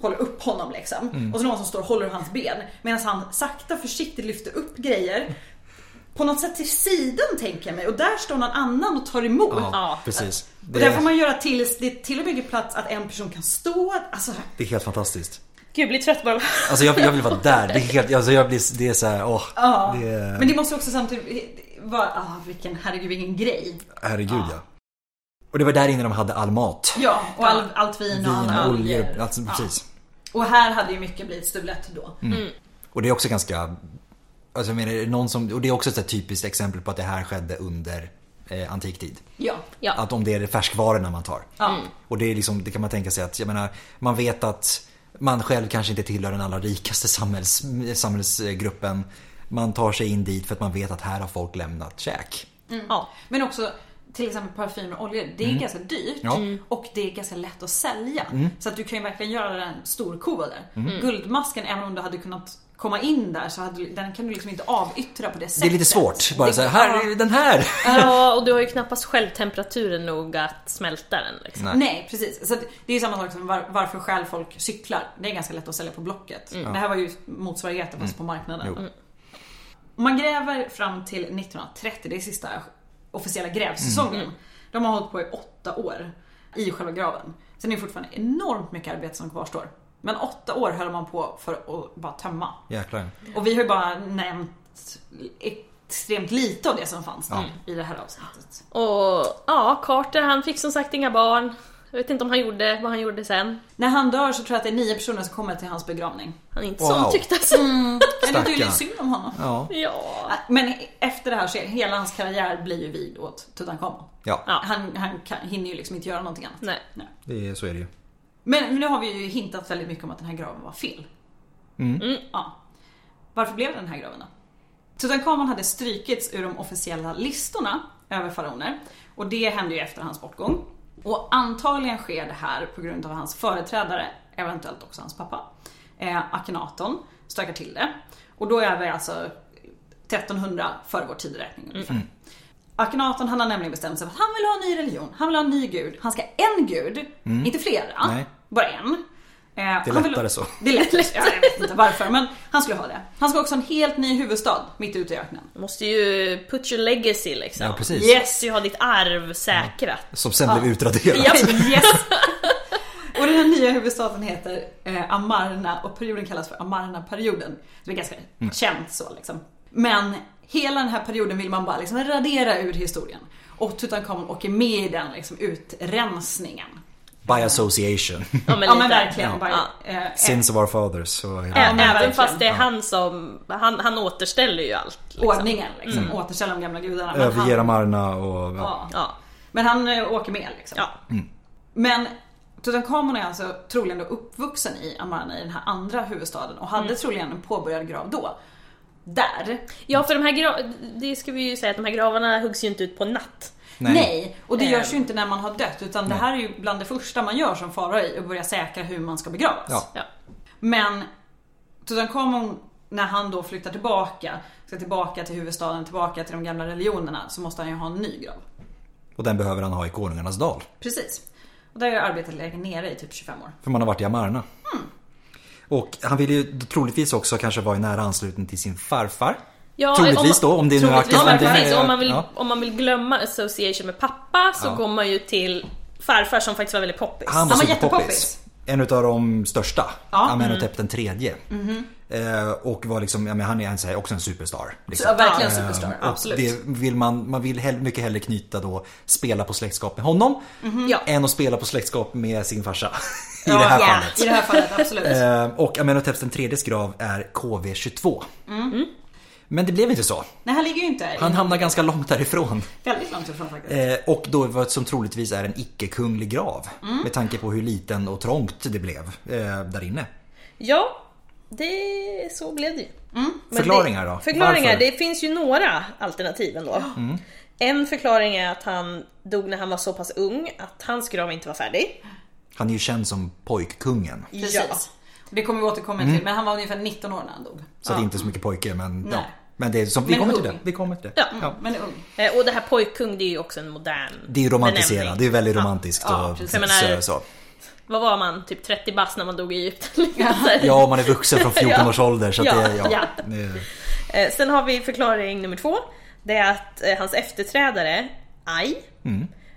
Speaker 4: Håller upp honom liksom. Och så någon som står och håller hans ben. Medan han sakta försiktigt lyfter upp grejer. På något sätt till sidan tänker jag mig och där står någon annan och tar emot.
Speaker 5: Ja,
Speaker 3: Ja.
Speaker 5: precis.
Speaker 4: Och
Speaker 5: Det
Speaker 4: där får
Speaker 5: är,
Speaker 4: man göra tills det till och med blir plats att en person kan stå. Alltså,
Speaker 5: det är helt fantastiskt.
Speaker 3: Gud, jag blir trött bara.
Speaker 5: Alltså jag, jag vill vara där. Det är, helt, alltså jag blir, det är så här, åh.
Speaker 4: Ja,
Speaker 5: Det är,
Speaker 4: men det måste också samtidigt vara, ah, vilken, herregud vilken grej.
Speaker 5: herregud ja. Och det var där inne de hade all mat.
Speaker 4: Ja, och all, allt vin och
Speaker 5: Vin,
Speaker 4: alla
Speaker 5: oljor,
Speaker 4: oljor.
Speaker 5: alltså, precis.
Speaker 4: Och här hade ju mycket blivit stulet då.
Speaker 5: Och det är också ganska... Alltså jag menar, är det någon som, och det är också ett så här typiskt exempel på att det här skedde under eh, antik tid.
Speaker 4: Ja.
Speaker 3: Ja.
Speaker 5: Att om det är färskvarorna man tar.
Speaker 4: Ja.
Speaker 5: Och det, är liksom, det kan man tänka sig att, jag menar, man vet att man själv kanske inte tillhör den allra rikaste samhälls, samhällsgruppen. Man tar sig in dit för att man vet att här har folk lämnat käk.
Speaker 3: Ja.
Speaker 4: Men också till exempel parfymer och oljor. Det är ganska dyrt
Speaker 5: Ja. Mm.
Speaker 4: och det är ganska lätt att sälja. Så att du kan ju verkligen göra den stor kova där.
Speaker 5: Mm.
Speaker 4: Guldmasken, även om du hade kunnat komma in där så hade, du- den kan du liksom inte avyttra på det sättet.
Speaker 5: Det är lite svårt. Bara så här, här är den här!
Speaker 3: ja, och du har ju knappast själv temperaturen nog att smälta den. Liksom.
Speaker 5: Nej.
Speaker 4: Nej precis. Så att det är ju samma sak som var, varför stjäl folk cyklar. Det är ganska lätt att sälja på Blocket. Det här var ju motsvarigheten fast på marknaden.
Speaker 5: Jo.
Speaker 4: Mm. Man gräver fram till 1930, det är sista officiella grävsäsongen. De har hållit på i åtta år i själva graven. Sen är det fortfarande enormt mycket arbete som kvarstår. Men åtta år höll man på för att bara tömma.
Speaker 5: Jäklar.
Speaker 4: Och vi har ju bara nämnt extremt lite av det som fanns där i det här avsnittet.
Speaker 3: Och ja, Carter han fick som sagt inga barn. Jag vet inte om han gjorde vad han gjorde sen.
Speaker 4: När han dör så tror jag att det är nio personer som kommer till hans begravning.
Speaker 3: Han är inte
Speaker 5: Wow.
Speaker 3: så omtyckt alltså.
Speaker 4: Men det är ju
Speaker 5: Stackarn.
Speaker 4: synd om honom. Äh,
Speaker 5: Ja.
Speaker 3: (laughs) Ja.
Speaker 4: Men efter det här så är hela hans karriär blir ju vid åt Tutankhamon.
Speaker 5: Ja,
Speaker 3: Ja.
Speaker 4: Han, han kan, hinner ju liksom inte göra någonting annat.
Speaker 3: Nej.
Speaker 5: det är, så är det ju.
Speaker 4: Men nu har vi ju hintat väldigt mycket om att den här graven var fel. Ja. Varför blev det den här graven då? Tutankhamon hade strykits ur de officiella listorna över faraoner och det hände ju efter hans bortgång. Och antagligen sker det här på grund av hans företrädare, eventuellt också hans pappa, eh, Akhenaton, stökar till det. Och då är vi alltså 1300 före vår tideräkning ungefär. Akhenaton han har nämligen bestämt sig för att han vill ha en ny religion, han vill ha en ny gud. Han ska ha en gud, inte flera.
Speaker 5: Nej.
Speaker 4: Bara en. Eh,
Speaker 5: Det är
Speaker 4: han
Speaker 5: lättare så.
Speaker 4: Det är lättare, ja, jag vet inte varför men han skulle ha det. Han ska också ha en helt ny huvudstad mitt ute i öknen.
Speaker 3: Du måste ju put your legacy liksom.
Speaker 5: Ja, precis.
Speaker 3: Yes, du har ditt arv säkrat.
Speaker 5: Som sen blev utraderat.
Speaker 4: Yes! och den här nya huvudstaden heter eh, Amarna och perioden kallas för Amarna-perioden. Det är ganska
Speaker 5: Mm.
Speaker 4: känt så liksom. Men hela den här perioden vill man bara liksom radera ur historien. Och Tutankhamon åker med i den liksom utrensningen.
Speaker 5: By association.
Speaker 3: (laughs) Ja men,
Speaker 4: (laughs) Ja men
Speaker 3: lite.
Speaker 4: verkligen.
Speaker 5: Ja.
Speaker 4: Bara,
Speaker 3: Ja.
Speaker 4: eh, eh,
Speaker 5: Sins of our fathers. Så är det.
Speaker 3: Ä-
Speaker 4: men
Speaker 3: Även
Speaker 4: verkligen.
Speaker 3: fast det är han som, han, han återställer ju allt. Liksom.
Speaker 4: ordningen liksom. Återställa de gamla gudarna. Men
Speaker 5: Överge
Speaker 4: han,
Speaker 5: Ramarna och... Ja.
Speaker 4: ja.
Speaker 3: Ja.
Speaker 4: Men han eh, åker med liksom.
Speaker 3: ja.
Speaker 5: Mm.
Speaker 4: Men Tutankhamon är alltså troligen då uppvuxen i Amarna i den här andra huvudstaden och hade troligen en påbörjad grav då. Där.
Speaker 3: Ja för de här gra- det ska vi ju säga att de här gravarna huggs ju inte ut på en natt.
Speaker 5: Nej.
Speaker 4: Nej. Och det görs ju inte när man har dött utan det här är ju bland det första man gör som farao i och börja säkra hur man ska begravas.
Speaker 5: Ja.
Speaker 3: Ja.
Speaker 4: Men Tutankhamon när han då flyttar tillbaka, ska tillbaka till huvudstaden, tillbaka till de gamla religionerna så måste han ju ha en ny grav.
Speaker 5: Och den behöver han ha i Konungarnas dal.
Speaker 4: Precis. Och där har jag arbetat lägre nere i typ 25 år.
Speaker 5: För man har varit i Amarna.
Speaker 4: Mm.
Speaker 5: Och han ville ju troligtvis också kanske vara i nära anslutning till sin farfar.
Speaker 3: Ja,
Speaker 5: Troligtvis då, om det nu är
Speaker 3: troligtvis,
Speaker 5: aktuellt.
Speaker 3: Ja, men
Speaker 5: Det är-
Speaker 3: precis. Om man, vill,
Speaker 5: ja.
Speaker 3: om man vill glömma association med pappa så
Speaker 5: Ja.
Speaker 3: går man ju till farfar som faktiskt var väldigt poppis.
Speaker 5: Han var,
Speaker 4: Han var
Speaker 5: superpoppis.
Speaker 4: jättepoppis.
Speaker 5: En utav de största.
Speaker 4: Ja. Mm. Mhm.
Speaker 5: Amenhotep den tredje. Eh, och var liksom, ja, men han är en, så här, också en superstar. Liksom.
Speaker 4: Så, verkligen
Speaker 5: Eh,
Speaker 4: superstar,
Speaker 5: och
Speaker 4: absolut.
Speaker 5: Det vill man, man vill hell, mycket hellre knyta då spela på släktskap med honom.
Speaker 4: Mhm.
Speaker 3: Ja.
Speaker 5: Än att spela på släktskap med sin farsa. (laughs) I
Speaker 4: Ja,
Speaker 5: det här
Speaker 4: ja.
Speaker 5: fallet.
Speaker 4: I det här fallet, absolut.
Speaker 5: Eh, och Amenhoteps den tredjes grav är KV22.
Speaker 4: Mm.
Speaker 5: Men det blev inte så.
Speaker 4: Nej, han ligger ju inte
Speaker 5: Han hamnar ganska långt därifrån.
Speaker 4: väldigt långt ifrån faktiskt.
Speaker 5: Eh, och då vad som troligtvis är en icke-kunglig grav.
Speaker 4: Mm.
Speaker 5: Med tanke på hur liten och trångt det blev eh, där inne.
Speaker 3: Ja, det, så blev det ju. Mm. Men
Speaker 5: Förklaringar
Speaker 3: det,
Speaker 5: då?
Speaker 3: Förklaringar,
Speaker 5: Varför? Mm.
Speaker 3: det finns ju några alternativ ändå. En förklaring är att han dog när han var så pass ung att hans grav inte var färdig.
Speaker 5: Han är ju känd som pojkkungen.
Speaker 4: Precis. Det kommer vi återkomma
Speaker 5: Mm.
Speaker 4: till, men han var ungefär 19 år när han dog. Mm,
Speaker 5: Så det är inte så mycket pojke men ja.
Speaker 4: Nej.
Speaker 5: Men det är som, vi
Speaker 4: Men
Speaker 5: kommer till
Speaker 4: ung.
Speaker 5: det. Vi kommer till det.
Speaker 3: Ja.
Speaker 4: Men ung.
Speaker 3: Eh, Och det här pojkkung det är ju också en modern
Speaker 5: Det är ju romantiserat.
Speaker 3: benämning.
Speaker 5: Det är väldigt romantiskt.
Speaker 4: Ja,
Speaker 5: och,
Speaker 4: precis.
Speaker 5: så,
Speaker 3: Jag menar-
Speaker 5: så.
Speaker 3: Vad var man? Typ 30 bast när man dog i Egypten? Så här.
Speaker 5: ja, och man är
Speaker 3: (laughs)
Speaker 5: vuxen från 14 års ålder. Så att det,
Speaker 3: Ja.
Speaker 5: ja,
Speaker 3: Ja.
Speaker 5: Det är-
Speaker 3: Eh, Sen har vi förklaring nummer två. Det är att eh, hans efterträdare, Ai,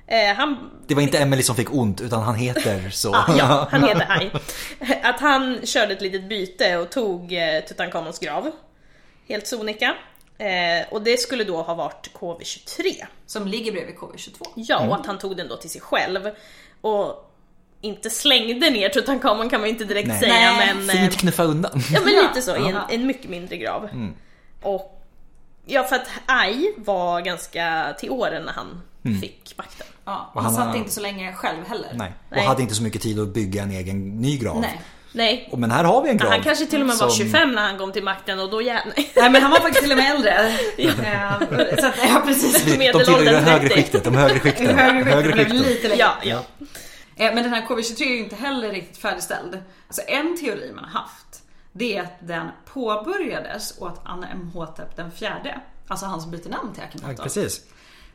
Speaker 3: eh, han
Speaker 5: det var inte Emily som fick ont utan han heter så.
Speaker 3: Ah, ja,
Speaker 5: (laughs)
Speaker 3: han heter Ai. (laughs) Att han körde ett litet byte och tog eh, Tutankhamons grav. Helt sonika. Eh, och det skulle då ha varit KV23.
Speaker 4: Som ligger bredvid KV22.
Speaker 3: Ja, och att han tog den då till sig själv. Och inte slängde ner Tutankhamon kan man ju inte direkt
Speaker 5: Nej.
Speaker 3: säga
Speaker 4: Nej.
Speaker 3: men... eh,
Speaker 5: Fint knuffa undan.
Speaker 3: Ja (laughs) men
Speaker 4: Ja.
Speaker 3: lite så, i en,
Speaker 4: Ja.
Speaker 3: en mycket mindre grav.
Speaker 5: Mm.
Speaker 3: Och Ja för att Ai var ganska till åren när han
Speaker 5: Mm.
Speaker 3: fick makten.
Speaker 4: Ja, han,
Speaker 5: han
Speaker 4: satt
Speaker 5: har-
Speaker 4: inte så länge själv heller.
Speaker 5: Nej.
Speaker 3: Nej.
Speaker 5: Och hade inte så mycket tid att bygga en egen ny grav.
Speaker 4: Nej.
Speaker 3: Nej.
Speaker 5: Och- Men här har vi en grav.
Speaker 3: Han kanske till och med var
Speaker 5: som-
Speaker 3: 25 när han kom till makten och då (laughs) jävlar.
Speaker 4: Nej men han var faktiskt till och med
Speaker 5: (laughs)
Speaker 4: äldre. ja. Så att, ja precis.
Speaker 5: De tillhör ju det
Speaker 3: medelåldern
Speaker 5: högre
Speaker 3: 30.
Speaker 5: skiktet.
Speaker 3: (laughs)
Speaker 5: De högre skikten.
Speaker 4: Högre blev lite längre.
Speaker 3: Ja, ja.
Speaker 4: Eh, Men den här KV23 är ju inte heller riktigt färdigställd. Alltså en teori man har haft, det är att den påbörjades åt Amenhotep E den fjärde. Alltså han som byter namn till
Speaker 5: Ja,
Speaker 4: Akenhotep.
Speaker 5: precis.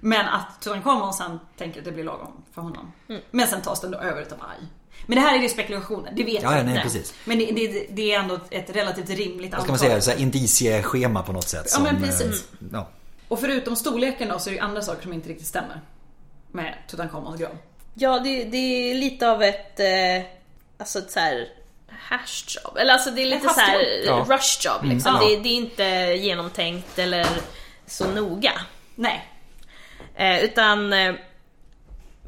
Speaker 4: Men att Tutankhamon sen tänker att det blir lagom för honom.
Speaker 5: Mm.
Speaker 4: Men sen tas den då över utav Aj. Men det här är ju spekulationer, det vet
Speaker 5: Ja,
Speaker 4: jag
Speaker 5: ja, nej,
Speaker 4: inte.
Speaker 5: precis.
Speaker 4: Men det, det, det är ändå ett relativt rimligt
Speaker 5: Vad ska man säga? Så här indicieschema på något sätt.
Speaker 4: Ja, men
Speaker 5: som, eh,
Speaker 4: precis.
Speaker 5: Ja.
Speaker 4: Och förutom storleken då så är det ju andra saker som inte riktigt stämmer. Med Tutankhamons grav.
Speaker 3: Ja, det, det är lite av ett... Eh, alltså ett så här hash job. Eller alltså det är lite
Speaker 4: Ett
Speaker 3: så här
Speaker 4: hash
Speaker 5: job. Ja.
Speaker 3: rush job liksom.
Speaker 5: Ja.
Speaker 3: Det, det är inte genomtänkt eller så noga.
Speaker 4: Nej.
Speaker 3: Eh, utan eh,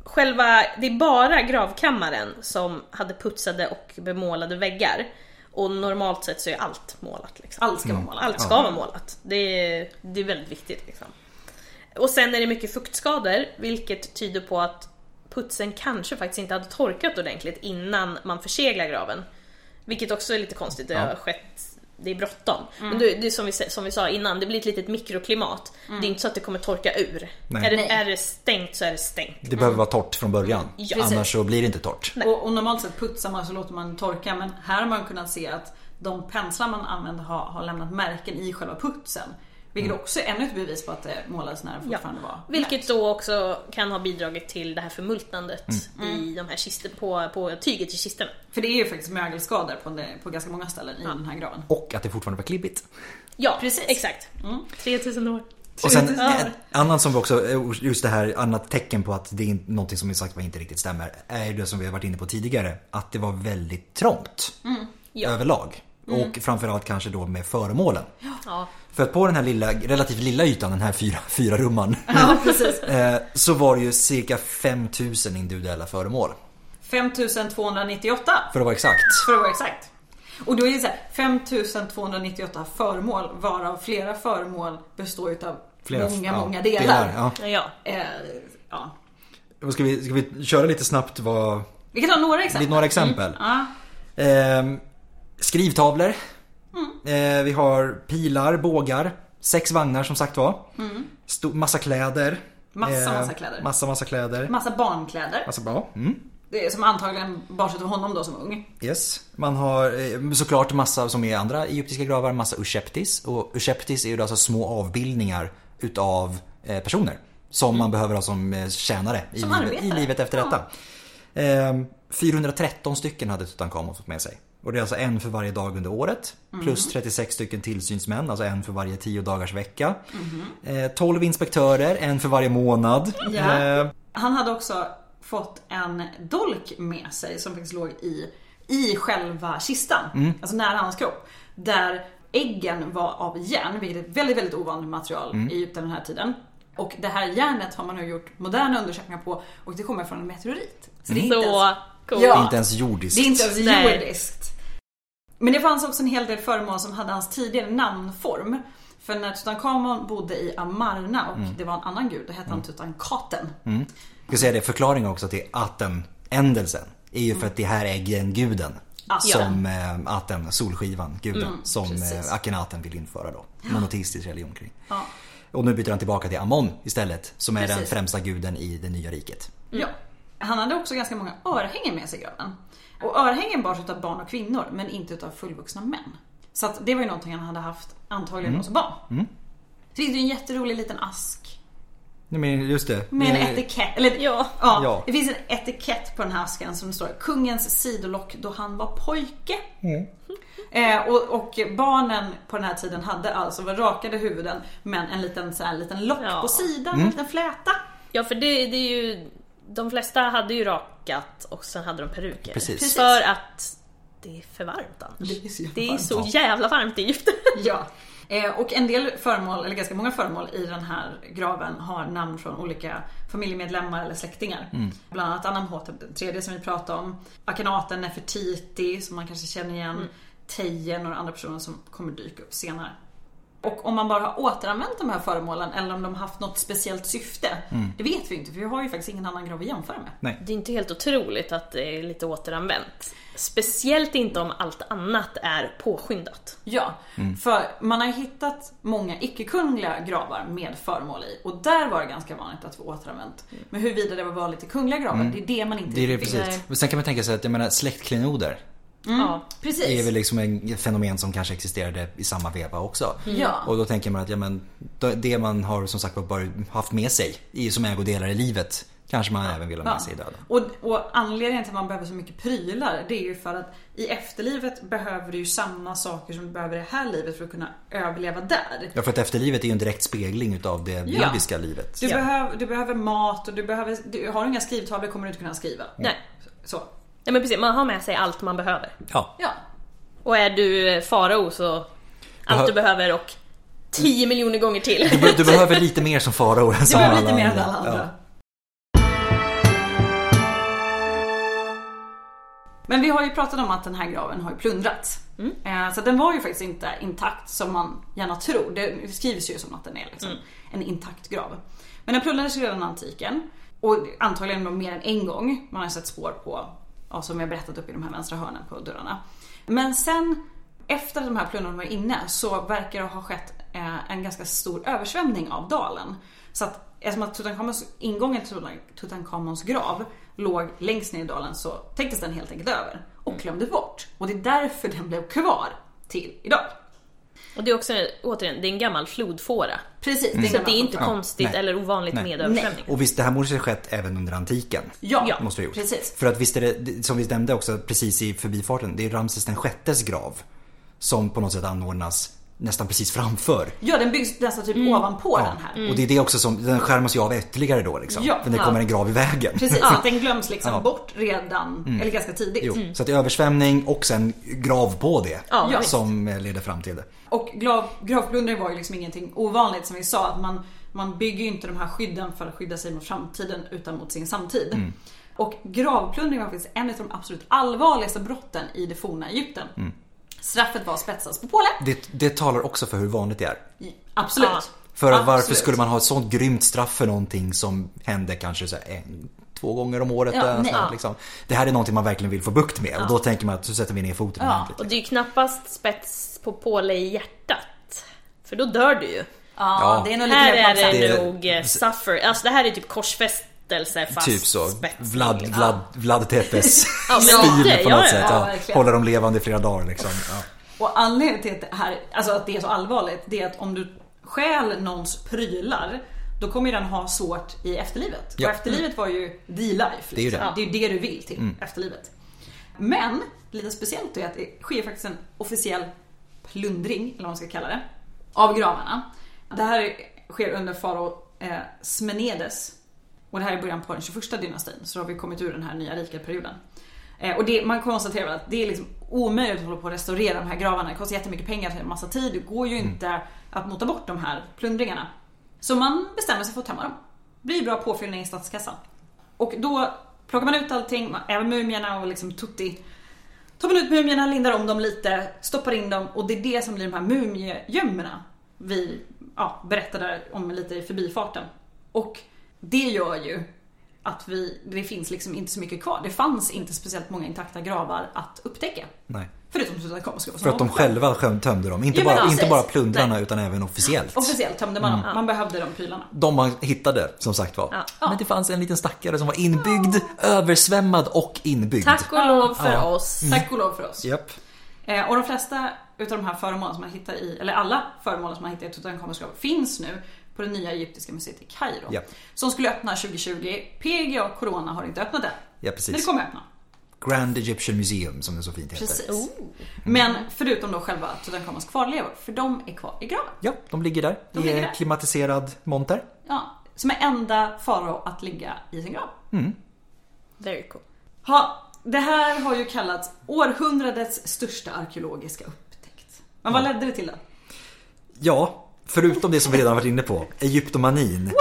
Speaker 3: själva, det är bara gravkammaren som hade putsade och bemålade väggar. Och normalt sett så är allt målat. Liksom.
Speaker 4: Allt ska vara målat.
Speaker 3: Allt ska vara målat. Det är, det är väldigt viktigt. Liksom. Och sen är det mycket fuktskador, vilket tyder på att putsen kanske faktiskt inte hade torkat ordentligt innan man förseglar graven. Vilket också är lite konstigt, det har skett det är bråttom. Men det, det är som vi, sa- som vi sa innan, det blir ett litet mikroklimat. Det är inte så att det kommer torka ur.
Speaker 5: Nej.
Speaker 3: Är det, är det stängt så är det stängt.
Speaker 5: Det behöver vara torrt från början.
Speaker 3: Mm. Ja.
Speaker 5: Annars så blir det inte torrt.
Speaker 4: Och, och normalt sett putsar man så låter man torka men här har man kunnat se att de penslar man använder har, har lämnat märken i själva putsen. Vilket
Speaker 5: Mm.
Speaker 4: också är ännu ett bevis på att det målades när det
Speaker 3: Ja.
Speaker 4: fortfarande var
Speaker 3: Vilket då också kan ha bidragit till det här förmultnandet i de här kistorna, på, på tyget i kistorna.
Speaker 4: För det är ju faktiskt mögelskador på, en del- på ganska många ställen i den här graven.
Speaker 5: Och att det fortfarande var klibbigt.
Speaker 3: Ja, precis. exakt. 3000 år.
Speaker 5: Och sen
Speaker 3: Ja.
Speaker 5: ett annat som vi också, just det här annat tecken på att det är någonting som är sagt vad inte riktigt stämmer. Är ju det som vi har varit inne på tidigare. Att det var väldigt trångt.
Speaker 4: Mm,
Speaker 3: Ja.
Speaker 5: Överlag. Och framförallt kanske då med föremålen.
Speaker 3: Ja.
Speaker 5: För att på den här lilla, relativt lilla ytan, den här fyra, (laughs) fyra rumman.
Speaker 4: Ja, precis.
Speaker 5: (laughs) eh, så var det ju cirka 5000 individuella föremål.
Speaker 4: 5298
Speaker 5: För att vara exakt.
Speaker 4: för att vara exakt. Och då är det så här, 5298 föremål varav flera föremål består utav
Speaker 5: Flera-
Speaker 4: många,
Speaker 5: ja,
Speaker 4: många delar.
Speaker 5: ja.
Speaker 3: ja.
Speaker 4: Eh, ja.
Speaker 5: Vad Ska, vi, ska vi köra lite snabbt vad,
Speaker 4: Vi kan ta några exempel.
Speaker 5: lite några exempel?
Speaker 4: Ja.
Speaker 5: Ehm, skrivtavlor.
Speaker 4: Mm.
Speaker 5: Eh, vi har pilar, bågar. Sex vagnar som sagt var. Stor, massa kläder.
Speaker 4: Mm.
Speaker 5: Eh,
Speaker 4: Massa, massa kläder.
Speaker 5: Massa, massa kläder.
Speaker 4: Massa barnkläder.
Speaker 5: Massa bra. Mm.
Speaker 4: Det är som antagligen bars utav honom då som ung.
Speaker 5: Yes. Man har eh, såklart massa som är andra egyptiska gravar, massa usheptis. Och usheptis är ju då alltså små avbildningar utav eh, personer. Som man behöver ha som eh, tjänare i,
Speaker 4: Mm. Som
Speaker 5: livet, i
Speaker 4: arbetare.
Speaker 5: livet efter detta. Ehm, 413 stycken hade Tutankhamon fått med sig. Och det är alltså en för varje dag under året.
Speaker 4: Mm.
Speaker 5: Plus 36 stycken tillsynsmän, alltså en för varje 10 dagars vecka. Eh, 12 inspektörer, en för varje månad.
Speaker 4: Mm-hmm. Ja.
Speaker 5: Eh,
Speaker 4: Han hade också fått en dolk med sig som faktiskt låg i, i själva kistan. Alltså nära hans kropp. Där äggen var av järn, vilket är ett väldigt, väldigt ovanligt material i Egypten den här tiden. Och det här järnet har man nu gjort moderna undersökningar på och det kommer från en meteorit. Så det är inte ens
Speaker 3: Så coolt.
Speaker 4: Ja.
Speaker 5: Inte ens jordiskt.
Speaker 4: Det är inte ens
Speaker 3: Nej.
Speaker 4: jordiskt. Men det fanns också en hel del föremål som hade hans tidigare namnform. För när Tutankhamon bodde i Amarna och det var en annan gud, då hette han Tutankaten.
Speaker 5: Jag ska säga det, förklaringen också till aten, ändelsen, är ju för att det här är gen- guden.
Speaker 4: Alltså.
Speaker 5: Som eh, aten, solskivan, guden, som
Speaker 4: Mm, precis.
Speaker 5: eh, Akhenaten vill införa då. Monoteistisk religion kring.
Speaker 4: Ja.
Speaker 5: Och nu byter han tillbaka till Amon istället, som är den
Speaker 4: Precis.
Speaker 5: främsta guden i det nya riket.
Speaker 4: Ja. Han hade också ganska många örhängen med sig i graven. Och örhängen bars utav barn och kvinnor, men inte utav fullvuxna män. Så att det var ju någonting han hade haft antagligen hos barn. Så finns det ju en jätterolig liten ask
Speaker 5: Nej men just det.
Speaker 4: Med en
Speaker 5: Eh,
Speaker 4: etikett, eller
Speaker 3: Ja.
Speaker 4: ja.
Speaker 5: Ja.
Speaker 4: det finns en etikett på den här asken som står Kungens sidolock då han var pojke. Eh, och, och barnen på den här tiden hade alltså var rakade huvuden men en liten, så här, liten lock
Speaker 3: Ja.
Speaker 4: på sidan, en liten fläta.
Speaker 3: Ja, för det, det är ju... De flesta hade ju rakat och sen hade de peruker.
Speaker 5: Precis. Precis.
Speaker 3: För att det är för varmt annars.
Speaker 4: Det är så jävla
Speaker 3: Det är
Speaker 4: varmt.
Speaker 3: så jävla varmt i Egypten. (laughs)
Speaker 4: Ja. Eh, och en del föremål, eller ganska många föremål i den här graven har namn från olika familjemedlemmar eller släktingar. Bland annat Amenhotep den tredje som vi pratade om. Akhenaten Nefertiti som man kanske känner igen. Teje, några andra personer som kommer dyka upp senare. Och om man bara har återanvänt de här föremålen eller om de har haft något speciellt syfte. Det vet vi inte för vi har ju faktiskt ingen annan grav att jämföra med.
Speaker 5: Nej.
Speaker 3: Det är inte helt otroligt att det är lite återanvänt. Speciellt inte om allt annat är påskyndat.
Speaker 4: Ja,
Speaker 5: Mm.
Speaker 4: för man har ju hittat många icke-kungliga gravar med föremål i och där var det ganska vanligt att få återanvänt. Men huruvida det var vanligt i kungliga gravar, det är det man inte
Speaker 5: Mm. Det är det
Speaker 4: riktigt vet.
Speaker 5: precis. Men sen kan man tänka sig att jag menar släktklenoder
Speaker 3: Ja.
Speaker 5: är väl
Speaker 4: Precis.
Speaker 5: liksom en- ett fenomen som kanske existerade i samma veva också.
Speaker 4: Ja.
Speaker 5: Och då tänker man att ja, men, då- det man har som sagt var bara haft med sig i, som ägodelar i livet kanske man även vill ha med
Speaker 4: Ja.
Speaker 5: sig i döden.
Speaker 4: Och, och anledningen till att man behöver så mycket prylar det är ju för att i efterlivet behöver du ju samma saker som du behöver i det här livet för att kunna överleva där.
Speaker 5: Ja för att efterlivet är ju en direkt spegling utav det bibliska livet.
Speaker 4: Du, behöver, du behöver mat och du behöver, du, har du inga skrivtavlor kommer du inte kunna skriva.
Speaker 5: Mm.
Speaker 3: Nej.
Speaker 4: Så.
Speaker 3: Nej men precis, man har med sig allt man behöver.
Speaker 5: Ja.
Speaker 4: Ja.
Speaker 3: Och är du farao så allt
Speaker 5: Behö-
Speaker 3: du behöver och 10 miljoner gånger till.
Speaker 5: Du, be- du behöver lite mer som farao än
Speaker 4: Det
Speaker 5: som
Speaker 4: var
Speaker 5: alla
Speaker 4: lite mer än
Speaker 5: andra.
Speaker 4: alla andra.
Speaker 5: Ja.
Speaker 4: Men vi har ju pratat om att den här graven har ju plundrats. Eh, Så den var ju faktiskt inte intakt som man gärna tror. Det skrivs ju som att den är liksom en intakt grav. Men den plundrades ju redan i antiken. Och antagligen då mer än en gång. Man har sett spår på, ja, som vi har berättat upp i de här vänstra hörnen på dörrarna. Men sen efter att de här plundrorna var inne så verkar det ha skett eh, en ganska stor översvämning av dalen. Så att eftersom att Tutankhamons, ingången till Tutan- Tutankhamons grav låg längst ner i dalen så täcktes den helt enkelt över
Speaker 3: Mm.
Speaker 4: och glömdes bort. Och det är därför den blev kvar till idag.
Speaker 3: (laughs) Och det är också, återigen, det är en gammal flodfåra.
Speaker 4: Precis,
Speaker 3: Så det är inte
Speaker 5: Ja,
Speaker 3: konstigt
Speaker 5: nej.
Speaker 3: eller ovanligt
Speaker 5: Nej.
Speaker 3: med översvämning.
Speaker 5: Och visst, det här måste ha skett även under antiken.
Speaker 4: Ja,
Speaker 3: Ja,
Speaker 5: Måste ha gjort.
Speaker 4: precis.
Speaker 5: För att visst är det, det- som vi nämnde också precis i förbifarten, det är Ramses den sjättes grav. Som på något sätt anordnas nästan precis framför.
Speaker 4: Ja, den byggs nästan typ ovanpå den här. Mm.
Speaker 5: Och det är det också som, den skärmas ju av ytterligare då liksom.
Speaker 4: Ja,
Speaker 5: för det kommer en grav i vägen.
Speaker 4: Precis, så att den glöms liksom bort redan,
Speaker 3: Mm.
Speaker 4: eller ganska tidigt.
Speaker 5: Jo, Så att det är översvämning och sen grav på det.
Speaker 3: Ja,
Speaker 4: Mm. Ja.
Speaker 5: som eh, leder fram till det.
Speaker 4: Och grav, gravplundring var ju liksom ingenting ovanligt som vi sa. Att man, man bygger ju inte de här skydden för att skydda sig mot framtiden utan mot sin samtid.
Speaker 5: Mm.
Speaker 4: Och gravplundring var faktiskt en av de absolut allvarligaste brotten i det forna Egypten.
Speaker 5: Mm.
Speaker 4: Straffet var spetsas på påle.
Speaker 5: det. Det talar också för hur vanligt det är.
Speaker 4: Absolut.
Speaker 3: Ja.
Speaker 5: För att varför
Speaker 4: Absolut.
Speaker 5: skulle man ha ett sånt grymt straff för någonting som hände kanske så här en, två gånger om året?
Speaker 4: Ja,
Speaker 5: eller
Speaker 4: nej.
Speaker 5: så här, liksom. Det här är någonting man verkligen vill få bukt med och då tänker man att så sätter vi ner foten
Speaker 4: Ja,
Speaker 5: ordentligt.
Speaker 3: Och det är ju knappast spets på påle i hjärtat. För då dör du ju.
Speaker 4: Ja,
Speaker 5: Ja.
Speaker 4: det är nog lite
Speaker 3: Här
Speaker 4: mer
Speaker 3: är det,
Speaker 4: plågsamt.
Speaker 5: Det-
Speaker 3: nog eh, suffer, alltså det här är typ korsfästelse fast
Speaker 5: Typ så.
Speaker 3: spets. liksom.
Speaker 5: Vlad, Vlad,
Speaker 4: (laughs)
Speaker 5: Vlad Tepes
Speaker 3: Ja, men
Speaker 5: stil
Speaker 3: lite,
Speaker 5: på
Speaker 3: ja,
Speaker 5: något
Speaker 3: ja,
Speaker 5: sätt.
Speaker 4: ja,
Speaker 5: Ja,
Speaker 4: verkligen.
Speaker 5: håller dem levande i flera dagar liksom. Ja.
Speaker 4: Och anledningen till att det, här, alltså att det är så allvarligt det är att om du stjäl någons prylar då kommer ju den ha svårt i efterlivet.
Speaker 5: Ja. Mm.
Speaker 4: Och efterlivet var ju the life.
Speaker 5: Det är ju
Speaker 4: liksom.
Speaker 5: det.
Speaker 4: det, är ju det du vill till, efterlivet. Men lite speciellt är att det sker faktiskt en officiell plundring, eller vad man ska kalla det, av gravarna. Det här sker under farao eh, Smenedes och det här är början på den 21 dynastin, så då har vi kommit ur den här nya rika perioden. Eh, och det, man konstaterar väl att det är liksom omöjligt att hålla på och restaurera de här gravarna. Det kostar jättemycket pengar, det tar en massa tid. Det går ju inte att mota bort de här plundringarna. Så man bestämmer sig för att tömma dem. Blir bra påfyllning i statskassan. Och då plockar man ut allting, man- även mumierna och liksom tutti. Tar man ut mumierna, lindar om dem lite, stoppar in dem och det är det som blir de här mumiegömmorna vi ja, berättade om lite i förbifarten. Och det gör ju att vi, det finns liksom inte så mycket kvar. Det fanns inte speciellt många intakta gravar att upptäcka.
Speaker 5: Nej.
Speaker 4: Förutom Tutankhamons grav.
Speaker 5: För att de själva sköm- tömde dem. Inte
Speaker 4: Ja, men
Speaker 5: bara,
Speaker 4: precis.
Speaker 5: inte bara plundrarna utan även officiellt.
Speaker 4: Officiellt tömde man
Speaker 3: Mm.
Speaker 4: dem. Man behövde de prylarna.
Speaker 5: De man hittade som sagt var. Men det fanns en liten stackare som var inbyggd, översvämmad och inbyggd.
Speaker 3: Tack och lov för
Speaker 5: Ja. Mm.
Speaker 3: oss.
Speaker 4: Tack och lov för oss.
Speaker 5: Japp.
Speaker 4: Eh, och de flesta utav de här föremålen som man hittar i, eller alla föremål som man hittar i Tutankhamons grav finns nu på det nya egyptiska museet i Kairo.
Speaker 5: Ja.
Speaker 4: Som skulle öppna 2020. PGA Corona har inte öppnat än.
Speaker 5: Ja,
Speaker 4: Men det
Speaker 5: precis.
Speaker 4: kommer öppna.
Speaker 5: Grand Egyptian Museum som det så fint heter.
Speaker 4: Precis. Men förutom då själva Tutankhamons kvarlevor, för de är kvar i graven.
Speaker 5: Ja, de ligger där
Speaker 4: De
Speaker 5: i
Speaker 4: ligger där.
Speaker 5: eh, klimatiserad monter.
Speaker 4: Ja, som är enda farao att ligga i sin grav.
Speaker 3: Very cool.
Speaker 4: Ha, det här har ju kallats århundradets största arkeologiska upptäckt. Men vad ledde det till då?
Speaker 5: Ja, förutom det som vi redan varit inne på, Egyptomanin.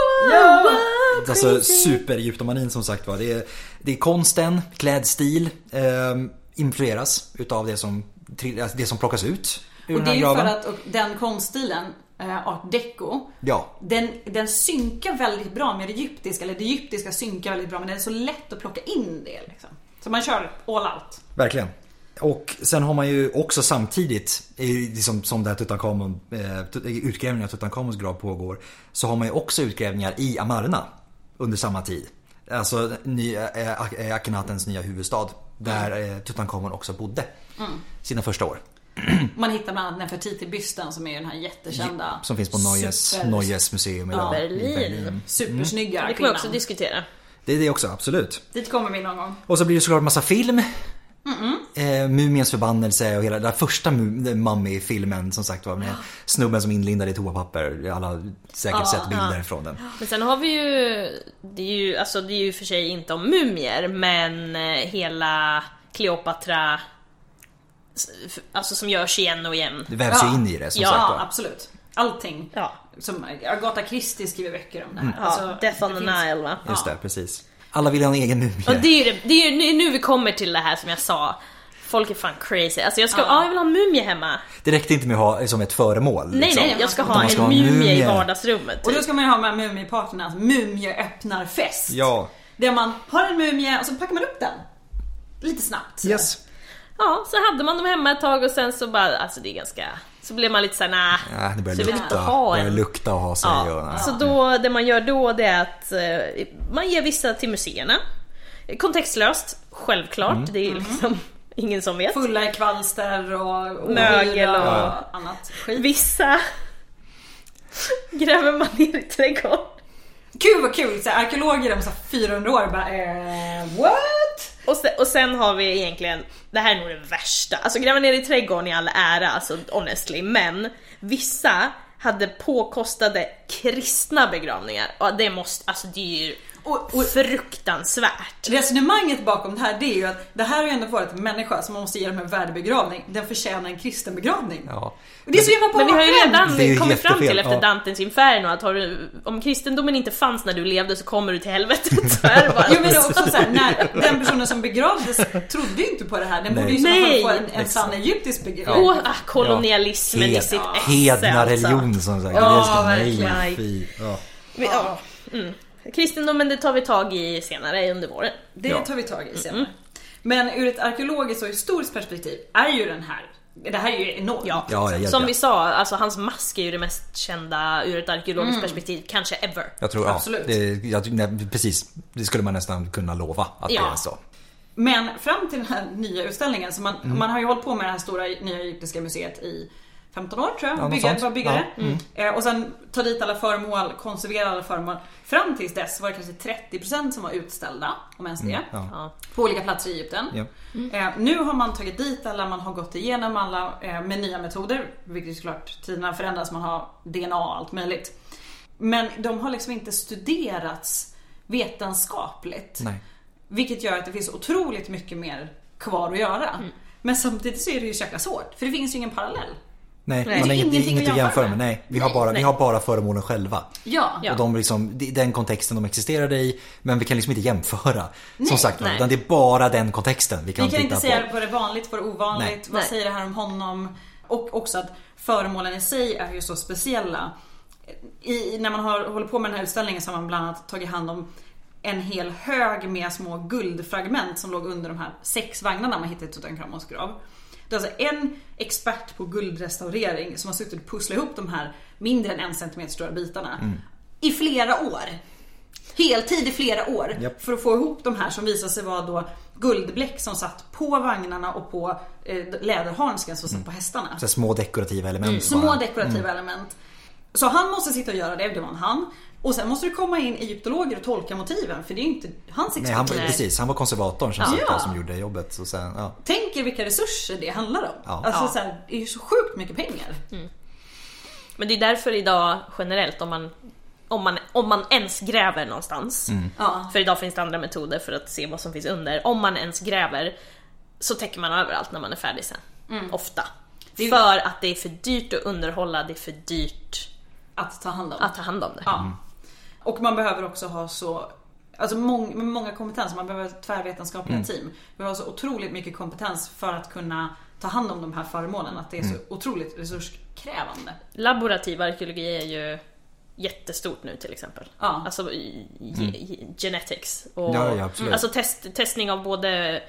Speaker 5: Alltså super-Egyptomanin som sagt var. Det är, det är konsten, klädstil, eh, influeras utav det som, trill- alltså det som plockas ut ur
Speaker 4: Och
Speaker 5: den
Speaker 4: det är
Speaker 5: här
Speaker 4: ju för
Speaker 5: graven.
Speaker 4: att och den konststilen, eh, art deco,
Speaker 5: Ja.
Speaker 4: den, den synkar väldigt bra med det egyptiska, eller det egyptiska synkar väldigt bra men det är så lätt att plocka in det liksom. Så man kör all out.
Speaker 5: Verkligen. Och sen har man ju också samtidigt, i- liksom, som där Tutankhamon, eh, tut- utgrävningar av Tutankhamons grav pågår, så har man ju också utgrävningar i Amarna under samma tid. Alltså ny, eh, Ak- eh, Akhenatens nya huvudstad, där eh, Tutankhamon också bodde sina första år.
Speaker 4: Man hittar bland annat Nefertiti-bysten som är ju den här jättekända
Speaker 5: Som finns på Neues,
Speaker 4: super-
Speaker 5: Neues museum idag. i
Speaker 3: Berlin. Mm. Det
Speaker 4: Supersnygga
Speaker 3: kommer vi
Speaker 4: kvinnan.
Speaker 3: också diskutera.
Speaker 5: Det är det också, absolut.
Speaker 4: Dit kommer vi någon gång.
Speaker 5: Och så blir det såklart massa film. Eh, Mumiens förbannelse och hela den där första Mu- Mummy-filmen som sagt var med snubben som inlindade i toapapper. Alla har säkert sett bilder från den.
Speaker 3: Men sen har vi ju, det är ju, alltså det är ju för sig inte om mumier, men eh, hela Kleopatra, s- f- alltså som görs igen och igen.
Speaker 5: Det vävs ju
Speaker 4: Ja.
Speaker 5: in i det som
Speaker 3: Ja,
Speaker 5: sagt
Speaker 4: Ja,
Speaker 5: var.
Speaker 4: absolut. allting.
Speaker 3: Ja.
Speaker 4: Som Agatha Christie skriver böcker om det här.
Speaker 5: Mm.
Speaker 3: Ja,
Speaker 4: Alltså,
Speaker 3: Death on
Speaker 4: det
Speaker 3: the
Speaker 4: finns-
Speaker 3: Nile va?
Speaker 5: Just det, precis. Alla vill ha en egen mumie.
Speaker 3: Och det är ju det, det är ju nu vi kommer till det här som jag sa. Folk är fan crazy. Alltså jag ska, ja.
Speaker 4: Ja.
Speaker 3: jag vill ha en mumie hemma.
Speaker 5: Det räckte inte med att ha som ett föremål.
Speaker 3: Nej
Speaker 5: liksom.
Speaker 3: nej, jag ska
Speaker 5: Utan
Speaker 3: ha
Speaker 5: man
Speaker 3: en
Speaker 5: ska ha en
Speaker 3: mumie, i
Speaker 5: mumie.
Speaker 3: vardagsrummet.
Speaker 4: Och
Speaker 3: Typ.
Speaker 4: då ska man ju ha med mumiepartnerna, alltså mumieöppnarfest.
Speaker 5: Ja.
Speaker 4: Där man har en mumie och så packar man upp den. Lite snabbt. så.
Speaker 5: Yes.
Speaker 3: Ja, så hade man dem hemma ett tag och sen så bara, alltså det är ganska... Så blev man lite såhär, nej.
Speaker 5: Ja, det börjar
Speaker 3: så jag vill inte
Speaker 5: lukta.
Speaker 3: ha
Speaker 5: börjar
Speaker 3: en.
Speaker 5: lukta och ha sig. Och,
Speaker 3: Ja.
Speaker 5: nej.
Speaker 3: Så då, det man gör då det är att eh, man ger vissa till museerna. Kontextlöst, självklart.
Speaker 5: Mm.
Speaker 3: Det är ju liksom ingen som vet.
Speaker 4: Fulla i kvalster och
Speaker 3: Mögel
Speaker 4: ohyra
Speaker 3: och-
Speaker 4: annat.
Speaker 3: Vissa (laughs) gräver man ner i trädgården.
Speaker 4: Gud vad kul! Så här, arkeologer om så här 400 år bara eh, what?
Speaker 3: Och sen, och sen har vi egentligen, det här är nog det värsta, alltså gräva ner i trädgården i all ära, alltså honestly, men vissa hade påkostade kristna begravningar och det måste, alltså det är ju
Speaker 4: Och, och
Speaker 3: fruktansvärt.
Speaker 4: resonemanget bakom det här det är ju att det här har ju ändå varit en människa som man måste ge dem en värdebegravning. Den förtjänar en kristen begravning.
Speaker 5: Ja.
Speaker 4: Och det är så jävla
Speaker 3: Men vi har ju
Speaker 4: bakvänt.
Speaker 5: Det är ju
Speaker 3: redan kommit fram till
Speaker 5: jättefel,
Speaker 3: efter
Speaker 5: ja.
Speaker 3: Dantens Inferno att har du, om kristendomen inte fanns när du levde så kommer du till
Speaker 5: (laughs)
Speaker 3: helvetet. Så är det bara.
Speaker 4: Jo men det är också såhär, när den personen som begravdes trodde ju inte på det här. Den borde ju i så
Speaker 3: Nej.
Speaker 4: fall få en, en sann egyptisk begravning.
Speaker 3: Åh, ah, kolonialismen i
Speaker 5: Hed-
Speaker 3: sitt esse
Speaker 5: Hedna religion
Speaker 3: Alltså.
Speaker 5: som sagt.
Speaker 4: Ja,
Speaker 5: det ska, nej,
Speaker 4: verkligen.
Speaker 5: fy. Ja.
Speaker 3: Men, ja, mm. Kristendomen det tar vi tag i senare under våren.
Speaker 4: Det
Speaker 5: Ja.
Speaker 4: tar vi tag
Speaker 3: Mm,
Speaker 4: i senare. Men ur ett arkeologiskt och historiskt perspektiv är ju den här, det här är ju enormt.
Speaker 3: Ja,
Speaker 5: Ja, ja, ja,
Speaker 3: som
Speaker 5: ja.
Speaker 3: vi sa, alltså hans mask är ju det mest kända ur ett arkeologiskt
Speaker 4: Mm.
Speaker 3: perspektiv, kanske ever.
Speaker 5: Jag tror,
Speaker 4: Absolut.
Speaker 5: ja, det, jag, nej, precis. Det skulle man nästan kunna lova att det
Speaker 3: Ja.
Speaker 5: är så.
Speaker 4: Men fram till den här nya utställningen, så man,
Speaker 5: Mm.
Speaker 4: man har ju hållit på med det här stora nya egyptiska museet i 15 år tror jag,
Speaker 5: något
Speaker 4: bygga,
Speaker 5: sånt.
Speaker 4: var byggare.
Speaker 5: Ja, Mm.
Speaker 4: Eh, Och sen ta dit alla föremål, konservera alla föremål. Fram tills dess var det kanske 30% som var utställda, om ens det.
Speaker 5: Mm, Ja.
Speaker 3: Ja.
Speaker 4: På olika platser i Egypten.
Speaker 5: Ja.
Speaker 4: Eh, nu har man tagit dit alla, man har gått igenom alla eh, med nya metoder. Vilket ju såklart, tiderna förändras, man har DNA och allt möjligt. Men de har liksom inte studerats vetenskapligt.
Speaker 5: Nej.
Speaker 4: Vilket gör att det finns otroligt mycket mer kvar att göra. Men samtidigt så är det ju så jäkla svårt, för det finns ju ingen parallell.
Speaker 5: Nej,
Speaker 3: Nej.
Speaker 5: man har
Speaker 4: Det är
Speaker 5: inget, det är
Speaker 4: ingenting
Speaker 5: inget
Speaker 4: att
Speaker 5: att jämföra med. Nej, vi, har bara, vi
Speaker 3: nej.
Speaker 5: har bara föremålen själva.
Speaker 4: Ja.
Speaker 3: Ja.
Speaker 5: Och de liksom, det är den kontexten de existerade i, men vi kan liksom inte jämföra. som sagt
Speaker 3: nej.
Speaker 5: nej. utan det är bara den kontexten vi kan,
Speaker 4: Vi kan
Speaker 5: titta
Speaker 4: inte säga
Speaker 5: på.
Speaker 4: vad det är vanligt, vad det är ovanligt,
Speaker 5: Nej.
Speaker 4: vad
Speaker 3: Nej.
Speaker 4: säger det här om honom? Och också att föremålen i sig är ju så speciella. I, när man har, håller på med den här utställningen så har man bland annat tagit hand om en hel hög med små guldfragment som låg under de här sex vagnarna man hittade i Tutankhamons grav. Det är alltså en expert på guldrestaurering som har suttit och pusslat ihop de här mindre än en centimeter stora bitarna
Speaker 5: Mm.
Speaker 4: i flera år heltid i flera år
Speaker 5: Japp.
Speaker 4: för att få ihop de här som visade sig vara då guldbläck som satt på vagnarna och på eh, läderhandsken som satt på hästarna.
Speaker 5: Mm. Så här små dekorativa element.
Speaker 4: Mm. Små
Speaker 5: bara. Mm.
Speaker 4: dekorativa element. Så han måste sitta och göra det, det var en han. Och sen måste det komma in egyptologer och tolka motiven för det är ju inte hans
Speaker 5: Nej, han,
Speaker 4: expertis.
Speaker 5: precis, han var konservatorn som,
Speaker 4: Ja.
Speaker 5: satt där som gjorde jobbet. Så sen, ja.
Speaker 4: Tänk er vilka resurser det handlar om.
Speaker 5: Ja.
Speaker 4: Alltså,
Speaker 3: Ja.
Speaker 4: Så här, det är ju så sjukt mycket pengar.
Speaker 3: Men det är därför idag generellt, om man, om man, om man ens gräver någonstans,
Speaker 5: Mm.
Speaker 4: Ja.
Speaker 3: för idag finns det andra metoder för att se vad som finns under, om man ens gräver så täcker man överallt när man är färdig sen. Ofta.
Speaker 4: Mm. Det är-
Speaker 3: För att det är för dyrt att underhålla, det är för dyrt
Speaker 4: Att ta hand om.
Speaker 3: att ta hand om det.
Speaker 4: Ja. Och man behöver också ha så Alltså mång, med många kompetenser, man behöver tvärvetenskapliga team. Vi har så otroligt mycket kompetens för att kunna ta hand om de här föremålen. Att det är så otroligt resurskrävande.
Speaker 3: Laborativ arkeologi är ju jättestort nu till exempel.
Speaker 4: Ja.
Speaker 3: Alltså i- ge- ge- genetics. Och,
Speaker 5: Mm. Ja, ja, absolut.
Speaker 3: Alltså test, testning av både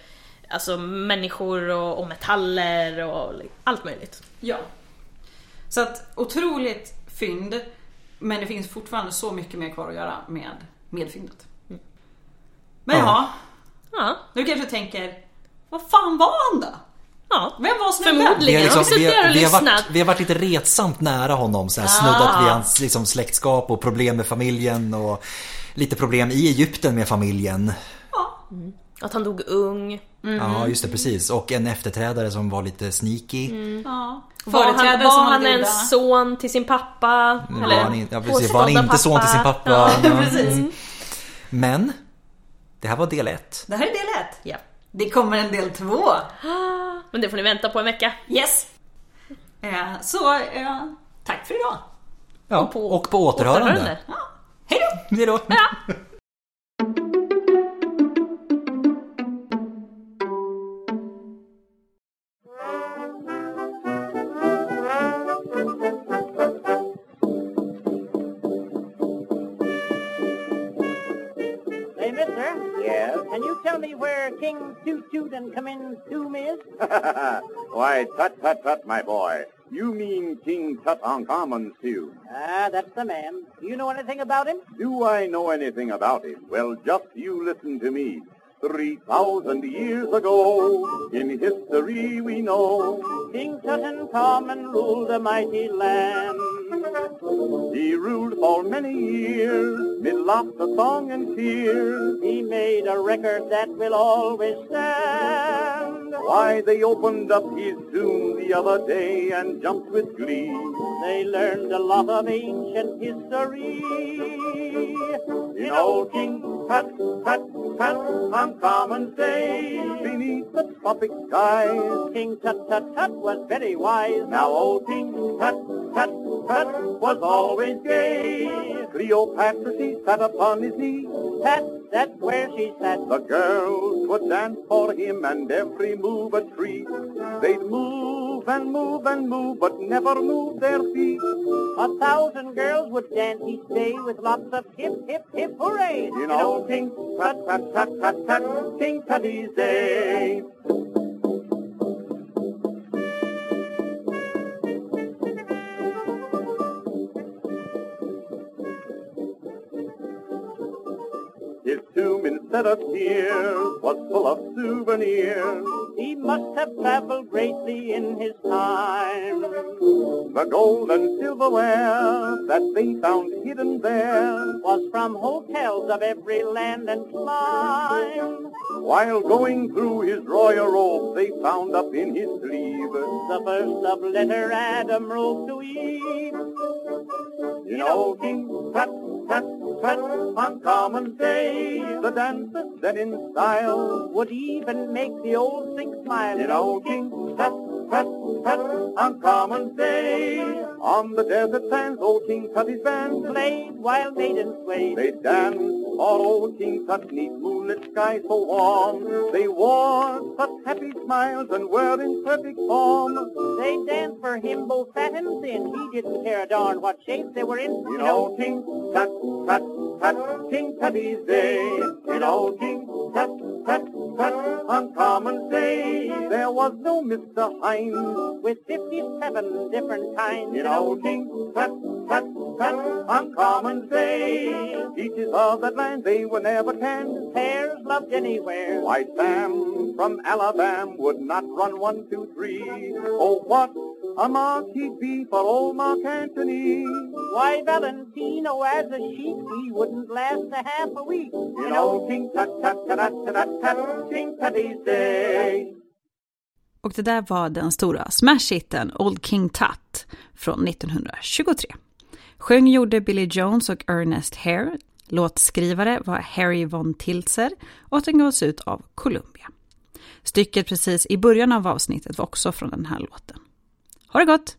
Speaker 3: alltså, människor och, och metaller och li- allt möjligt.
Speaker 4: Ja. Så att otroligt fynd. Men det finns fortfarande så mycket mer kvar att göra med, med fyndet. Men
Speaker 5: Ja.
Speaker 4: ja,
Speaker 3: Ja,
Speaker 4: nu kanske jag tänker, vad fan var han då?
Speaker 3: ja.
Speaker 4: Vem var snubben?
Speaker 3: Förmodligen. har vi suttit här och
Speaker 5: vi, har varit,
Speaker 3: lyssnat.
Speaker 5: vi har varit lite retsamt nära honom. Så här,
Speaker 3: Ah.
Speaker 5: snuddat vid hans liksom, släktskap och problem med familjen. Och lite problem i Egypten med familjen.
Speaker 4: Ja.
Speaker 3: Att han dog ung.
Speaker 5: Ja, just det. Precis. Och en efterträdare som var lite sneaky.
Speaker 3: Mm.
Speaker 4: Ja.
Speaker 3: Var han,
Speaker 4: Företrädare
Speaker 3: var
Speaker 4: som
Speaker 3: han
Speaker 4: hade goda-
Speaker 3: ens son till sin pappa?
Speaker 5: Var
Speaker 3: Eller
Speaker 5: han in, ja, precis. Var han
Speaker 3: påstådda
Speaker 5: inte son till sin pappa?
Speaker 3: Ja. (laughs)
Speaker 5: Ja,
Speaker 4: precis.
Speaker 5: mm. Men, det här var del ett.
Speaker 4: Det här är del ett.
Speaker 3: Ja.
Speaker 4: Det kommer en del två.
Speaker 3: Men det får ni vänta på en vecka.
Speaker 4: Yes! Eh, så eh, tack för idag.
Speaker 5: Ja,
Speaker 3: Och på-
Speaker 5: och på återhörande.
Speaker 3: Återhörande.
Speaker 4: Hej då!
Speaker 5: Hej då!
Speaker 1: Hey, mister,
Speaker 2: Yes?
Speaker 1: can you tell me where King Toot Toot and Come In Toom is?
Speaker 2: Why, tut tut tut, my boy. You mean King Tutankhamun, too.
Speaker 1: Ah, that's the man. Do you know anything about him?
Speaker 2: Do I know anything about him? Well, just you listen to me. Three thousand years ago, in history we know,
Speaker 1: King Tutankhamun ruled a mighty land.
Speaker 2: he ruled for many years, mid lots of song and tears.
Speaker 1: He made a record that will always stand.
Speaker 2: Why, they opened up his tomb the other day and jumped with glee.
Speaker 1: They learned a lot of ancient history.
Speaker 2: In old King Tut, Tut, Tut, on common day, beneath the tropic skies,
Speaker 1: King Tut Tut Tut was very wise.
Speaker 2: Now old King Tut, Tut, Tut was always gay. Cleopatra she sat upon his knee.
Speaker 1: Pat, that's where she sat.
Speaker 2: The girls would dance for him and every move a treat. They'd move and move and move, but never move their feet.
Speaker 1: A thousand girls would dance each day with lots of hip, hip, hip, hooray!
Speaker 2: In old King Tut, Tut, Tut, Tut, Tut, King Tutty's day. His tomb instead of tears was full of souvenirs.
Speaker 1: He must have traveled greatly in his time.
Speaker 2: The gold and silverware that they found hidden there
Speaker 1: Was from hotels of every land and clime.
Speaker 2: While going through his royal robe they found up in his sleeve
Speaker 1: The first of letter Adam rose to Eve.
Speaker 2: You know, King Tut, Tut, Tut on common day The dancer set in style
Speaker 1: Would even make the old thing smile.
Speaker 2: You know, King Tut, Tut, Tut on common day On the desert sands old King Tutty's band
Speaker 1: Played while maidens swayed.
Speaker 2: They danced all old King Tut neath moonlit sky so warm. They wore such happy smiles and were in perfect form.
Speaker 1: They danced for him both fat and thin. He didn't care a darn what shape they were in.
Speaker 2: In old King Tut, Tut, Tut, King Tutty's day. In old King Tut, Tut, Tut, on common day. There was no Mr. Hines.
Speaker 1: with 57 different kinds.
Speaker 2: In old King Tut, Tut, Tut, on common day. Teachers of that land, they were never canned.
Speaker 1: pairs loved anywhere.
Speaker 2: Why, Sam from Alabama would not run one, two, three. Oh, what a mark he'd be for old Mark Antony.
Speaker 1: Why, Valentino, as a sheep, he wouldn't last a half a week.
Speaker 2: You know, King Tut, Tut, Tut, Tut, Tut, Tut, King Tutty's Day.
Speaker 4: Och det där var den stora smash-hiten Old King Tut från 1923. Sjöng gjorde Billy Jones och Ernest Hare. Låtskrivare var Harry von Tilzer och den gavs ut av Columbia. Stycket precis i början av avsnittet var också från den här låten. Ha det gott!